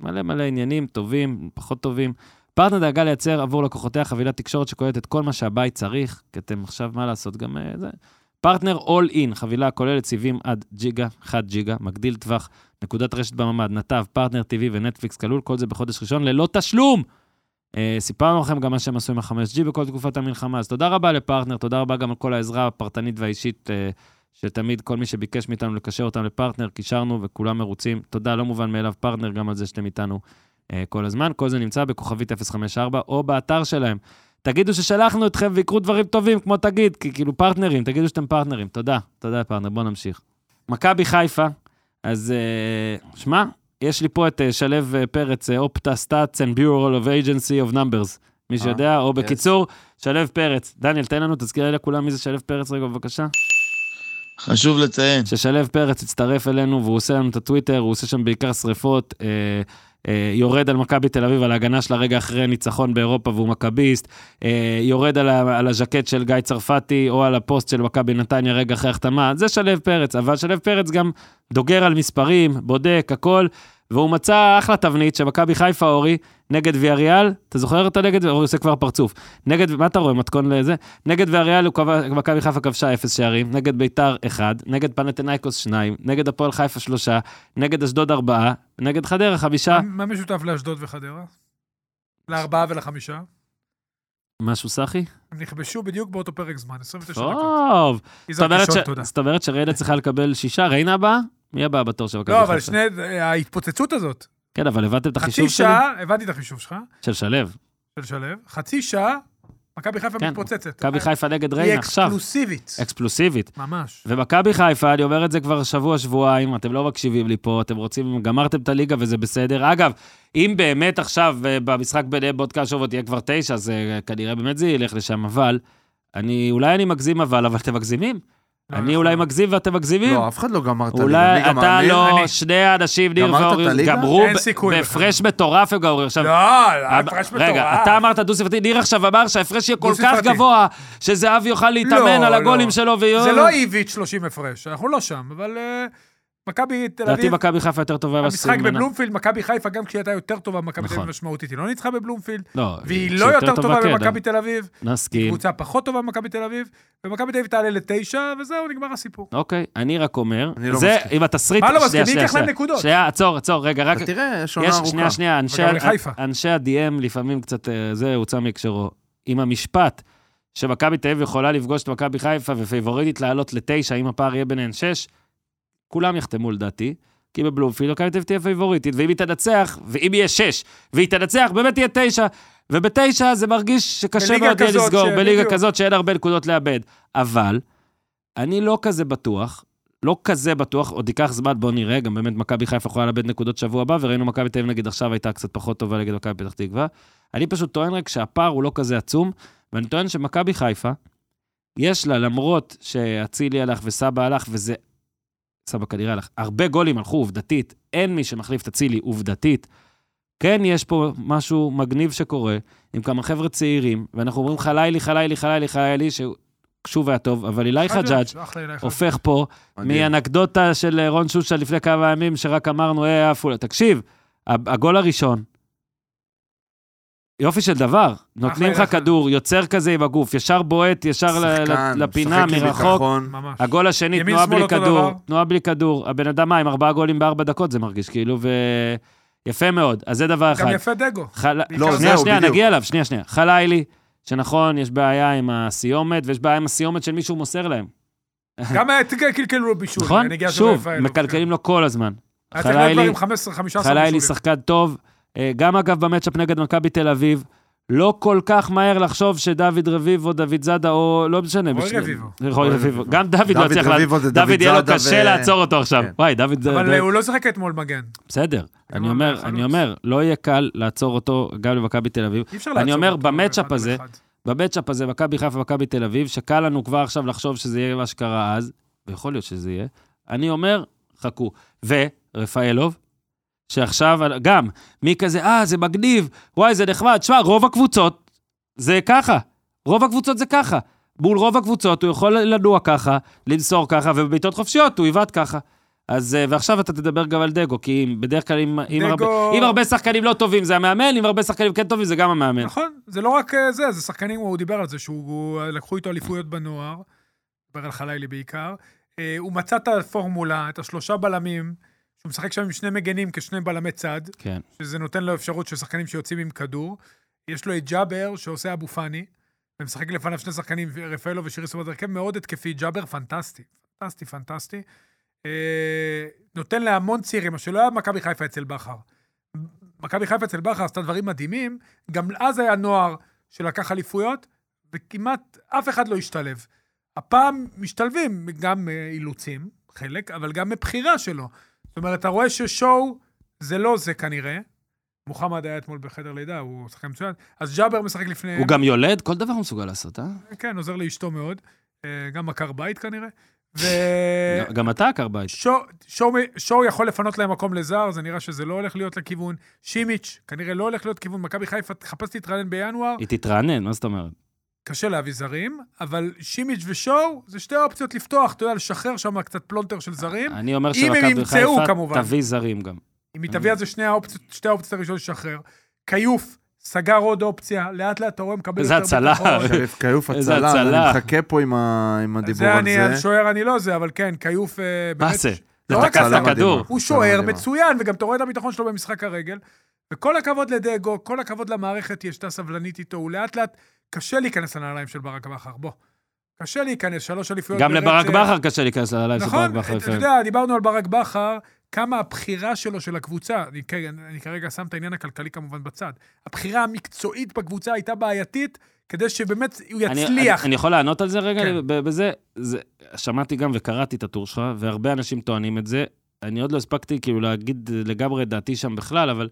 מלא מלא עניינים, טובים, פחות טובים. פרטנר דאגה לייצר עבור לקוחותיה חבילת תקשורת שכוללת את כל מה שהבית צריך, כי אתם עכשיו, מה לעשות, גם אה, זה. פרטנר All In, חבילה הכוללת סיבים עד ג'יגה, 1 ג'יגה, מגדיל טווח, נקודת רשת בממ"ד, נתב, פרטנר TV ונטפליקס כלול, כל זה בחודש ראשון ללא תשלום. אה, סיפרנו לכם גם מה שהם עשו עם ה-5G בכל תקופת המלחמה, אז תודה רבה לפרטנר, תודה רבה גם על כל העזרה הפרטנית והאישית, אה, שתמיד כל מי שביקש מאיתנו לקשר אותם לפרטנר, קישרנו וכולם מרוצים. תודה, לא מובן מאליו, פרטנר, גם על זה שאתם איתנו אה, כל הזמן. כל זה נמצא בכוכבית 054 או באתר שלהם. תגידו ששלחנו אתכם ויקרו דברים טובים, כמו תגיד, כי כאילו פרטנרים, תגידו שאתם פרטנרים. תודה, תודה פרטנר, בואו נמשיך. מכבי חיפה, אז אה, שמע, יש לי פה את אה, שלו אה, פרץ, אופטה סטאצ and Bureau of Agency of Numbers, מי שיודע, או בקיצור, שלו פרץ. דניאל, תן לנו, תזכיר לכולם מי זה שלו פרץ רגע, בבקשה.
חשוב לציין.
ששלו פרץ הצטרף אלינו והוא עושה לנו את הטוויטר, הוא עושה שם בעיקר שריפות, אה, אה, יורד על מכבי תל אביב, על ההגנה שלה רגע אחרי הניצחון באירופה והוא מכביסט, אה, יורד על, ה- על הז'קט של גיא צרפתי או על הפוסט של מכבי נתניה רגע אחרי החתמה, זה שלו פרץ, אבל שלו פרץ גם דוגר על מספרים, בודק, הכל. והוא מצא אחלה תבנית שמכבי חיפה, אורי, נגד ויאריאל, אתה זוכר את הנגד? אורי עושה כבר פרצוף. נגד, מה אתה רואה, מתכון לזה? נגד ויאריאל, הוא כבש- מכבי חיפה כבשה 0 שערים, נגד ביתר 1, נגד פנתנייקוס 2, נגד הפועל חיפה 3, נגד אשדוד 4, נגד חדרה 5,
מה- מה משותף לאשדוד וחדרה? לארבעה ולחמישה?
משהו סחי?
הם נכבשו בדיוק באותו פרק זמן, 29 דקות.
טוב. זאת
יזהר
אומרת
קישון,
ש-
תודה.
זאת אומרת שריינה צריכה לקבל 6, ריינה הבאה? מי הבא בתור של מכבי
לא,
חיפה?
אבל שני, ההתפוצצות הזאת.
כן, אבל הבנתם את
חצי
החישוב שלי?
שעה, הבנתי את החישוב שלך,
של שלו.
של שלו, חצי שעה, מכבי חיפה
כן,
מתפוצצת.
מכבי חיפה נגד
אה, היא
ריינה עכשיו.
אקסקלוסיבית.
אקספלוסיבית.
ממש.
ומכבי חיפה, אני אומר את זה כבר שבוע, שבועיים, אתם לא מקשיבים לי פה, אתם רוצים, גמרתם את הליגה וזה בסדר. אגב, אם באמת עכשיו אה, במשחק ביניהם בעוד כמה שבועות יהיה כבר תשע, אז אה, כנראה באמת זה ילך לשם, אבל, אני, אולי אני מגזים אבל, אבל אתם מגזימים.
לא,
אני
אנחנו-
אולי מגזיב ואתם מגזיבים.
לא, אף אחד לא גמר את הליגה.
אולי
ליגה
אתה
מאמין?
לא,
אני-
שני האנשים, ניר
גמרת את
ואורי,
הליגה?
גמרו
אין
ב-
סיכוי
בהפרש מטורף הם גמרו. עכשיו,
לא, לא,
אמ-
הפרש מטורף.
רגע, אתה אמרת דו-ספרתי, ניר עכשיו אמר שההפרש יהיה כל כך
דו-ספרתי.
גבוה, שזהב יוכל להתאמן
לא,
על הגולים
לא.
שלו.
זה לא איביץ' 30 הפרש, אנחנו לא שם, אבל אה, מכבי תל
לדעתי
אביב,
מכבי חיפה יותר טובה
המשחק
ב-20 מנה.
בבלומפילד, מכבי חיפה גם כשהיא הייתה יותר טובה במכבי תל
נכון.
אביב משמעותית, היא לא ניצחה בבלומפילד,
לא,
והיא
שהיא
לא יותר טובה
כן,
במכבי תל אביב,
נסכים.
קבוצה פחות טובה במכבי תל אביב, ומכבי תל אביב תעלה לתשע, וזהו, נגמר הסיפור.
אוקיי, אני רק אומר,
אני לא
זה
מסכים.
עם התסריט...
מה
שנייה,
לא מסכים? מי
שנייה,
ייקח להם
שנייה.
נקודות?
שנייה, עצור, עצור, רגע, רק...
אתה תראה, יש
יש,
עונה ארוכה.
שנייה, שנייה, אנשי,
וגם לחיפה.
אנשי ה-DM לפעמים קצת, אה, זה הוצא מהקשרו. עם המשפט שמכבי תל אביב יכולה לפגוש את מכבי חיפה ופייבוריטית לעלות לתשע, אם הפער יהיה ביניהן שש, כולם יחתמו לדעתי, כי בבלומפילד מכבי תל אביב תהיה פייבוריטית, ואם היא תנצח, ואם יהיה שש, והיא תנצח, באמת תהיה תשע, ובתשע זה מרגיש שקשה
בליגה
מאוד יהיה
כזאת
לסגור,
ש-
בליגה
בדיוק.
כזאת שאין הרבה נקודות לאבד. אבל, אני לא כזה בטוח, לא כזה בטוח, עוד ייקח זמן, בואו נראה, גם באמת מכבי חיפה יכולה לאבד נקודות שבוע הבא, וראינו מכבי תל אביב נגיד עכשיו הייתה קצת פחות טובה נגד מכבי פתח תקווה. אני פשוט טוען רק שהפער הוא לא כזה עצום, ואני טוען שמכבי חיפה, יש לה, למרות שאצילי הלך וסבא הלך, וזה... סבא כנראה הלך. הרבה גולים הלכו עובדתית, אין מי שמחליף את אצילי עובדתית. כן, יש פה משהו מגניב שקורה, עם כמה חבר'ה צעירים, ואנחנו אומרים חלילי, חלילי, חלילי, חלילי, ששוב היה טוב, אבל אילי חג'אג'
אחלה אליי חג'אג'.
הופך פה
מדהים.
מאנקדוטה של אה, רון שושה לפני כמה ימים, שרק אמרנו, אה, עפולה. תקשיב, ה- הגול הראשון, יופי של דבר. נותנים לך
יחס.
כדור, יוצר כזה עם הגוף, ישר בועט, ישר ל- ל-
שחקן,
לפינה,
משחק עם
מרחוק.
ביטחון.
ממש.
הגול השני,
ימין,
תנועה
שמאל,
בלי
אותו
כדור,
דבר.
תנועה בלי כדור. הבן אדם, מה, עם ארבעה גולים בארבע דקות זה מרגיש, כאילו, ו... יפה מאוד. אז זה דבר אחד.
גם יפה דגו.
חל...
בעיקר
לא, שנייה,
זהו,
שנייה,
בדיוק.
נגיע אליו, שנייה, שנייה. חלילי, שנכון, יש בעיה עם הסיומת, ויש בעיה עם הסיומת של מישהו מוסר להם.
גם את קלקלו בישול.
נכון?
הנגיעה של
שוב,
רפאלוב,
מקלקלים לו כל הזמן.
כן. לא היה צריך להיות כבר
חלילי-
עם 15 15
חלילי
בישולים.
שחקן טוב, אה, גם אגב במצ'אפ נגד מכבי תל אביב. לא כל כך מהר לחשוב שדוד רביבו, דוד זאדה, או לא משנה.
רוי
בשני-
רביבו.
רוי רביבו. גם דוד לא
דוד
הצליח... לה-
רביבו זה
דוד
דוד
יהיה לו
זאדה
קשה
ו-
לעצור אותו עכשיו.
כן.
וואי, דוד... זה-
אבל
זה-
אה, הוא לא שיחק אתמול מגן.
בסדר. אני
הוא
אומר,
חלוץ.
אני אומר, לא יהיה קל לעצור אותו גם למכבי תל אביב.
אי אפשר
אני
לעצור
אומר,
אותו
במצ'אפ
אחד על
הזה,
אחד.
במצ'אפ הזה, מכבי חיפה, מכבי תל אביב, שקל לנו כבר עכשיו לחשוב שזה יהיה מה שקרה אז, ויכול להיות שזה יהיה, אני אומר, חכו. ורפאלוב, שעכשיו, גם, מי כזה, אה, זה מגניב, וואי, זה נחמד. שמע, רוב הקבוצות זה ככה. רוב הקבוצות זה ככה. מול רוב הקבוצות הוא יכול לנוע ככה, למסור ככה, ובבעיטות חופשיות הוא יבעט ככה. אז, אה, ועכשיו אתה תדבר גם על דגו, כי אם- בדרך כלל אם, אם,
דגו-
הרבה, אם הרבה שחקנים לא טובים זה המאמן, אם הרבה שחקנים כן טובים זה גם המאמן.
נכון, זה לא רק אה, זה, זה שחקנים, הוא דיבר על זה, שהוא אה, לקחו איתו אליפויות בנוער, דיבר על חלילי בעיקר. אה, הוא מצא את הפורמולה, את השלושה בלמים, שהוא משחק שם עם שני מגנים כשני בלמי צד,
כן.
שזה נותן לו אפשרות של שחקנים שיוצאים עם כדור. יש לו את ג'אבר שעושה אבו פאני, ומשחק לפניו שני שחקנים, רפאלו ושירי סובד, הרכב מאוד התקפי, ג'אבר פנטסטי, פנטסטי, פנטסטי. אה, נותן להמון צעירים, מה שלא היה מכבי חיפה אצל בכר. מכבי חיפה אצל בכר עשתה דברים מדהימים, גם אז היה נוער שלקח אליפויות, וכמעט אף אחד לא השתלב. הפעם משתלבים גם אה, אילוצים, חלק, אבל גם מבחירה שלו. זאת אומרת, אתה רואה ששואו זה לא זה כנראה. מוחמד היה אתמול בחדר לידה, הוא שחקן מצוין. אז ג'אבר משחק לפני...
הוא גם יולד, כל דבר הוא מסוגל לעשות, אה?
כן, עוזר לאשתו מאוד. אה, גם עקר בית כנראה. ו... אה.
גם אתה עקר בית.
שואו שואו יכול לפנות להם מקום לזר, זה נראה שזה לא הולך להיות לכיוון. שימיץ', כנראה לא הולך להיות כיוון. מכבי חיפה תחפש להתרענן בינואר,
היא תתרענן, מה זאת אומרת?
קשה להביא זרים, אבל שימיץ' ושואו זה שתי האופציות לפתוח, אתה יודע, לשחרר שם קצת פלונטר של זרים.
אני אומר
אם הם
שמכבי
ימצאו,
חיפה
כמובן.
תביא זרים גם.
אם
אה,
היא תביא על זה שני האופציות, שתי האופציות הראשונות לשחרר. כיוף, סגר עוד אופציה, לאט לאט אתה רואה, מקבל
איזה
יותר
הצלה.
ביטחון.
שריף כיוף
איזה
הצלה,
הצלה.
אני מחכה פה עם ה- עם הדיבור
זה
על
אני, על
זה.
שוער אני לא זה, אבל כן, כיוף אה,
מה
באמת...
זה? זה
לא רק
תקף את
הצלה
הכדור.
מדהימה.
הוא
הצלה
שוער
מדהימה.
מצוין, וגם אתה רואה את הביטחון שלו במשחק הרגל. וכל הכבוד לדגו, כל הכבוד למערכת, היא הייתה סבלנית איתו, הוא לאט לאט... קשה להיכנס לנעליים של ברק בכר, בוא. קשה להיכנס, שלוש אליפויות.
גם
ברצף.
לברק בכר קשה להיכנס ללייב של ברק
לא, נכון,
בכר.
אתה
לפעמים.
יודע, דיברנו על ברק בכר, כמה הבחירה שלו של הקבוצה, אני, כ- אני כרגע שם את העניין הכלכלי כמובן בצד, הבחירה המקצועית בקבוצה הייתה בעייתית, כדי שבאמת הוא
אני-
יצליח.
אני- אני יכול לענות על זה רגע?
כן.
ב- בזה, זה- שמעתי גם וקראתי את הטור שלך, והרבה אנשים טוענים את זה. אני עוד לא הספקתי כאילו להגיד לגמרי את דעתי שם בכלל, אבל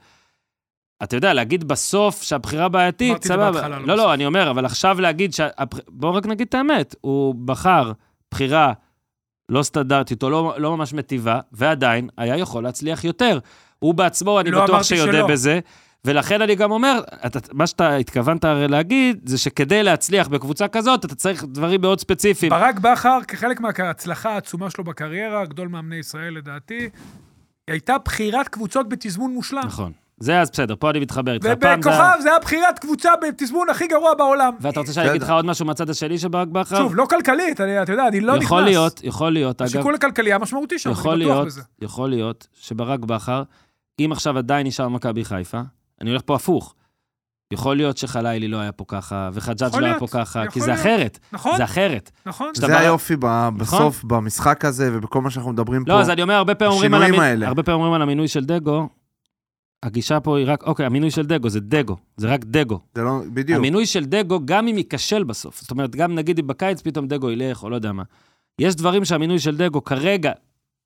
אתה יודע, להגיד בסוף שהבחירה בעייתית,
אמרתי את זה
סבבה.
בהתחלה, לא
לא,
בסוף.
לא, אני אומר, אבל עכשיו להגיד שה... הבח- בואו רק נגיד את האמת, הוא בחר בחירה לא סטנדרטית או לא, לא ממש מטיבה, ועדיין היה יכול להצליח יותר. הוא בעצמו, אני
לא
בטוח
אמרתי
שיודה
שלא.
בזה. ולכן אני גם אומר, אתה, מה שאתה התכוונת הרי להגיד, זה שכדי להצליח בקבוצה כזאת, אתה צריך דברים מאוד ספציפיים.
ברק בכר, כחלק מההצלחה העצומה שלו בקריירה, גדול מאמני ישראל לדעתי, הייתה בחירת קבוצות בתזמון מושלם.
נכון. זה אז בסדר, פה אני מתחבר איתך. פעם נכון, זה-
ובכוכב זה היה בחירת קבוצה בתזמון הכי גרוע בעולם.
ואתה רוצה שאני אגיד לך עוד משהו מהצד השני של ברק בכר?
שוב, לא כלכלית, אני- אתה יודע, אני לא נכנס.
יכול להיות, יכול להיות, אגב,
השיקול הכלכלי המשמעותי שם,
יכול
אני בטוח
להיות,
בזה.
יכול להיות שברק בכר, אם עכשיו עדיין נשאר מכבי חיפה, אני הולך פה הפוך. יכול להיות שחלילי לא היה פה ככה, וחג'אג'
יכול
לא היה פה
להיות,
ככה, כי
יכול
זה
להיות.
אחרת,
נכון,
זה אחרת.
נכון.
כשאתה
זה
בא-
היופי ב- בסוף, במשחק הזה ובכל מה שאנחנו מדברים פה.
לא, אז אני אומר, הרבה פעמים אומרים על
השינויים
המי-
האלה.
הרבה פעמים אומרים על המינוי של דגו, הגישה פה היא רק, אוקיי, המינוי של דגו זה דגו, זה רק דגו.
זה לא, בדיוק.
המינוי של דגו, גם אם ייכשל בסוף, זאת אומרת, גם נגיד אם בקיץ פתאום דגו ילך, או לא יודע מה. יש דברים שהמינוי של דגו כרגע,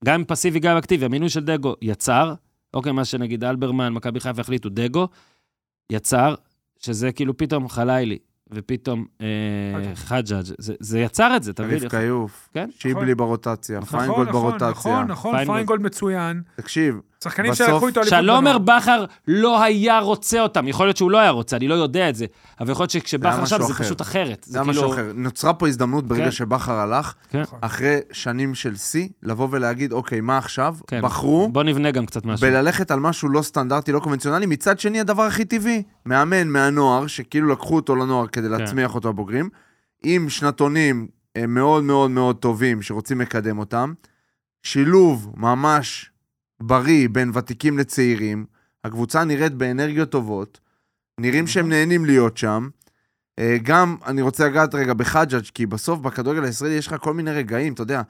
גם פסיבי, גם אקטיבי, המינוי של דגו יצר, אוקיי, מה שנגיד אלברמן, מכבי חיפה החליטו, דגו, יצר, שזה כאילו פתאום חלילי, ופתאום אה, חג'אג', זה, זה יצר את זה, אתה מבין?
אביב כיוף,
כן?
שיבלי ברוטציה,
נכון,
פיינגולד ברוטציה.
נכון, נכון,
פיינגולד.
פיינגולד מצוין.
תקשיב,
שחקנים
בסוף,
שלקחו איתו אליפות.
שאני לא אומר
בנוער.
בכר לא היה רוצה אותם, יכול להיות שהוא לא היה רוצה, אני לא יודע את זה, אבל יכול להיות שכשבכר
משהו
שם זה
אחר.
פשוט אחרת.
זה היה משהו
כאילו-
אחר. נוצרה פה הזדמנות
כן.
ברגע שבכר הלך,
כן.
נכון.
אחרי שנים של שיא, לבוא ולהגיד, אוקיי, מה עכשיו?
כן.
בחרו
בוא נבנה גם קצת משהו.
בללכת על משהו לא סטנדרטי, לא קונבנציונלי. מצד שני, הדבר הכי טבעי, מאמן מהנוער, שכאילו לקחו אותו לנוער
כן.
כדי להצמיח אותו הבוגרים, עם שנתונים אה, מאוד מאוד מאוד טובים שרוצים לקדם אותם, שילוב ממש בריא בין ותיקים לצעירים, הקבוצה נראית באנרגיות טובות, נראים שהם נהנים להיות שם. אה, גם, אני רוצה לגעת רגע בחג'אג', כי בסוף בכדורגל הישראלי יש לך כל מיני רגעים, אתה יודע,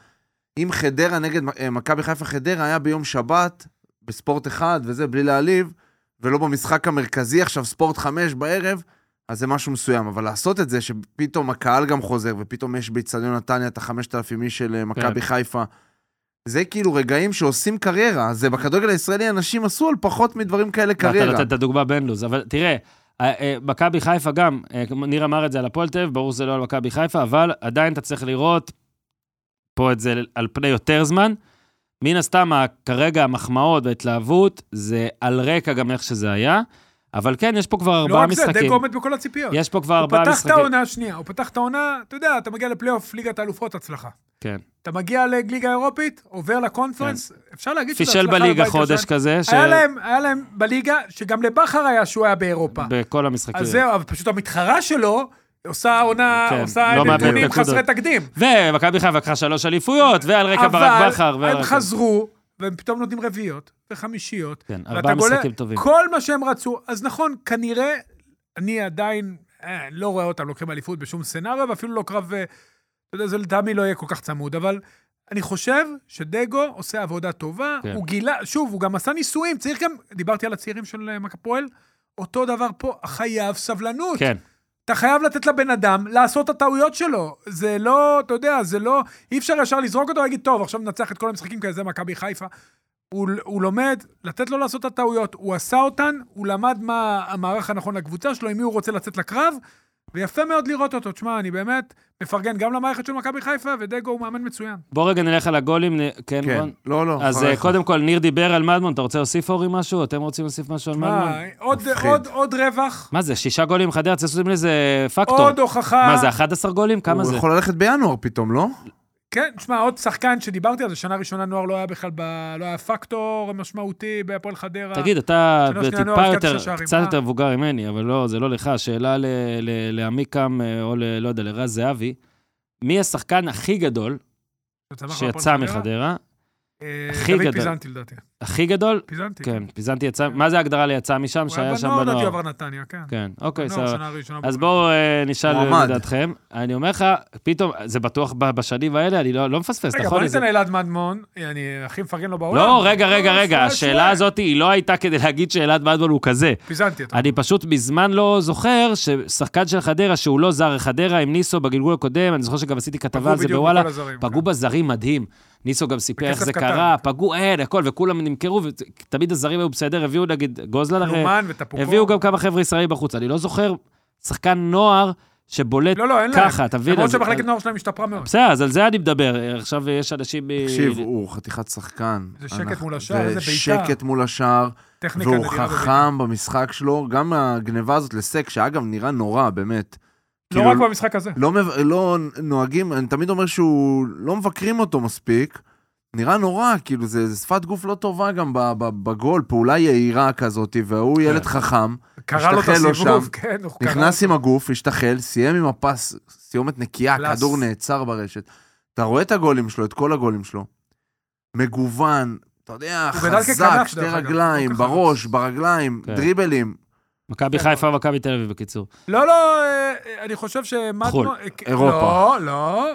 אם חדרה נגד אה, מכבי חיפה חדרה היה ביום שבת, בספורט אחד וזה, בלי להעליב, ולא במשחק המרכזי עכשיו, ספורט חמש בערב, אז זה משהו מסוים. אבל לעשות את זה שפתאום הקהל גם חוזר, ופתאום יש באיצטדיון נתניה את החמשת אלפים איש של אה, מכבי חיפה, זה כאילו רגעים שעושים קריירה. זה בכדורגל הישראלי אנשים עשו על פחות מדברים כאלה
אתה
קריירה.
נותן את הדוגמה בן לוז, אבל תראה, אה, אה, מכבי חיפה גם, אה, כמו- ניר אמר את זה על הפועל תל אביב, ברור שזה לא על מכבי חיפה, אבל עדיין אתה צריך לראות פה את זה על פני יותר זמן. מן הסתם, ה- כרגע המחמאות וההתלהבות, זה על רקע גם איך שזה היה, אבל כן, יש פה כבר
לא
ארבעה
רק זה, דגו
משחקים.
עומד בכל הציפיות.
יש פה כבר
הוא
ארבעה
פתח את
משחקים.
העונה, שנייה, הוא פתח את העונה, אתה יודע, אתה מגיע לפלייאוף ליגת האלופות, הצלחה.
כן.
אתה מגיע לליגה האירופית, עובר לקונפרנס, אפשר להגיד שזה
פישל
הצלחה
בליגה
בבית
חודש
ישן.
כזה, ש-
כן. היה להם, היה להם בליגה, שגם לבכר היה שהוא היה באירופה.
בכל המשחקים.
אז זהו, אבל פשוט המתחרה שלו עושה עונה,
כן,
עושה
לא מאבדת
נתונים
נקודות.
חסרי תקדים.
ומכבי חיפה לקחה שלוש אליפויות, ועל רקע ברק בכר.
אבל
ועל
הם
רקע-
חזרו, והם פתאום נותנים רביעיות וחמישיות.
כן,
ואתה
ארבעה
גולה
משחקים טובים.
כל מה שהם רצו, אז נכון, כנראה, אני עדיין אה, לא רואה אותם לוקחים אליפות בשום סצנריו, ואפילו לא קרב, אה, אתה יודע, זה לטעמי לא יהיה כל כך צמוד, אבל אני חושב שדגו עושה עבודה טובה,
כן.
הוא גילה, שוב, הוא גם עשה ניסויים, צריך גם, דיברתי על הצעירים של אה, מכבי הפועל, אותו דבר פה, חייב סבלנות.
כן.
אתה חייב לתת לבן אדם לעשות את הטעויות שלו. זה לא, אתה יודע, זה לא... אי אפשר ישר לזרוק אותו ולהגיד, טוב, עכשיו ננצח את כל המשחקים כי זה מכבי חיפה. הוא, הוא לומד לתת לו לעשות את הטעויות, הוא עשה אותן, הוא למד מה המערך הנכון לקבוצה שלו, עם מי הוא רוצה לצאת לקרב, ויפה מאוד לראות אותו. תשמע, אני באמת מפרגן גם למערכת של מכבי חיפה, ודגו הוא מאמן מצוין.
בוא רגע נלך על הגולים, נ- כן,
כן,
רון?
לא,
נכון,
לא.
אז אה,
אחריך.
קודם כל, ניר דיבר על מדמון, אתה רוצה להוסיף אורי משהו? אתם רוצים להוסיף משהו על מדמון?
מה, עוד,
מפחיד.
עוד, עוד רווח,
מה זה, שישה גולים חדרה, צריך לעשות מזה פקטור.
עוד נכון. הוכחה.
מה זה, 11 גולים? כמה
הוא
זה?
יכול ללכת בינואר פתאום, לא?
כן, תשמע, עוד שחקן שדיברתי על זה, שנה ראשונה נוער לא היה בכלל, ב... לא היה פקטור משמעותי בהפועל חדרה.
תגיד, אתה
שלוש שנייה,
טיפה
נוער, הבקעת
יותר,
שישה שערים,
קצת
מה?
יותר מבוגר ממני, אבל לא, זה לא לך. שאלה ל- ל- לעמיקם, אה, או ל- לא יודע, לרז זהבי. מי השחקן הכי גדול
שצמח
שיצא
בהפועל חדרה.
מחדרה?
אה,
הכי גדול.
דוד פיזנטי לדעתי.
הכי גדול?
פיזנטי.
כן, פיזנתי יצא, מה זה ההגדרה ליצא משם,
הוא היה
שהיה שם
בנוער, לדעתי הוא
בנוער?
עבר נתניה, כן.
כן, אוקיי,
בנוער,
סבבה.
שנה ראשונה.
אז
בבוגרים.
בואו אה, נשאל
מועמד.
לדעתכם. אני אומר לך, פתאום, זה בטוח ב- בשנים האלה, אני לא לא מפספס,
רגע, בוא
נכון?
ניתן לאלעד מדמון, אני הכי מפרגן לו בעולם.
לא, רגע, רגע, רגע,
שווה,
השאלה
שווה.
הזאת היא לא הייתה כדי להגיד שאלעד מדמון הוא כזה.
פיזנטי, אתה
אני פשוט מזמן לא זוכר ששחקן של חדרה, שהוא לא זר חדרה, עם ניסו בגלגול הקודם, אני זוכר שגם עשיתי כתבה על זה
בדיוק
בוואלה,
בכל הזרים,
פגעו
כן.
בזרים מדהים. ניסו גם סיפר איך
בכסף
זה
קטן.
קרה, פגעו, אין, הכל, וכולם נמכרו, ותמיד הזרים היו בסדר, הביאו נגיד גוזלן, הרי-
לומן וטפוקו.
הביאו גם כמה חבר'ה ישראלים בחוץ. אני לא זוכר שחקן נוער שבולט
לא, לא, אין להם.
ככה, אתה מבין?
למרות
אז-
שמחלקת
אז-
נוער שלהם השתפרה מאוד.
בסדר, אז על זה אני מדבר. עכשיו יש אנשים... אה, מ-
תקשיב, הוא חתיכת שחקן.
זה שקט
אנחנו-
מול השער, איזה בעיטה.
שקט מול השער,
טכניקה
והוא
נדירה בבית.
חכם במשחק שלו. גם הגניבה הזאת לסק, שאגב, נראה נורא, באמת.
לא
כאילו,
רק במשחק הזה.
לא, מב- לא נוהגים, אני תמיד אומר שהוא, לא מבקרים אותו מספיק. נראה נורא, כאילו, זה, זה שפת גוף לא טובה גם ב- ב- בגול, פעולה יהירה כזאת,
כן.
והוא ילד חכם,
קרא לו את
השתחל לו
הסיבוב,
שם.
כן, הוא קרא.
נכנס עם הגוף, השתחל, סיים עם הפס, סיומת נקייה,
קלאס.
הכדור נעצר ברשת. אתה רואה את הגולים שלו, את כל הגולים שלו. מגוון, אתה יודע,
הוא גדל
חזק,
ככנף,
שתי
דרך אגב,
רגליים,
לא כחלוץ.
בראש, ברגליים,
כן.
דריבלים.
כן.
מכבי חיפה, מכבי תל אביב, בקיצור.
לא, לא, אה, אה, אני חושב שמדמון...
חו"ל,
אה, כ-
אירופה.
לא, לא. אני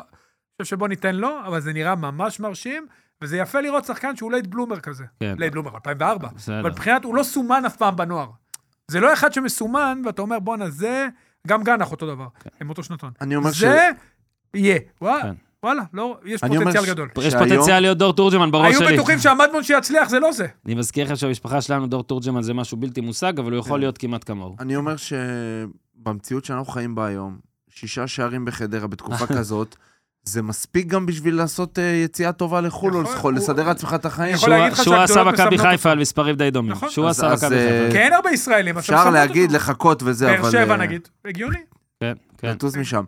חושב שבוא ניתן לו, אבל זה נראה ממש מרשים, וזה יפה לראות שחקן שהוא לייט בלומר כזה.
כן,
לייט בלומר, 2004.
בסדר.
אבל מבחינת, הוא לא סומן אף פעם בנוער. זה לא אחד שמסומן, ואתה אומר, בואנה, זה... גם גנח אותו דבר, הם אותו שנתון.
כן. אני אומר ש...
זה יהיה. וואלה,
כן.
וואלה, לא, יש
אני אומר
פוטנציאל
ש-
גדול.
יש
שהיום-
פוטנציאל להיות דור תורג'מן בראש
היו
שלי.
בטוחים שהמדמון שיצליח זה לא זה.
אה,
אני מזכיר לכם שהמשפחה שלנו, דור תורג'מן זה משהו בלתי מושג, אבל הוא יכול
כן.
להיות כמעט כמוהו.
אני אומר שבמציאות שאנחנו חיים בה היום, שישה שערים בחדרה בתקופה כזאת, זה מספיק גם בשביל לעשות אה, יציאה טובה לחו"ל, או
יכול,
לסחול-
הוא-
לסדר לעצמך את החיים.
שהוא-
יכול להגיד לך
שהוא עשה
שהגדולות
מכבי
מסמנות
חיפה על מספרים די דומים.
נכון.
שהוא
אז-
עשה
אז,
מכבי
אה,
חיפה.
כי אין הרבה ישראלים, אז אתה
אפשר
מסמן
להגיד,
אותו.
לחכות וזה, אבל...
באר שבע
אה,
נגיד, הגיוני.
כן, כן.
לטוס משם.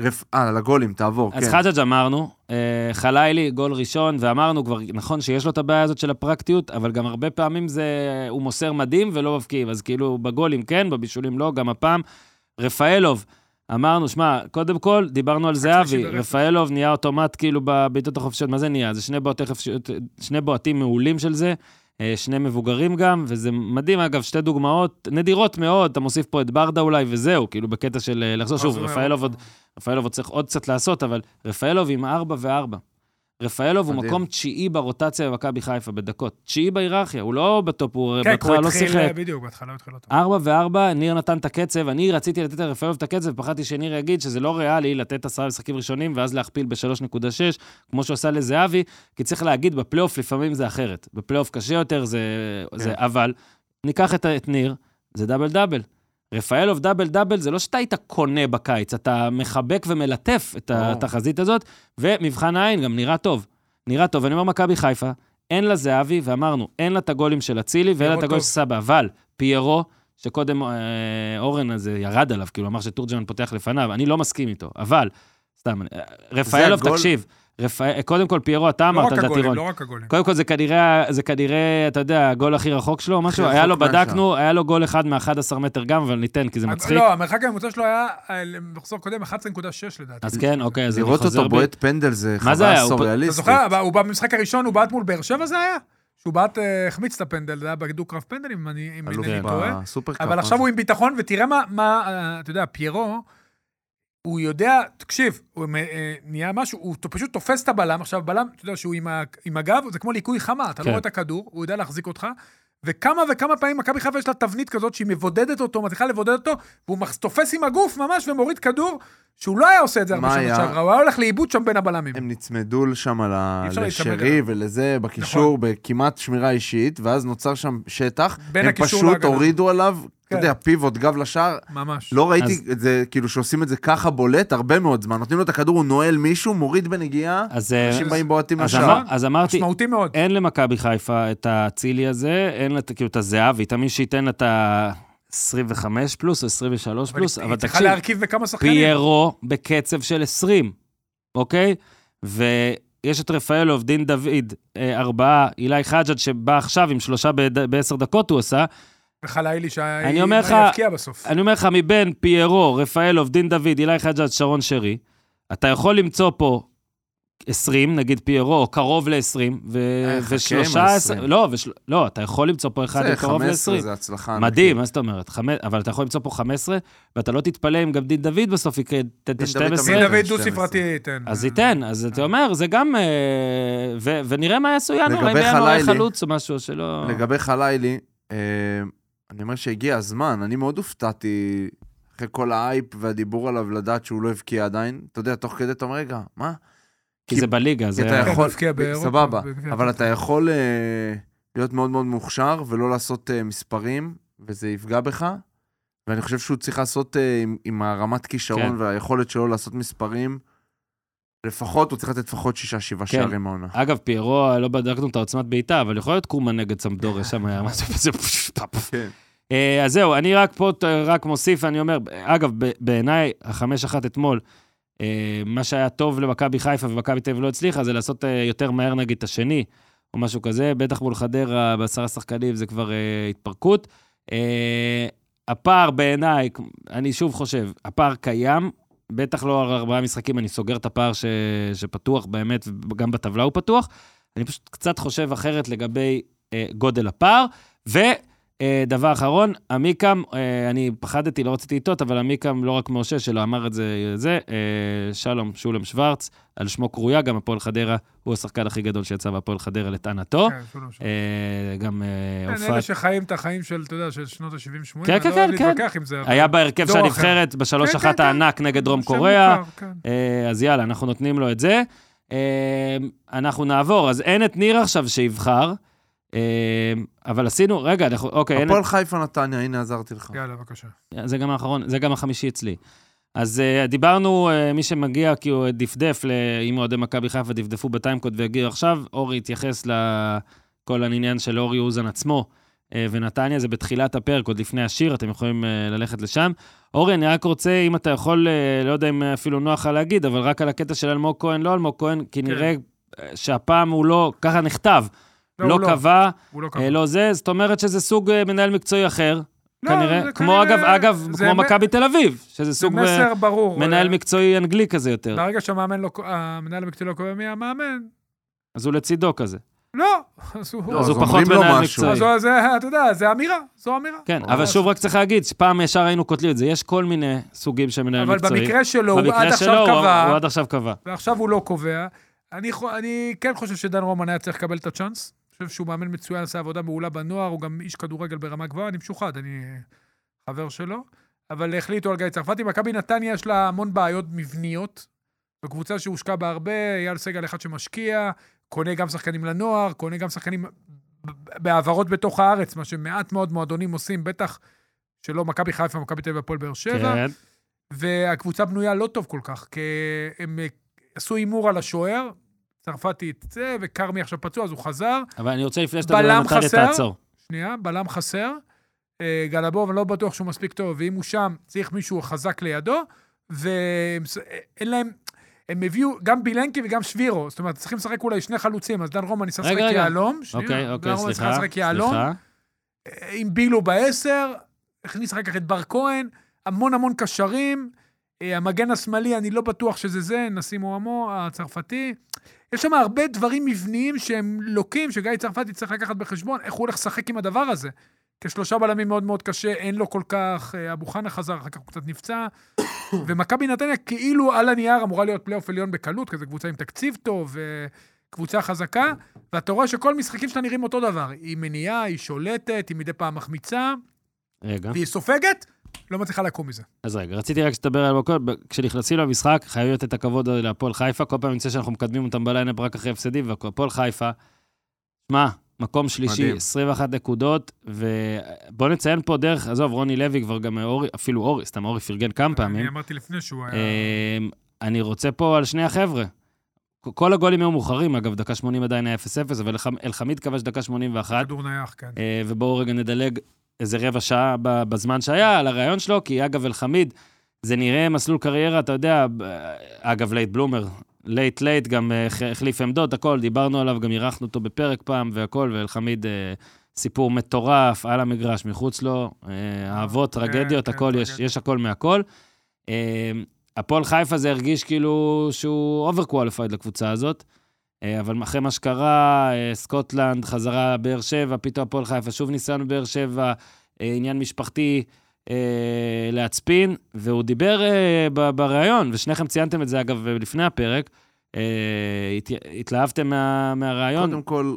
רפ- אה, לגולים, תעבור,
אז
כן.
חג'ג' אמרנו, אה, חלילי, גול ראשון, ואמרנו כבר, נכון שיש לו את הבעיה הזאת של הפרקטיות, אבל גם הרבה פעמים זה, הוא מוסר מדהים ולא מבקיעים, אז כאילו בגולים כן, בבישולים לא, גם הפעם. רפאלוב, אמרנו, שמע, קודם כל, דיברנו על
שלישי
זהבי,
ברצף.
רפאלוב נהיה אוטומט כאילו בבעיטות החופשיות, מה זה נהיה? זה שני, בועטי חופשיות, שני בועטים מעולים של זה, אה, שני מבוגרים גם, וזה מדהים, אגב, שתי דוגמאות נדירות מאוד, אתה מוסיף פה את ברדה אולי, וזהו, כאילו בקטע של אה, לחזור שוב,
אז אוקיי. הוא-
רפאלוב עוד... רפאלוב עוד צריך עוד קצת לעשות, אבל רפאלוב עם 4 ו-4. רפאלוב הוא
מדהים.
מקום תשיעי ברוטציה במכבי חיפה, בדקות. תשיעי בהיררכיה, הוא לא בטופ, הוא
כן, כי הוא
בהתחלה לא
התחיל,
שיחק.
בדיוק, בהתחלה הוא התחיל אותו.
4 ו-4, ניר נתן את הקצב, אני רציתי לתת לרפאלוב את הקצב, פחדתי שניר יגיד שזה לא ריאלי לתת עשרה משחקים ראשונים ואז להכפיל ב-3.6, כמו שעשה לזהבי, כי צריך להגיד, בפלייאוף לפעמים זה אחרת. בפלייאוף קשה יותר, זה...
כן.
זה אבל, ניקח את, את ניר, זה דאבל דאבל. רפאלוב דאבל דאבל זה לא שאתה היית קונה בקיץ, אתה מחבק ומלטף את
ברור.
התחזית הזאת, ומבחן העין גם נראה טוב. נראה טוב. אני אומר, מכבי חיפה, אין לה זהבי, ואמרנו, אין לה את הגולים של אצילי ואין לה את
פיירו
הגול
טוב.
של סבא, אבל פיירו, שקודם אה, אורן הזה ירד עליו, כאילו אמר שתורג'מן פותח לפניו, אני לא מסכים איתו, אבל, סתם, אה, רפאלוב,
הגול-
תקשיב, רפא... קודם כל פיירו, אתה
לא
אמרת
רק
את
הגולים,
הטירון.
לא רק הגולים.
קודם כל, זה כנראה, זה כנראה, אתה יודע, הגול הכי רחוק שלו, משהו,
הכי
היה לו,
רחוק מהשאר.
בדקנו, היה לו גול אחד מ-11 מטר גם, אבל ניתן, כי זה מצחיק.
לא, המרחק הממוצע שלו היה, אה, במחזור קודם, 11.6 לדעתי.
אז כן, אוקיי, אז אני
לראות
חוזר
אותו
בי.
בועט פנדל זה
מה זה היה?
חוויה
הוא פ-
אתה
סוריאליסטית.
זוכר, אבל הוא בא במשחק הראשון, הוא בעט מול באר שבע זה היה? שהוא בעט, אה, החמיץ את הפנדל, זה היה בדו-קרב פנדל, אם אני אם
אלוף
כן.
אינני טועה.
בסופרקאפ.
אבל עכשיו הוא עם ביטחון, ותראה מה- מה, אה, אתה יודע, פיירו, הוא יודע, תקשיב, הוא מ- אה, נהיה משהו, הוא ת- פשוט תופס את הבלם, עכשיו בלם, אתה יודע שהוא עם ה- עם הגב, זה כמו ליקוי חמה, אתה
כן.
לא רואה את הכדור, הוא יודע להחזיק אותך. וכמה וכמה פעמים מכבי חיפה יש לה תבנית כזאת שהיא מבודדת אותו, מצליחה לבודד אותו, והוא מח- תופס עם הגוף ממש ומוריד כדור, שהוא לא היה עושה את זה הרבה
מה
שנים
היה?
שעברה, הוא היה הולך לאיבוד שם בין הבלמים.
הם נצמדו שם על ה-
אי אפשר נכון. להיצמד
לשרי ולזה, בקישור, בכמעט שמירה אישית, ואז נוצר שם שטח.
בין
הם
הקישור
פשוט
להגנה.
הורידו עליו,
כן.
אתה יודע, פיבוט, גב לשער.
ממש.
לא ראיתי את זה, כאילו שעושים את זה ככה בולט הרבה מאוד זמן. נותנים לו את הכדור, הוא נועל מישהו, מוריד בנגיעה,
אז, אה,
אנשים באים בועטים
אז
לשער.
אמר- אז אמרתי,
משמעותי מאוד.
אין למכבי חיפה את האצילי הזה, אין לה את- כאילו את הזהבי, תמיד שייתן לה את ה-25 פלוס או 23
אבל
פלוס,
היא-
אבל
היא צריכה
תקשיב,
להרכיב בכמה
כן,
שחקנים.
פיירו בקצב של 20, אוקיי? ויש את רפאלוב, דין דוד, אה, ארבעה, אילי חג'ג' שבא עכשיו עם שלושה בד- בעשר דקות הוא עשה.
וחלילי שהיה...
אני אומר לך-
יבקיע בסוף.
אני אומר לך, מבין פיירו, רפאלוב, דין דוד, אילי חג'ג', שרון שרי, אתה יכול למצוא פה 20, נגיד פיירו, או קרוב ל-20, ו-
אה, חכה עם
ושלושה...
ה-20.
לא, ושל... לא, אתה יכול למצוא פה אחד
זה,
עם קרוב
15
ל-20.
זה הצלחה.
מדהים, מה זאת אומרת? חמ... אבל אתה יכול למצוא פה 15, ואתה לא תתפלא אם גם דין דוד בסוף יקרה את
דוד
ה-12.
דין
אה,
דוד
12.
דו-ספרתי כן. ייתן.
אז ייתן, אז אתה אומר, זה גם... אה, ו- ונראה מה יעשו ינואר,
לגבי
אם ינואר יהיה
חלילי-
חלוץ או משהו שלא...
לגבי חלילי, אה, אני אומר שהגיע הזמן, אני מאוד הופתעתי אחרי כל האייפ והדיבור עליו לדעת שהוא לא הבקיע עדיין. אתה יודע, תוך כדי אתה אומר, רגע, מה?
כי זה בליגה,
כי
זה...
אתה יכול,
הבקיע באירופה,
סבבה,
בגביע
אבל
הטוטו.
אתה יכול אה, להיות מאוד מאוד מוכשר ולא לעשות אה, מספרים, וזה יפגע בך. ואני חושב שהוא צריך לעשות אה, עם, עם הרמת כישרון
כן.
והיכולת שלו לעשות מספרים, לפחות, הוא צריך לתת לפחות שישה, שבעה
כן.
שערים העונה.
אגב, פיירו, לא בדקנו את העוצמת בעיטה, אבל יכול להיות קומה נגד סמדוריה שם היה משהו כזה, פש, פש, פש.
כן.
אה, אז זהו, אני רק פה ת- רק מוסיף, אני אומר, אגב, ב- בעיניי, החמש אחת אתמול, אה, מה שהיה טוב למכבי חיפה ומכבי תל אביב לא הצליחה, זה לעשות אה, יותר מהר נגיד את השני, או משהו כזה, בטח מול חדרה, בעשרה שחקנים זה כבר אה, התפרקות. אה, הפער בעיניי, אני שוב חושב, הפער קיים, בטח לא על ארבעה משחקים, אני סוגר את הפער ש... שפתוח באמת, גם בטבלה הוא פתוח. אני פשוט קצת חושב אחרת לגבי אה, גודל הפער. ודבר אחרון, עמיקם, אה, אני פחדתי, לא רציתי לטעות, אבל עמיקם לא רק מאושש, אלא אמר את זה, זה אה, שלום שולם שוורץ, על שמו קרויה, גם הפועל חדרה, הוא השחקן הכי גדול שיצא בהפועל חדרה לטענתו.
כן, שולם,
לא?
שולם.
אה, גם אה,
כן,
הופעת
אלה שחיים את החיים של, אתה יודע, של שנות ה-70-80,
כן,
אני
כן,
לא אוהב
כן,
להתווכח עם זה. אבל
היה בהרכב של
דור אחר.
הנבחרת בשלוש
כן,
אחת
כן,
הענק נגד דרום
שם
קוריאה.
מוכר, כן.
אה, אז יאללה, אנחנו נותנים לו את זה. אה, אנחנו נעבור, אז אין את ניר עכשיו שיבחר, אה, אבל עשינו, רגע, אנחנו, אוקיי, אין
הפועל חיפה נתניה, הנה עזרתי לך.
לא.
יאללה, בבקשה.
את, זה גם האחרון, זה גם החמישי אצלי. אז אה, דיברנו, אה, מי שמגיע כי הוא דפדף, ל- אם אוהדי מכבי חיפה דפדפו בטיימקוד והגיעו עכשיו, אורי התייחס לכל העניין של אורי אוזן עצמו אה, ונתניה, זה בתחילת הפרק, עוד לפני השיר, אתם יכולים אה, ללכת לשם. אורי, אני רק רוצה, אם אתה יכול, אה, לא יודע אם אפילו נוח לך להגיד, אבל רק על הקטע של אלמוג כהן, לא אלמוג כהן, כי
כן.
נראה אה, שהפעם הוא לא, ככה נכתב,
לא,
לא
הוא לא.
קבע,
הוא לא קבע.
אה, לא זה, זאת אומרת שזה סוג אה, מנהל מקצועי אחר.
לא,
כנראה,
זה
כמו אגב,
כנראה-
אגב,
זה
כמו
מ-
מכבי תל אביב, שזה
זה
סוג מ-
מסר ברור.
מנהל
אה,
מקצועי אנגלי כזה יותר,
ברגע שהמאמן לא, המנהל המקצועי לא קובע מי המאמן,
אז הוא לצידו כזה.
לא, אז הוא...
לא,
אז הוא פחות
אומרים לו
מנהל
משהו.
מקצועי.
אז זו- זה, אתה יודע, זה אמירה, זו אמירה.
כן,
או,
אבל
אז-
שוב, רק צריך להגיד, שפעם ישר היינו קוטלים את זה, יש כל מיני סוגים של מנהל
אבל
מקצועי.
במקרה שלו, הוא עד עכשיו
שלו, הוא-
קבע,
הוא עד עכשיו קבע.
ועכשיו הוא לא קובע. אני, חו- אני כן חושב שדן רומן היה צריך לקבל את הצ'אנס. אני חושב שהוא מאמן מצוין, עשה עבודה מעולה בנוער, הוא גם איש כדורגל ברמה גבוהה, אני משוחד, אני אה, חבר שלו. אבל החליטו על גיא צרפתי. מכבי נתניה יש לה המון בעיות מבניות. זו קבוצה שהושקע בה הרבה, אייל סגל אחד שמשקיע, קונה גם שחקנים לנוער, קונה גם שחקנים ב- בהעברות בתוך הארץ, מה שמעט מאוד מועדונים עושים, בטח שלא מכבי חיפה, מכבי תל אביב, הפועל באר שבע.
כן,
והקבוצה בנויה לא טוב כל כך, כי הם אה, עשו הימור על השוער, צרפתי יצא, וכרמי עכשיו פצוע, אז הוא חזר.
אבל אני רוצה לפני שאתה
בלם
מדבר, נתניה,
חסר?
תעצור.
שנייה, בלם חסר. אה, גלבוב, אני לא בטוח שהוא מספיק טוב, ואם הוא שם, צריך מישהו חזק לידו, ואין להם... הם הביאו גם בילנקי וגם שבירו, זאת אומרת, צריכים לשחק אולי שני חלוצים, אז דן רומן ניסה
רגע,
לשחק
רגע.
יהלום. שנייה,
אוקיי,
דן
אוקיי,
רומן
סליחה,
ניסה לשחק יהלום,
סליחה.
עם בילו בעשר, הכניס אחר כך את בר כהן, המון המון קשרים. אה, המגן השמאלי, אני לא בטוח שזה זה, נסים מועמו הצרפתי. יש שם הרבה דברים מבניים שהם לוקים, שגיא צרפתי צריך לקחת בחשבון, איך הוא הולך לשחק עם הדבר הזה. כשלושה בלמים מאוד מאוד קשה, אין לו כל כך, אה, אבו חנה חזר, אחר כך הוא קצת נפצע. ומכבי נתניה כאילו על הנייר אמורה להיות פלייאוף עליון בקלות, כזה קבוצה עם תקציב טוב, אה, קבוצה חזקה, ואתה רואה שכל משחקים שלה נראים אותו דבר. היא מניעה, היא שולטת, היא מדי פעם מחמיצה,
אה?
רגע.
והיא סופגת, לא מצליחה לקום מזה.
אז רגע, רציתי רק שתדבר על הכל, ב- כשנכנסים למשחק, חייבים לתת את הכבוד להפועל חיפה, כל פעם יוצא שאנחנו מקדמים אותם בליינאפ רק אחרי הפסדים, והפועל חיפה, שמע, מקום שלישי,
מדהים.
21 נקודות, ובוא נציין פה דרך, עזוב, רוני לוי כבר גם אה, אורי, אפילו אורי, סתם אורי פרגן כמה
אני
פעמים.
אמרתי לפני שהוא היה...
אה,
אמ, אני רוצה פה על שני החבר'ה. כ- כל הגולים היו מאוחרים, אגב, דקה 80 עדיין היה 0-0, אבל אלחמ- אלחמיד כבש דקה 81.
כדור נייח, כן.
אה, ובואו רגע נדלג איזה רבע שעה ב- בזמן שהיה על הרעיון שלו, כי אגב, אלחמיד, זה נראה מסלול קריירה, אתה יודע, ב- אגב, לייט בלומר, לייט לייט גם אה, ח- החליף עמדות, הכל, דיברנו עליו, גם אירחנו אותו בפרק פעם והכל, ואלחמיד, אה, סיפור מטורף, על המגרש, מחוץ לו, אה, אהבות,
כן,
טרגדיות,
כן,
הכל, יש,
טרגדיות.
יש הכל מהכל. אה, הפועל חיפה זה הרגיש כאילו שהוא אובר קואליפייד לקבוצה הזאת. אה, אבל אחרי מה שקרה, אה, סקוטלנד, חזרה באר שבע, פתאום הפועל חיפה, שוב ניסיון באר שבע, אה, עניין משפחתי אה, להצפין, והוא דיבר אה, ב- בריאיון, ושניכם ציינתם את זה, אגב, אה, לפני הפרק, אה, הת- התלהבתם מה, מהריאיון,
קודם אה, כל,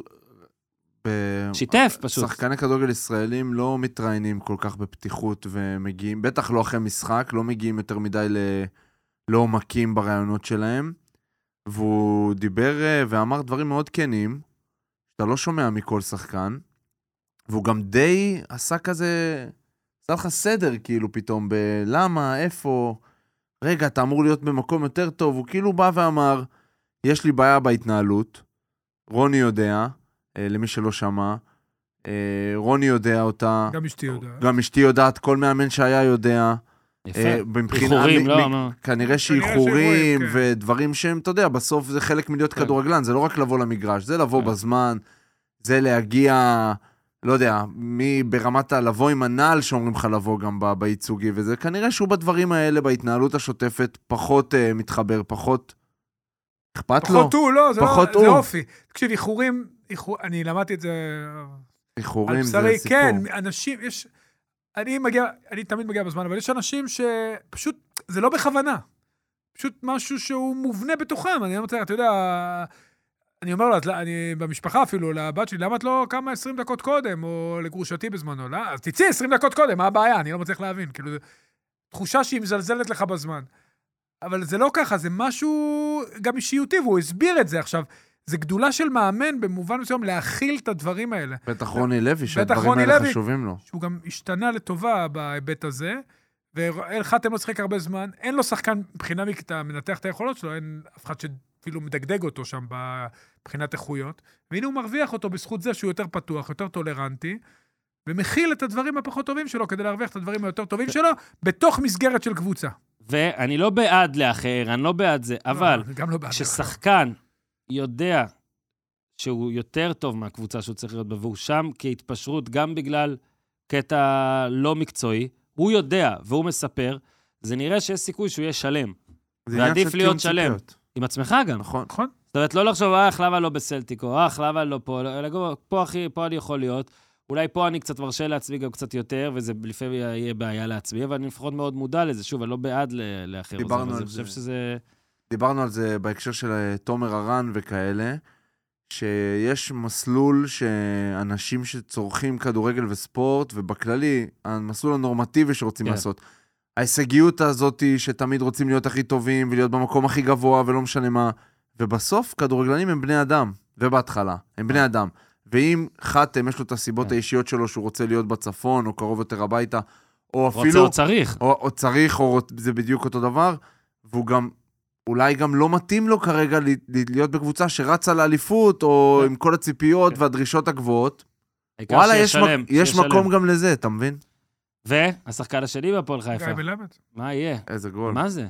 ב-
שיתף פשוט.
שחקני כדורגל ישראלים לא מתראיינים כל כך בפתיחות ומגיעים, בטח לא אחרי משחק, לא מגיעים יותר מדי ל... לעומקים ברעיונות שלהם. והוא דיבר אה, ואמר דברים מאוד כנים, שאתה לא שומע מכל שחקן, והוא גם די עשה כזה, נתן לך סדר כאילו פתאום, בלמה, איפה, רגע, אתה אמור להיות במקום יותר טוב. הוא כאילו בא ואמר, יש לי בעיה בהתנהלות, רוני יודע, אה, למי שלא שמע, אה, רוני יודע אותה,
גם אשתי יודעת.
גם אשתי יודעת, כל מאמן שהיה יודע.
יפה.
אה, מבחינה-
איחורים,
מ-
לא,
מ-
לא.
כנראה
שאיחורים,
שאיחורים
כן.
ודברים שהם, אתה יודע, בסוף זה חלק מלהיות
כן.
כדורגלן, זה לא רק לבוא למגרש, זה לבוא
כן.
בזמן, זה להגיע, לא יודע, מברמת הלבוא עם הנעל שאומרים לך לבוא גם ב- בייצוגי וזה, כנראה שהוא בדברים האלה, בהתנהלות השוטפת, פחות אה, מתחבר, פחות אכפת לו,
פחות הוא, לא, זה
פחות
לא-
הוא.
זה אופי. תקשיב, איחורים, איחור- אני למדתי את זה על
איחורים זה
בשרי.
סיפור.
כן, אנשים, יש... אני מגיע, אני תמיד מגיע בזמן, אבל יש אנשים שפשוט, זה לא בכוונה. פשוט משהו שהוא מובנה בתוכם. אני אומר, אתה יודע, אני אומר לו, את לא- אני במשפחה אפילו, לבת שלי, למה את לא קמה 20 דקות קודם, או לגרושתי בזמנו? לא, אז תצאי 20 דקות קודם, מה הבעיה? אני לא מצליח להבין. כאילו, זו תחושה שהיא מזלזלת לך בזמן. אבל זה לא ככה, זה משהו גם אישיותי, והוא הסביר את זה עכשיו. זה גדולה של מאמן במובן מסוים להכיל את הדברים האלה.
בטח רוני לוי, שהדברים
רוני
האלה
לוי.
חשובים לו.
שהוא גם השתנה לטובה בהיבט הזה. ואל חתם לא שיחק הרבה זמן, אין לו שחקן מבחינה מק- אתה מנתח את היכולות שלו, אין אף אחד שאפילו מדגדג אותו שם ב- מבחינת איכויות. והנה הוא מרוויח אותו בזכות זה שהוא יותר פתוח, יותר טולרנטי, ומכיל את הדברים הפחות טובים שלו כדי להרוויח את הדברים היותר טובים שלו, בתוך מסגרת של קבוצה.
ואני לא בעד לאחר, אני לא בעד זה, אבל
לא, אני גם לא בעד.
כששחקן יודע שהוא יותר טוב מהקבוצה שהוא צריך להיות בה, והוא שם כהתפשרות גם בגלל קטע לא מקצועי, הוא יודע והוא מספר, זה נראה שיש סיכוי שהוא יהיה שלם.
זה עניין
ועדיף
של
להיות
תיאום
שלם.
ציפיות.
עם עצמך גם.
נכון.
נכון?
זאת אומרת, לא לחשוב, אה, למה לא בסלטיק, או אה, למה לא פה, אלא גם, פה, אחי, פה אני יכול להיות. אולי פה אני קצת מרשה לעצמי גם קצת יותר, וזה לפעמים יהיה בעיה לעצמי, אבל אני לפחות מאוד מודע לזה. שוב, אני לא בעד ל- לאחר את זה,
דיברנו
אבל
על
אני חושב
זה.
שזה...
דיברנו על זה בהקשר של אה, תומר הרן וכאלה, שיש מסלול שאנשים שצורכים כדורגל וספורט, ובכללי, המסלול הנורמטיבי שרוצים
כן.
כן. לעשות. ההישגיות הזאת היא שתמיד רוצים להיות הכי טובים ולהיות במקום הכי גבוה ולא משנה מה, ובסוף כדורגלנים הם בני אדם, ובהתחלה, הם בני אדם. ואם חתם, יש לו את הסיבות
כן.
האישיות שלו שהוא רוצה להיות בצפון, או קרוב יותר הביתה, או
רוצה
אפילו...
או צריך.
או, או צריך, או רוצ- זה בדיוק אותו דבר, והוא גם, אולי גם לא מתאים לו כרגע ל- ל- להיות בקבוצה שרצה לאליפות, או
כן.
עם כל הציפיות
כן.
והדרישות הגבוהות.
העיקר
וואלה,
שיהיה
יש, מק-
שלם,
יש
שיהיה
מקום
שלם.
גם לזה, אתה מבין?
והשחקן השני בהפועל חיפה,
גיא מלמד,
מה יהיה?
איזה גול.
מה זה?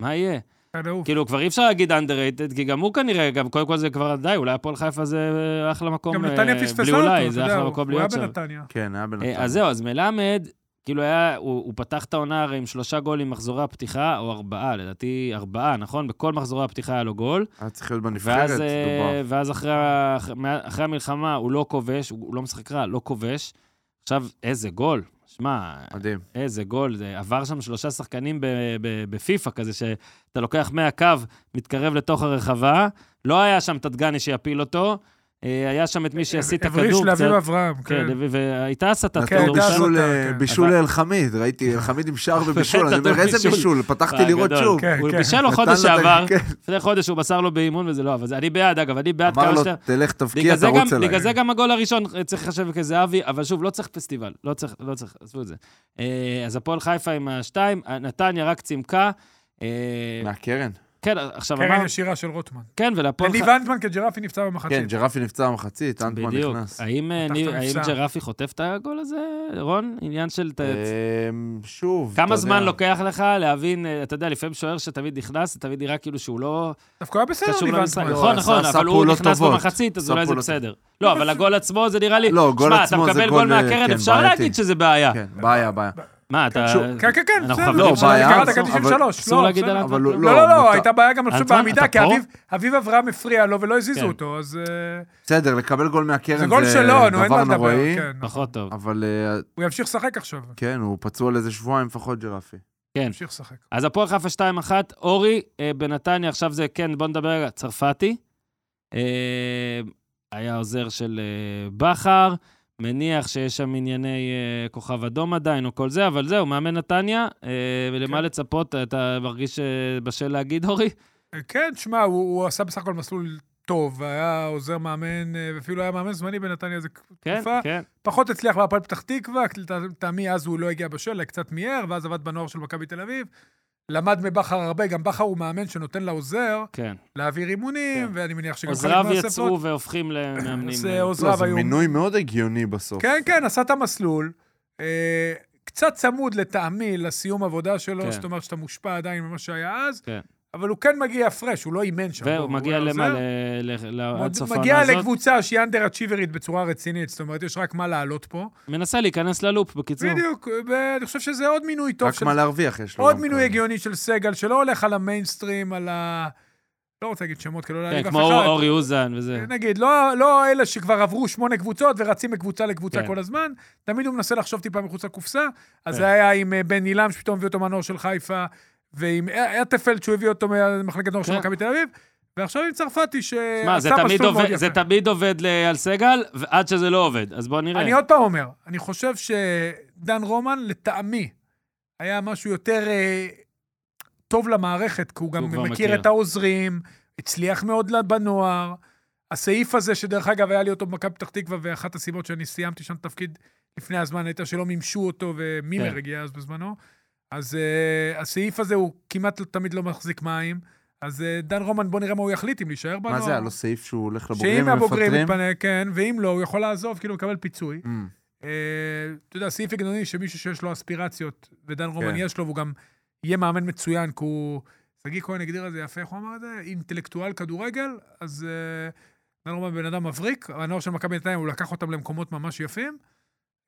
מה יהיה?
כאן אהוב.
כאילו, כבר אי אפשר להגיד underrated, כי גם הוא כנראה, גם קודם כל זה כבר, די, אולי הפועל חיפה זה אה, אחלה מקום,
גם
אה,
נתניה
בלי
פספסה
אולי,
אותו,
זה
אתה יודע,
אחלה
הוא
מקום
הוא היה
להיות שם.
בנתניה.
כן, היה
אה,
בנתניה.
אז זהו, אז מלמד, כאילו היה, הוא, הוא פתח את העונה הרי עם שלושה גולים במחזורי הפתיחה, או ארבעה, לדעתי ארבעה, נכון? בכל מחזורי הפתיחה היה לו גול.
היה צריך להיות בנבחרת,
ואז, אה,
דובר.
ואז אחרי, אח- מה- אחרי המלחמה הוא לא כובש, הוא, הוא לא משחק רע, לא כובש. עכשיו, איזה גול. שמע,
מדהים.
איזה גול, זה עבר שם שלושה שחקנים ב- ב- בפיפ"א כזה, שאתה לוקח מהקו, מתקרב לתוך הרחבה, לא היה שם את הדגני שיפיל אותו, אה, היה שם את מי שהסיט את
הבריש
הכדור
לאביב
קצת.
אברהם,
כן,
כן.
ו- והייתה הסטת
כן,
כדור
נתנו
הייתה
שם.
בישול,
הסתה,
אה,
כן.
בישול
אבל-
לאלחמיד, ראיתי אלחמיד עם שער ובישול,
באמת
אני אומר,
נתנו
איזה
בישול. אה,
בישול, פתחתי לראות
הגדול.
שוב.
כן,
הוא
כן.
בישל לו
נתן
חודש
לו את ה-
שעבר,
כן.
לפני חודש הוא מסר לו באימון וזה לא, אבל זה- אני בעד, אגב, אני בעד
אמר
כמה
לו,
שיותר.
תלך, תבקיע,
בגלל זה גם-
תרוץ אליי.
בגלל זה גם הגול הראשון אה, צריך לחשב כזהבי, אבל שוב, לא צריך פסטיבל, לא צריך, לא צריך, עזבו את זה. אה, אז הפועל חיפה עם השתיים, אה, נתניה רק צימקה. אה,
מהקרן.
כן, עכשיו אמר,
קרן ישירה של רוטמן.
כן, ולהפועל
לניב
חיפה...
אנטמן כג'רפי נפצע
כן,
במחצית.
ג'רפי נפצע במחצית, אנטמן
בדיוק.
נכנס.
האם אה,
פתח
ניב-
את המפסע.
האם ג'רפי חוטף את הגול הזה, רון? עניין של... ת-
אמ, שוב, אתה
כמה זמן
יודע.
לוקח לך להבין, אה, אתה יודע, לפעמים שוער שתמיד נכנס, זה תמיד נראה כאילו שהוא לא...
דווקא היה בסדר,
קשור
ניב
למשחק.
אנטמן.
נכון,
עשה-
נכון,
עשה
אבל הוא
פעולות
נכנס
טובות.
במחצית, אז
עשה
אולי זה
פעולות-
בסדר. לא, אבל הגול עצמו זה נראה לי...
לא, גול עצמו
שמע,
זה
אתה מקבל
גול,
גול
אה,
מהקרן,
כן,
אפשר
בעייתי.
להגיד שזה בעיה.
כן, בעיה, בעיה.
מה, אתה...
שוב,
כן, כן, כן,
אנחנו
בסדר.
חברים
לא,
שלנו,
בעיה.
קראת
קראת
כרטיס
כרטיסים
אבל-
שלוש,
אסור
לא,
להגיד
בסדר.
עליו.
אבל הוא-
לא, לא, לא,
מותר.
הייתה בעיה גם, אני חושב,
אנטואן,
בעמידה,
אתה
כי
פה?
אביב- אביב אברהם הפריע לו ולא הזיזו
כן. אה,
אותו, אז... אה,
בסדר, לקבל גול מהקרן
זה
זה
גול שלו, נו, אין מה
דבר
לדבר.
נוראי,
כן.
פחות טוב.
אבל אה,
הוא ימשיך לשחק עכשיו.
כן, הוא פצוע לאיזה שבועיים לפחות, ג'רפי.
ימשיך לשחק.
אז הפועל חיפה 2-1, אורי אה, בנתניה, עכשיו זה, כן, בוא נדבר רגע, צרפתי. אה, היה עוזר של אה, בכר, מניח שיש שם ענייני אה, כוכב אדום עדיין או כל זה, אבל זהו, מאמן נתניה, אה, ולמה
כן.
לצפות, אתה מרגיש אה, בשל להגיד, אורי?
אה, כן, תשמע, הוא הוא עשה בסך הכל מסלול טוב, היה עוזר מאמן, אה, ואפילו היה מאמן זמני בנתניה איזה
כן,
תקופה.
כן.
פחות הצליח בהפועל פתח תקווה, לטעמי אז הוא לא הגיע בשל, קצת מיהר, ואז עבד בנוער של מכבי תל אביב. למד מבכר הרבה, גם בכר הוא מאמן שנותן לעוזר
כן.
להעביר אימונים,
כן.
ואני מניח שגם
עוזריו יצאו והופכים למאמנים.
זה
אה,
עוז-
לא,
עוזריו
זה
היו-
מינוי מאוד הגיוני בסוף.
כן, כן, עשה את המסלול. אה, קצת צמוד לטעמי לסיום עבודה שלו,
כן.
זאת אומרת שאתה מושפע עדיין ממה שהיה אז,
כן.
אבל הוא כן מגיע פרש, הוא לא אימן שם.
והוא
הוא-
מגיע
הוא היה
למה?
עוזר.
ל- ל- ל- עד
מוד-
סוף העונה
מגיע
הזאת?
לקבוצה שהיא אנדר אצ'יברית בצורה רצינית, זאת אומרת, יש רק מה לעלות פה.
מנסה להיכנס ללופ, בקיצור.
בדיוק, ואני חושב שזה עוד מינוי טוב
רק
של
מה להרוויח יש לו.
עוד
גם
מינוי
כאלה.
הגיוני של סגל, שלא הולך על המיינסטרים, על ה... לא רוצה להגיד שמות, כי לא להגיד
כן,
אף
כמו
אחד.
אור- אורי אוזן וזה.
נגיד, לא, לא אלה שכבר עברו שמונה קבוצות ורצים מקבוצה לקבוצה
כן.
כל הזמן, תמיד הוא מנסה לחשוב טיפה מחוץ לקופסה. אז
כן.
זה היה עם אה, בן עילם, שפתאום הביא אותו מהנוער של חיפה, ועם אה, אטפלד, שהוא הביא אותו ממחלקת נוער של
כן.
מכבי תל אביב, ועכשיו עם צרפתי,
שמע, זה
שעשה
תמיד
מסלול מאוד
עובד-
יפה.
זה תמיד עובד ל- על סגל, עד שזה לא עובד. אז בואו נראה.
אני עוד פעם אומר, אני חושב שדן רומן, לטעמי, היה משהו יותר אה, טוב למערכת, כי הוא גם
הוא כבר
מכיר,
מכיר.
מכיר את העוזרים, הצליח מאוד ל- בנוער. הסעיף הזה, שדרך אגב, היה לי אותו במכבי פתח תקווה, ואחת הסיבות שאני סיימתי שם תפקיד לפני הזמן הייתה שלא מימשו אותו, ומימר
כן.
הגיע אז בזמנו. אז אה, הסעיף הזה הוא כמעט לא- תמיד לא מחזיק מים. אז אה, דן רומן, בוא נראה מה הוא יחליט, אם להישאר בנוער.
מה זה, היה לו סעיף שהוא הולך לבוגרים
שאם הבוגרים
ומפטרים?
יתפנה, כן, ואם לא, הוא יכול לעזוב, כאילו, לקבל פיצוי.
Mm.
אה, אתה יודע, סעיף הגיוני שמישהו שיש לו אספירציות, ודן רומן
כן.
יש לו, והוא גם יהיה מאמן מצוין, כי הוא... שגיא כהן הגדיר את זה יפה, איך הוא אמר את זה? אינטלקטואל כדורגל, אז אה, דן רומן בן אדם מבריק, הנוער של מכבי נתניה, הוא לקח אותם למקומות ממש יפים.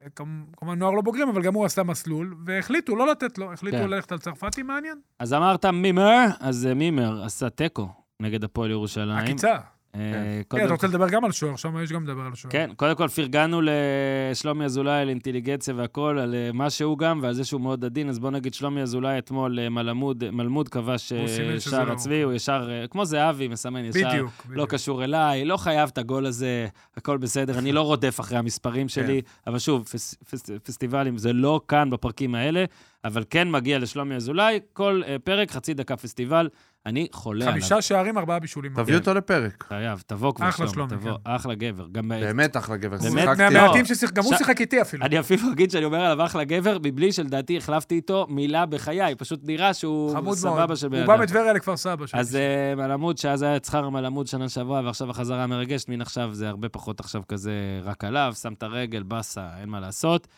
אה, כמ- כמובן נוער לא בוגרים, אבל גם הוא עשה מסלול, והחליטו לא לתת לו, החליטו
כן.
ללכת על צרפתי, מעניין.
אז אמרת מימר, אז אה, מימר עשה תיקו נגד הפועל ירושלים.
עקיצה.
אה,
כן.
קודם
כן, אתה רוצה לדבר גם על שוער, שם יש גם לדבר על שוער.
כן, קודם כל פרגנו לשלומי אזולאי על אינטליגנציה והכול, על אה, מה שהוא גם ועל זה שהוא מאוד עדין, אז בוא נגיד שלומי אזולאי אתמול, אה, מלמוד, מלמוד כבש אה,
הוא סימן שזה
שער
לא.
עצמי, הוא ישר, אה, כמו זהבי, מסמן ישר,
בדיוק,
לא
בדיוק.
קשור אליי, לא חייב את הגול הזה, הכל בסדר, אני לא רודף אחרי
כן.
המספרים שלי, אבל שוב, פס, פס, פסטיבלים זה לא כאן בפרקים האלה, אבל כן מגיע לשלומי אזולאי, כל אה, פרק, חצי דקה פסטיבל, אני חולה עליו.
חמישה שערים, ארבעה בישולים.
כן.
תביא אותו לפרק.
חייב, תבוא כבר
אחלה
שלומי,
שלומי, כן.
תבוא, אחלה גבר. גם
באמת אחלה גבר.
כן. באמת, לא.
שיחקתי.
מהמעטים ששיחק, גם הוא
ש-
שיחק איתי אפילו.
אני אפילו אגיד שאני אומר עליו אחלה גבר, מבלי שלדעתי החלפתי איתו מילה בחיי, פשוט נראה שהוא
חמוד
סבבה
מאוד.
של
הוא
בן
בא
אדם.
מטבריה לכפר סבא. שם.
אז אה, מלמוד, שאז היה את שכר מלמוד שנה שעברה, ועכשיו החזרה המרגשת, מן עכשיו זה הרבה פחות עכשיו כזה רק עליו, שם את הרגל, באסה, אין מה לעשות.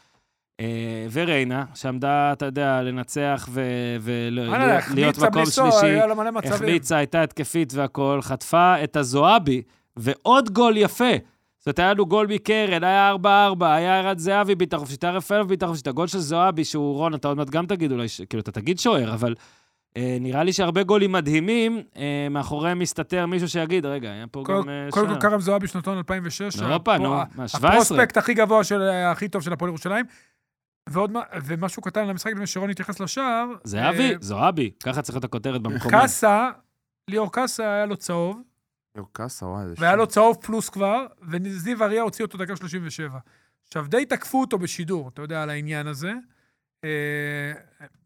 אה, וריינה, שעמדה, אתה יודע, לנצח
וואלה,
ולהיות
החמיצה
אה, מקום
בלי סוהר,
שלישי.
היה לה מלא מצבים.
החמיצה, הייתה התקפית והכול, חטפה את הזועבי, ועוד גול יפה. זאת אומרת, היה לנו גול מקרן, היה 4-4, היה ערד זהבי בעיטה חופשית, היה רפאלוב בעיטה חופשית, הגול של זועבי, שהוא, רון, אתה עוד מעט גם תגיד אולי, ש- כאילו, אתה תגיד שוער, אבל אה, נראה לי שהרבה גולים מדהימים, אה, מאחוריהם מסתתר מישהו שיגיד, רגע, היה פה
קודם
גם אה,
קודם כל
שער.
כרם זועבי שנתון 2006.
נו, הופה, נו,
הפרו-
מה, 17?
הפרוספקט הכי גבוה, של- אה, הכי טוב של הפועל ירושלים. ועוד מה- ומשהו קטן על המשחק לפני שרון התייחס לשער.
זהבי,
אה,
זועבי, ככה צריכה להיות הכותרת במקומה.
קאסה, ליאור קאסה היה לו צהוב,
יו, קאסה, וואי, זה
והיה
שם.
לו צהוב פלוס כבר, וזיו אריה הוציא אותו דקה 37. עכשיו, די תקפו אותו בשידור, אתה יודע, על העניין הזה. אה,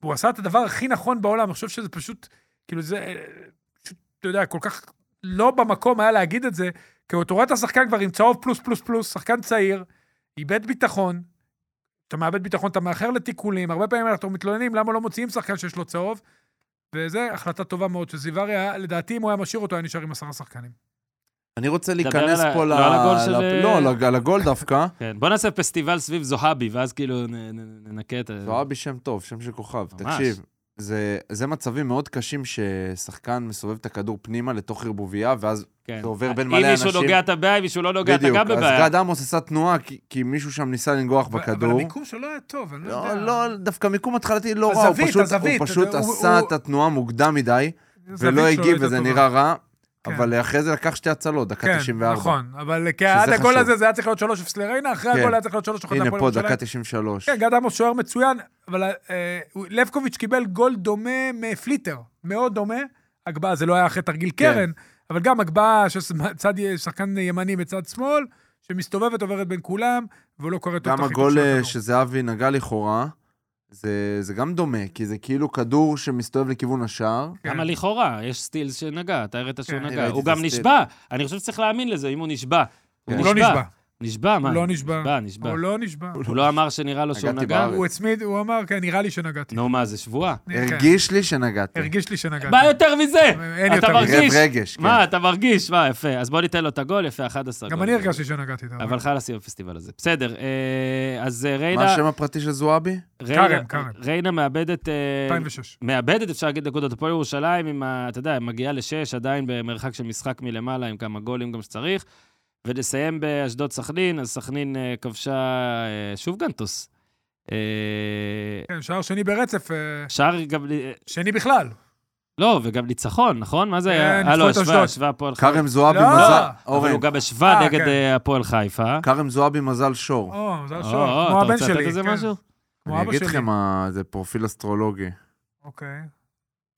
הוא עשה את הדבר הכי נכון בעולם, אני חושב שזה פשוט, כאילו זה, אה, פשוט, אתה יודע, כל כך לא במקום היה להגיד את זה, כי אתה רואה את השחקן כבר עם צהוב פלוס פלוס פלוס, שחקן צעיר, איבד ביטחון, אתה מאבד ביטחון, אתה מאחר לתיקולים, הרבה פעמים אנחנו מתלוננים למה לא מוציאים שחקן שיש לו צהוב, וזה החלטה טובה מאוד של זיווריה, לדעתי אם הוא היה משאיר אותו, היה נשאר עם עשרה שחקנים.
אני רוצה
דבר
להיכנס
על ה-
פה ל...
לא על הגול של,
לפ-
אה,
לא, לג- על הגול דווקא.
כן, בוא נעשה פסטיבל סביב זועבי, ואז כאילו נ- נ- ננקה את ה...
זועבי שם טוב, שם של כוכב.
ממש.
תקשיב, זה, זה מצבים מאוד קשים ששחקן מסובב את הכדור פנימה לתוך ערבוביה, ואז
לא,
כן.
זה עובר בין מלא
אם מישהו
אנשים.
נוגע אתה בבעיה, אם מישהו לא נוגע אתה
בדיוק.
גם
אז
בבעיה.
גד עמוס עשה תנועה כי, כי מישהו שם ניסה לנגוח
אבל
בכדור.
המיקום שלו היה טוב, אני לא
לא,
יודע.
לא, דווקא מיקום התחלתי לא רע, הוא
הזווית,
פשוט,
הזווית,
הוא פשוט
הוא-
עשה
הוא-
את התנועה מוקדם מדי,
הזווית
ולא
שלו
הגיב,
הייתה
וזה
טובה.
נראה רע,
כן.
אבל אחרי זה לקח שתי הצלות, דקה
כן,
94.
נכון, אבל כי עד
חשוב.
הגול הזה זה היה צריך להיות 3-0 לריינה, אחרי
כן.
הגול היה צריך להיות 3-1
הנה
להפועל
פה,
נכון, ירושלים.
דקה 93.
כן, גד עמוס שוער מצוין, אבל אה, הוא- לבקוביץ' קיבל גול דומה מפליטר, מאוד דומה. הגבהה, זה לא היה אחרי תרגיל
כן.
קרן, אבל גם הגבהה של צד י- שחקן ימני בצד שמאל, שמסתובבת, עוברת בין כולם, והוא לא קורא טוב את
גם
החיתוך
הגול
של
אה,
הכדור.
שזהבי נגע לכאורה, זה, זה גם דומה, כי זה כאילו כדור שמסתובב לכיוון השער.
כן.
למה לכאורה? יש סטילס שנגע, אתה הראית שהוא
כן,
אני
נגע.
ראיתי
הוא
את
גם
הסטילס. כן.
נשבע. אני חושב שצריך להאמין לזה, אם הוא נשבע.
הוא לא נשבע.
נשבע, מה?
הוא לא נשבע.
נשבע, נשבע.
הוא לא נשבע.
הוא לא אמר שנראה לו שהוא
נגעתי
נגע?
בארץ.
הוא הצמיד, הוא אמר, כן, נראה לי שנגעתי.
נו, מה, זה שבועה?
כן.
הרגיש לי שנגעתי.
הרגיש לי שנגעתי.
מה יותר מזה?
כן. אין
אתה
יותר
מרגיש?
מזה.
רד רגש, כן.
מה, אתה מרגיש? מה, יפה. אז בוא ניתן לו את הגול, יפה, 11
גם
גול.
אני הרגשתי שנגעתי. אתה רואה.
אבל חלאס עם הפסטיבל הזה. בסדר, אה, אז אה,
מה
ריינה...
השם הפרטי של זועבי?
ריינה-
קארם, קארם.
ריינה מאבדת... אה,
2006.
מאבדת, אפשר להגיד, נקודות. הפועל ירושלים, עם ה- אתה יודע, היא מגיעה לשש, עדיין במרחק של משחק מלמעלה, עם כמה גולים גם שצריך. ונסיים באשדוד סכנין, אז סכנין אה, כבשה אה, שוב גנטוס. אה,
כן, שער שני ברצף, אה,
שער גם... אה,
שני בכלל.
לא, וגם ניצחון, נכון? מה זה
כן,
היה?
ניצחו
אה, לא,
את
השווה,
אשדוד.
השווה הפועל חיפה.
כרם זועבי
לא!
מזל...
אבל
אורן,
הוא גם השווה
אה,
נגד
כן.
אה, הפועל חיפה.
כרם זועבי מזל שור.
או, מזל
או,
שור.
או,
כמו הבן
אתה
שלי.
רוצה לתת איזה
כן.
משהו?
כמו
אני
אה, אבא
אגיד
שלי.
לכם מה, זה פרופיל אסטרולוגי.
אוקיי.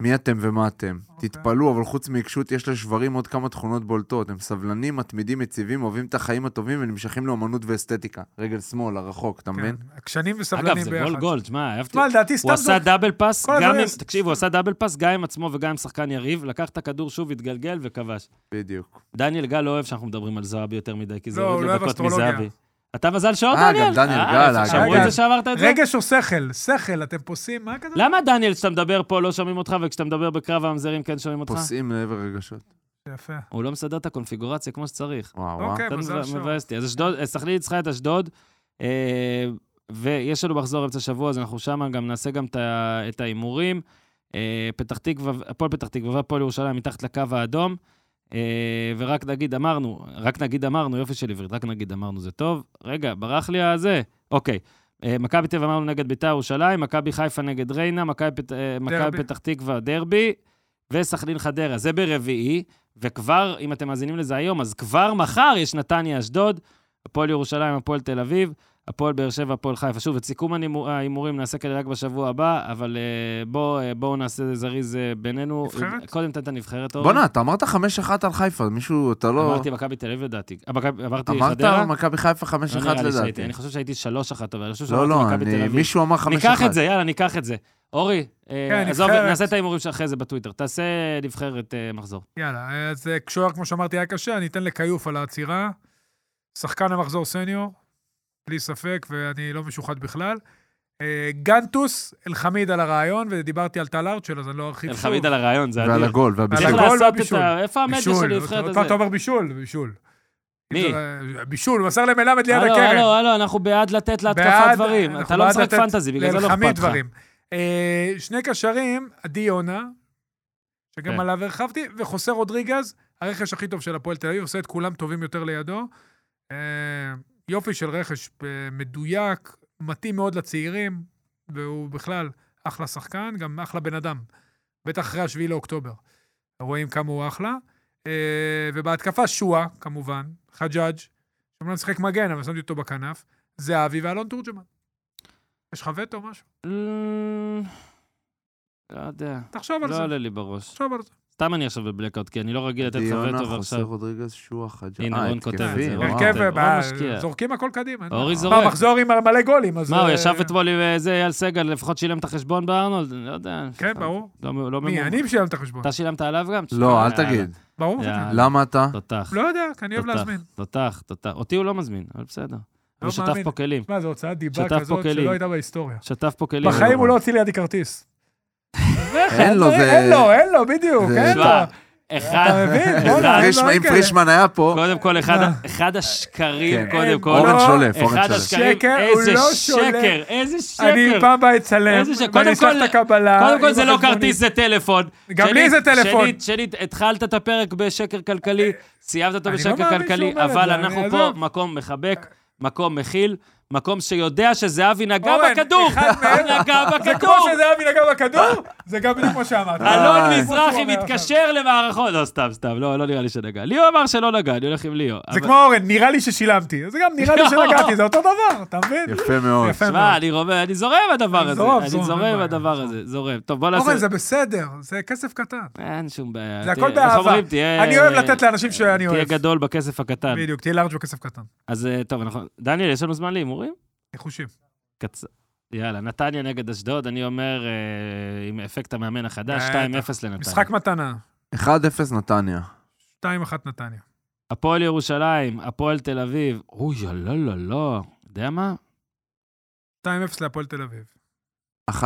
מי אתם ומה אתם.
אוקיי.
תתפלאו, אבל חוץ מעיקשות יש לשברים עוד כמה תכונות בולטות. הם סבלנים, מתמידים, יציבים, אוהבים את החיים הטובים ונמשכים לאמנות ואסתטיקה. רגל שמאל, הרחוק, אתה מבין?
כן. עקשנים וסבלנים
אגב,
ביחד.
זה גול גול, תשמע, אהבתי.
תשמע, לדעתי סתם
הוא עשה
זו...
דאבל פאס,
כל
גם
הדברים
עם,
האלה.
תקשיב, הוא עשה דאבל פאס גם עם עצמו וגם עם שחקן יריב, לקח את הכדור שוב, התגלגל וכבש.
בדיוק.
דניאל גל לא אוהב שאנחנו מדברים על זועבי יותר מדי, כי זה
לא,
יורד
הוא
לו
לא אוהב
דקות
אסטרולוגיה.
מזהבי. אתה מזל שעות,
אה, גם
דניאל?
דניאל
אה,
גל,
יפה,
אה,
שמעו
גם
את זה שאמרת את זה? לא.
רגש או שכל? שכל, אתם פוסעים? מה כזה?
למה, דניאל, כשאתה מדבר פה לא שומעים אותך, וכשאתה מדבר בקרב המזרים כן שומעים אותך?
פוסעים לעבר רגשות.
יפה.
הוא לא מסדר את הקונפיגורציה כמו שצריך.
וואו, וואו.
אוקיי,
אתה
מזל
מב-
שור.
מבאס אותי. אז אשדוד, אה, סכנין ניצחה את אשדוד, אה, ויש לנו מחזור אמצע שבוע, אז אנחנו שמה, גם נעשה גם את ה- את ההימורים. אה, פתח תקווה, הפועל פתח תקווה והפועל ירושלים מתחת לקו האדום. אה, ורק נגיד אמרנו, רק נגיד אמרנו, יופי של עברית, רק נגיד אמרנו זה טוב. רגע, ברח לי הזה. אוקיי. אה, מכבי תל אביב אמרנו נגד בית"ר ירושלים, מכבי חיפה נגד ריינה, מכבי פת- אה, מכבי פתח תקווה דרבי, וסכנין חדרה. זה ברביעי, וכבר, אם אתם מאזינים לזה היום, אז כבר מחר יש נתניה אשדוד, הפועל ירושלים, הפועל תל אביב, הפועל באר שבע, הפועל חיפה. שוב, את סיכום הנימו- ההימורים נעשה כנראה רק בשבוע הבא, אבל אה, בוא, אה, בואו נעשה זריז אה, בינינו.
נבחרת?
קודם תן את הנבחרת, אורן.
בואנה, אתה אמרת 5-1 על חיפה, מישהו, אתה לא...
אמרתי מכבי תל אביב לדעתי. אה, מכבי- אמרתי
אמרת
חדרה?
על מכבי חיפה 5-1
לא נראה לי שהייתי,
לדעתי.
אני חושב שהייתי 3-1, אבל אני חושב
לא,
שאמרתי
לא,
מכבי
אני-
תל אביב.
מישהו אמר 5-1.
ניקח את זה, יאללה, ניקח את זה. אורי, אה,
כן,
עזוב,
נבחרת.
נעשה את ההימורים שאחרי זה בטוויטר. תעשה נבחרת אה, מחזור.
יאללה, אז אה, כשוער, כמו שאמרתי, היה קשה, אני אתן לכיוף על העצירה. שחקן המחזור סניור, בלי ספק, ואני לא משוחד בכלל. אה, גנטוס, אלחמיד על הרעיון, ודיברתי על טל ארצ'ל, אז אני לא ארחיב
אל
שוב.
חמיד על הרעיון, זה
ועל
אדיר.
הגול, והבישול.
צריך
על הגול
לעשות את
והבישול.
ה... איפה המדיה
בישול,
של
עוד-
הנבחרת
עוד פעם
הזאת?
אתה אומר בישול, בישול.
מי?
אה, בישול, הוא מסר למלמד ליד
הלו,
הקרן.
הלו, הלו, אנחנו בעד לתת להתקפה
בעד-
דברים.
אנחנו
אתה לא
בעד
משחק
לתת
פנטזי, בגלל זה לא
לאלחמיד
אכפת לך.
דברים. אה, שני קשרים, עדי יונה, שגם
כן.
עליו הרחבתי, וחוסה רודריגז, הרכש הכי טוב של הפועל תל אביב, עושה את כולם טובים יותר לידו. אה, יופי של רכש אה, מדויק, מתאים מאוד לצעירים, והוא בכלל אחלה שחקן, גם אחלה בן אדם. בטח אחרי 7 לאוקטובר. רואים כמה הוא אחלה. אה, ובהתקפה שואה, כמובן, חג'אג', שאומנם משחק מגן, אבל שמתי אותו בכנף, זהבי ואלון תורג'מן. יש לך וטו או משהו?
אמ, לא יודע,
תחשוב על
לא
זה.
עולה לי בראש.
תחשוב על זה.
סתם אני עכשיו בבלקאוט, כי אני לא רגיל לתת לך
דיונה,
וטו
חוסר
ועכשיו.
רודריגז, שועה, חג'ה.
הנה,
אה,
רון כותב את
התקפי,
זה, רון
וואו.
כותב.
הרכב, אה,
משקיע.
זורקים הכל קדימה. אין
אורי
בעיה.
זורק.
מה, מחזור עם מלא גולים, אז...
מה, הוא
אה,
ישב אתמול עם אה, זה אייל סגל, לפחות שילם את החשבון בארנולד? אני לא יודע.
כן, ברור.
לא מ- לא
מי,
ממומן.
אני משלם את החשבון.
אתה שילמת עליו גם?
לא, אל
יאללה.
תגיד.
ברור.
יאללה.
למה אתה?
תותח.
לא יודע, כי אני אוהב
תותח,
להזמין.
תותח, תותח. אותי הוא לא מזמין, אבל בסדר. הוא שטף
לא מאמין.
פה כלים.
מה, זו הוצאת דיבה
שטף פה
כזאת
כלים.
שלא הייתה בהיסטוריה.
שטף פה כלים.
בחיים הוא לא הוציא לידי כרטיס. אה, לא,
אין לו, זה-
אין לו, אין לו, בדיוק,
זה-
אין לו.
תשמע,
לא אתה
אחד,
מבין?
אחד-
לא. בואנה, אין
פריש-
לו
אה, אם
כאלה.
פרישמן היה פה,
קודם כל, אחד ה- אחד השקרים,
כן.
קודם
אין,
כל.
אורן
לא,
שולף, אורן
אחד
שולף.
השקרים,
שקר, הוא
איזה
לא
שקר,
שולף.
איזה שקר.
אני פעם בא אצלם,
איזה שקר.
ואני
קודם
אשלח
כל-
את הקבלה.
קודם כל
עם
זה לא
החשבונית.
כרטיס, זה טלפון.
גם לי
שנית-
זה טלפון.
שנית, שנית, התחלת את הפרק בשקר כלכלי, סיימת אותו
אני לא
בשקר
מאמין
כלכלי,
שהוא אומר את
אבל
זה,
אנחנו
אני-
פה
עזוב.
מקום מחבק, מקום מכיל, מקום שיודע שזהבי נגע
אורן,
בכדור.
אחד מהם-
הוא נגע
זה כמו
בכדור.
שזהבי נגע בכדור, זה גם בדיוק כמו שאמרת.
אלון
אה,
מזרחי
כמו שהוא אומר
מתקשר למערכות. לא, סתם, סתם, לא, לא נראה לי שנגע. ליאו אמר שלא נגע, אני הולך עם ליאו.
עכשיו. זה
אבל-
כמו אורן, נראה לי ששילמתי. זה גם נראה לי שנגעתי, זה אותו דבר, אתה מבין?
יפה מאוד.
יפה
שמע,
מאוד.
אני רומם, אני זורם הדבר
אה. אני
הזה.
זורם,
אני
זורם, אין
זורם
בעיה,
הדבר הזה, זורם. טוב, בוא
אורן,
נעשה...
זה בסדר, זה כסף קטן.
אין שום בעיה.
זה
תהיה-
הכל
איך
באהבה.
אומרים? תהיה-
אני אוהב לתת לאנשים שאני
אה, תהיה
אוהב.
גדול כן. בכסף הקטן.
בדיוק, תהיה לארג' בכסף קטן.
אז אה, טוב, אנחנו... דניאל, יש לנו זמן להימורים?
ניחושים.
קצר. יאללה, נתניה נגד אשדוד, אני אומר, אה, עם אפקט המאמן החדש,
בטח.
2-0 לנתניה.
משחק מתנה,
1-0 נתניה.
2-1 נתניה.
הפועל ירושלים, הפועל תל אביב, אוי, לא, לא, לא. יודע מה?
2-0 להפועל תל אביב.
1-1.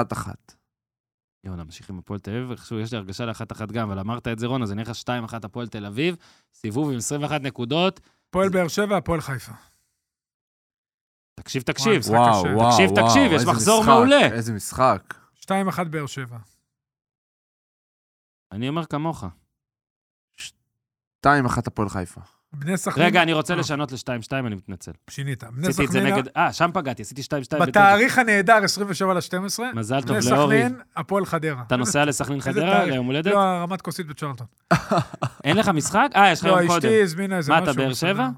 יאללה, נמשיך עם הפועל תל אביב, איכשהו יש לי הרגשה לאחת אחת גם, אבל אמרת את זה, רון, אז אני אלך 2-1 הפועל תל אביב, סיבוב עם 21 נקודות,
הפועל באר שבע, הפועל חיפה.
תקשיב,
וואי,
תקשיב,
משחק
וואו,
קשה.
וואו,
תקשיב,
וואו,
תקשיב, יש
איזה
מחזור
משחק,
מעולה.
איזה משחק.
2-1 באר שבע.
אני אומר כמוך.
2-1 הפועל חיפה.
בני סכנין...
רגע, אני רוצה
אה,
לשנות ל-2-2, אני מתנצל.
שינית. בני
עשיתי את זה
סכנין...
נגד... אה, שם פגעתי, עשיתי 2-2. בטדי.
בתאריך הנהדר, 27 ל-12,
מזל טוב
בני
לאורי.
סכנין, הפועל חדרה.
אתה נוסע לסכנין
איזה
חדרה
תאריך?
ליום הולדת?
לא, הרמת כוסית בצ'רלטון.
אין לך משחק? אה, יש לך
לא,
יום קודם.
אשתי הזמינה איזה
מה,
משהו.
אתה באר
בסדר.
שבע?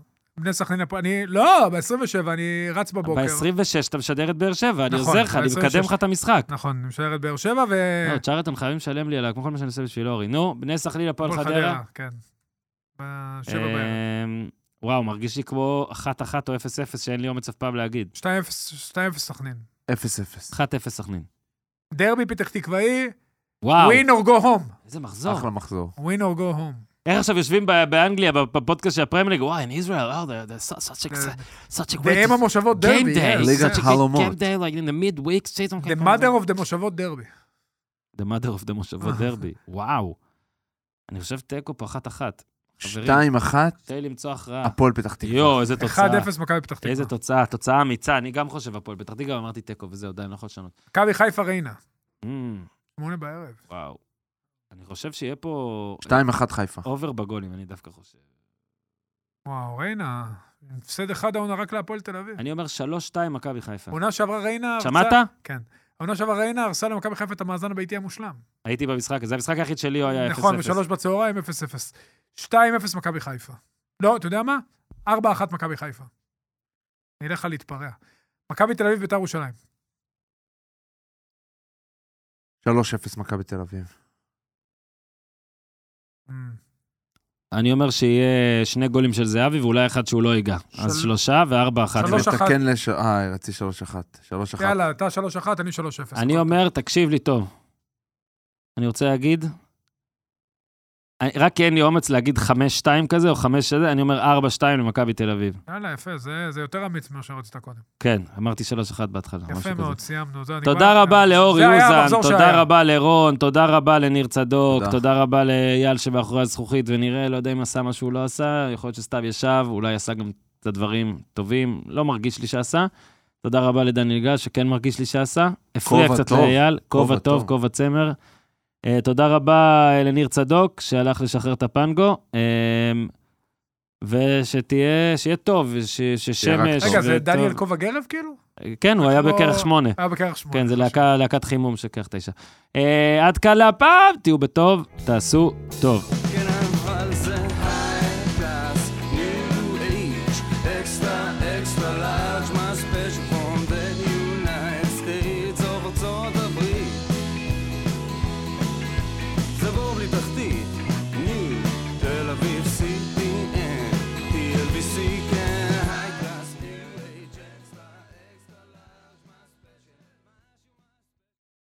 בני סכנין הפועל... אני... לא, ב-27, אני רץ בבוקר.
ב-26 אתה משדר את באר שבע, אני
נכון,
עוזר לך, אני
ב-
מקדם לך את המשחק.
נכון, אני משער את באר שבע ו...
לא, צ'ארלטון חייבים לשלם לי עליו, כמו כל מה שאני עושה בשביל אורי. נו, בני סכנין הפועל
הפועל
חדרה.
כן. בשבע בערב.
אמ, וואו, מרגיש לי כמו 1-1 או 0-0 שאין לי אומץ אף פעם להגיד.
2-0 2-0 סכנין.
0-0.
1-0 סכנין.
דרבי פתח תקוואי,
וואו,
win or go home.
איזה מחזור.
אחלה מחזור.
win or go home.
איך עכשיו יושבים ב- באנגליה בפודקאסט של הפרמליג, וואי, in Israel, oh, they're- they're so- such a-
כן.
such a
באם
great
אה, המושבות
game
דרבי.
day.
yes.
ליגת
such a great
חלומות.
game day, like in the midweek season.
The mother of the מושבות דרבי.
The mother of the מושבות דרבי. וואו. אני חושב תיקו פה אחת-אחת. חברים.
2-1
תן לי למצוא הכרעה.
הפועל פתח תקווה.
יואו, איזה תוצאה.
1-0 מכבי פתח תקווה.
איזה תוצאה, תוצאה אמיצה. אני גם חושב הפועל פתח תקווה, אמרתי תיקו וזהו, די, אני לא יכול לשנות.
מכבי חיפה ריינה.
Mm,
שמונה בערב.
וואו. אני חושב שיהיה פה
2-1 חיפה.
אובר בגולים, אני דווקא חושב.
וואו, ריינה. הפסד אחד העונה רק להפועל תל אביב.
אני אומר 3-2 מכבי חיפה.
עונה שעברה ריינה... הרסה-
שמעת?
העונה שעברה ריינה הרסה למכבי חיפה את המאזן הביתי המושלם.
הייתי במשחק, זה המשחק היחיד שלי, הוא היה 0-0.
נכון, בשלוש בצהריים, 0-0. 2-0 מכבי חיפה. לא, אתה יודע מה? 4-1 מכבי חיפה. אני אלך על להתפרע. מכבי תל אביב, ביתר ירושלים.
3-0 מכבי תל אביב.
Mm.
נכון. אני אומר שיהיה שני גולים של זהבי ואולי אחד שהוא לא ייגע. אז
של-
שלושה וארבע אחת.
אני
3-1.
מתקן לש... אה, רציתי 3-1. 3-1.
Mm. יאללה, אתה 3-1, אני 3-0.
אני אומר, תקשיב לי טוב. אני רוצה להגיד, אני- רק כי אין לי אומץ להגיד 5-2 כזה או 5 כזה, אני אומר 4-2 למכבי תל אביב.
יאללה, יפה, זה זה יותר אמיץ ממה שרצית קודם.
כן, אמרתי 3-1 בהתחלה,
יפה
משהו לא כזה.
מאוד, סיימנו. זה נגמר.
תודה רבה לאור
זה היה
יוזן,
המחזור
תודה
שהיה.
רבה לרון, תודה רבה לניר צדוק,
תודה.
תודה רבה לאייל שבאחורי הזכוכית, ונראה, לא יודע אם עשה מה שהוא לא עשה, יכול להיות שסתיו ישב, אולי עשה גם את הדברים טובים, לא מרגיש לי שעשה. תודה רבה לדניאל גל, שכן מרגיש לי שעשה. הפריע
כובע
קצת
טוב,
לאייל, כובע
כובע
טוב,
טוב.
כובע צמר. אה, תודה רבה אה, לניר צדוק, שהלך לשחרר את הפנגו. אה, ושתהיה, שיהיה טוב, וש-
רק
ששמש.
טוב.
רגע, זה
וטוב.
דניאל כובע גרב כאילו?
כן, הוא היה
כמו-
בכרך שמונה.
היה בקרח שמונה.
כן, זה להקה, להקת חימום של כרך תשע. אה, עד כאן להפעם, תהיו בטוב, תעשו טוב.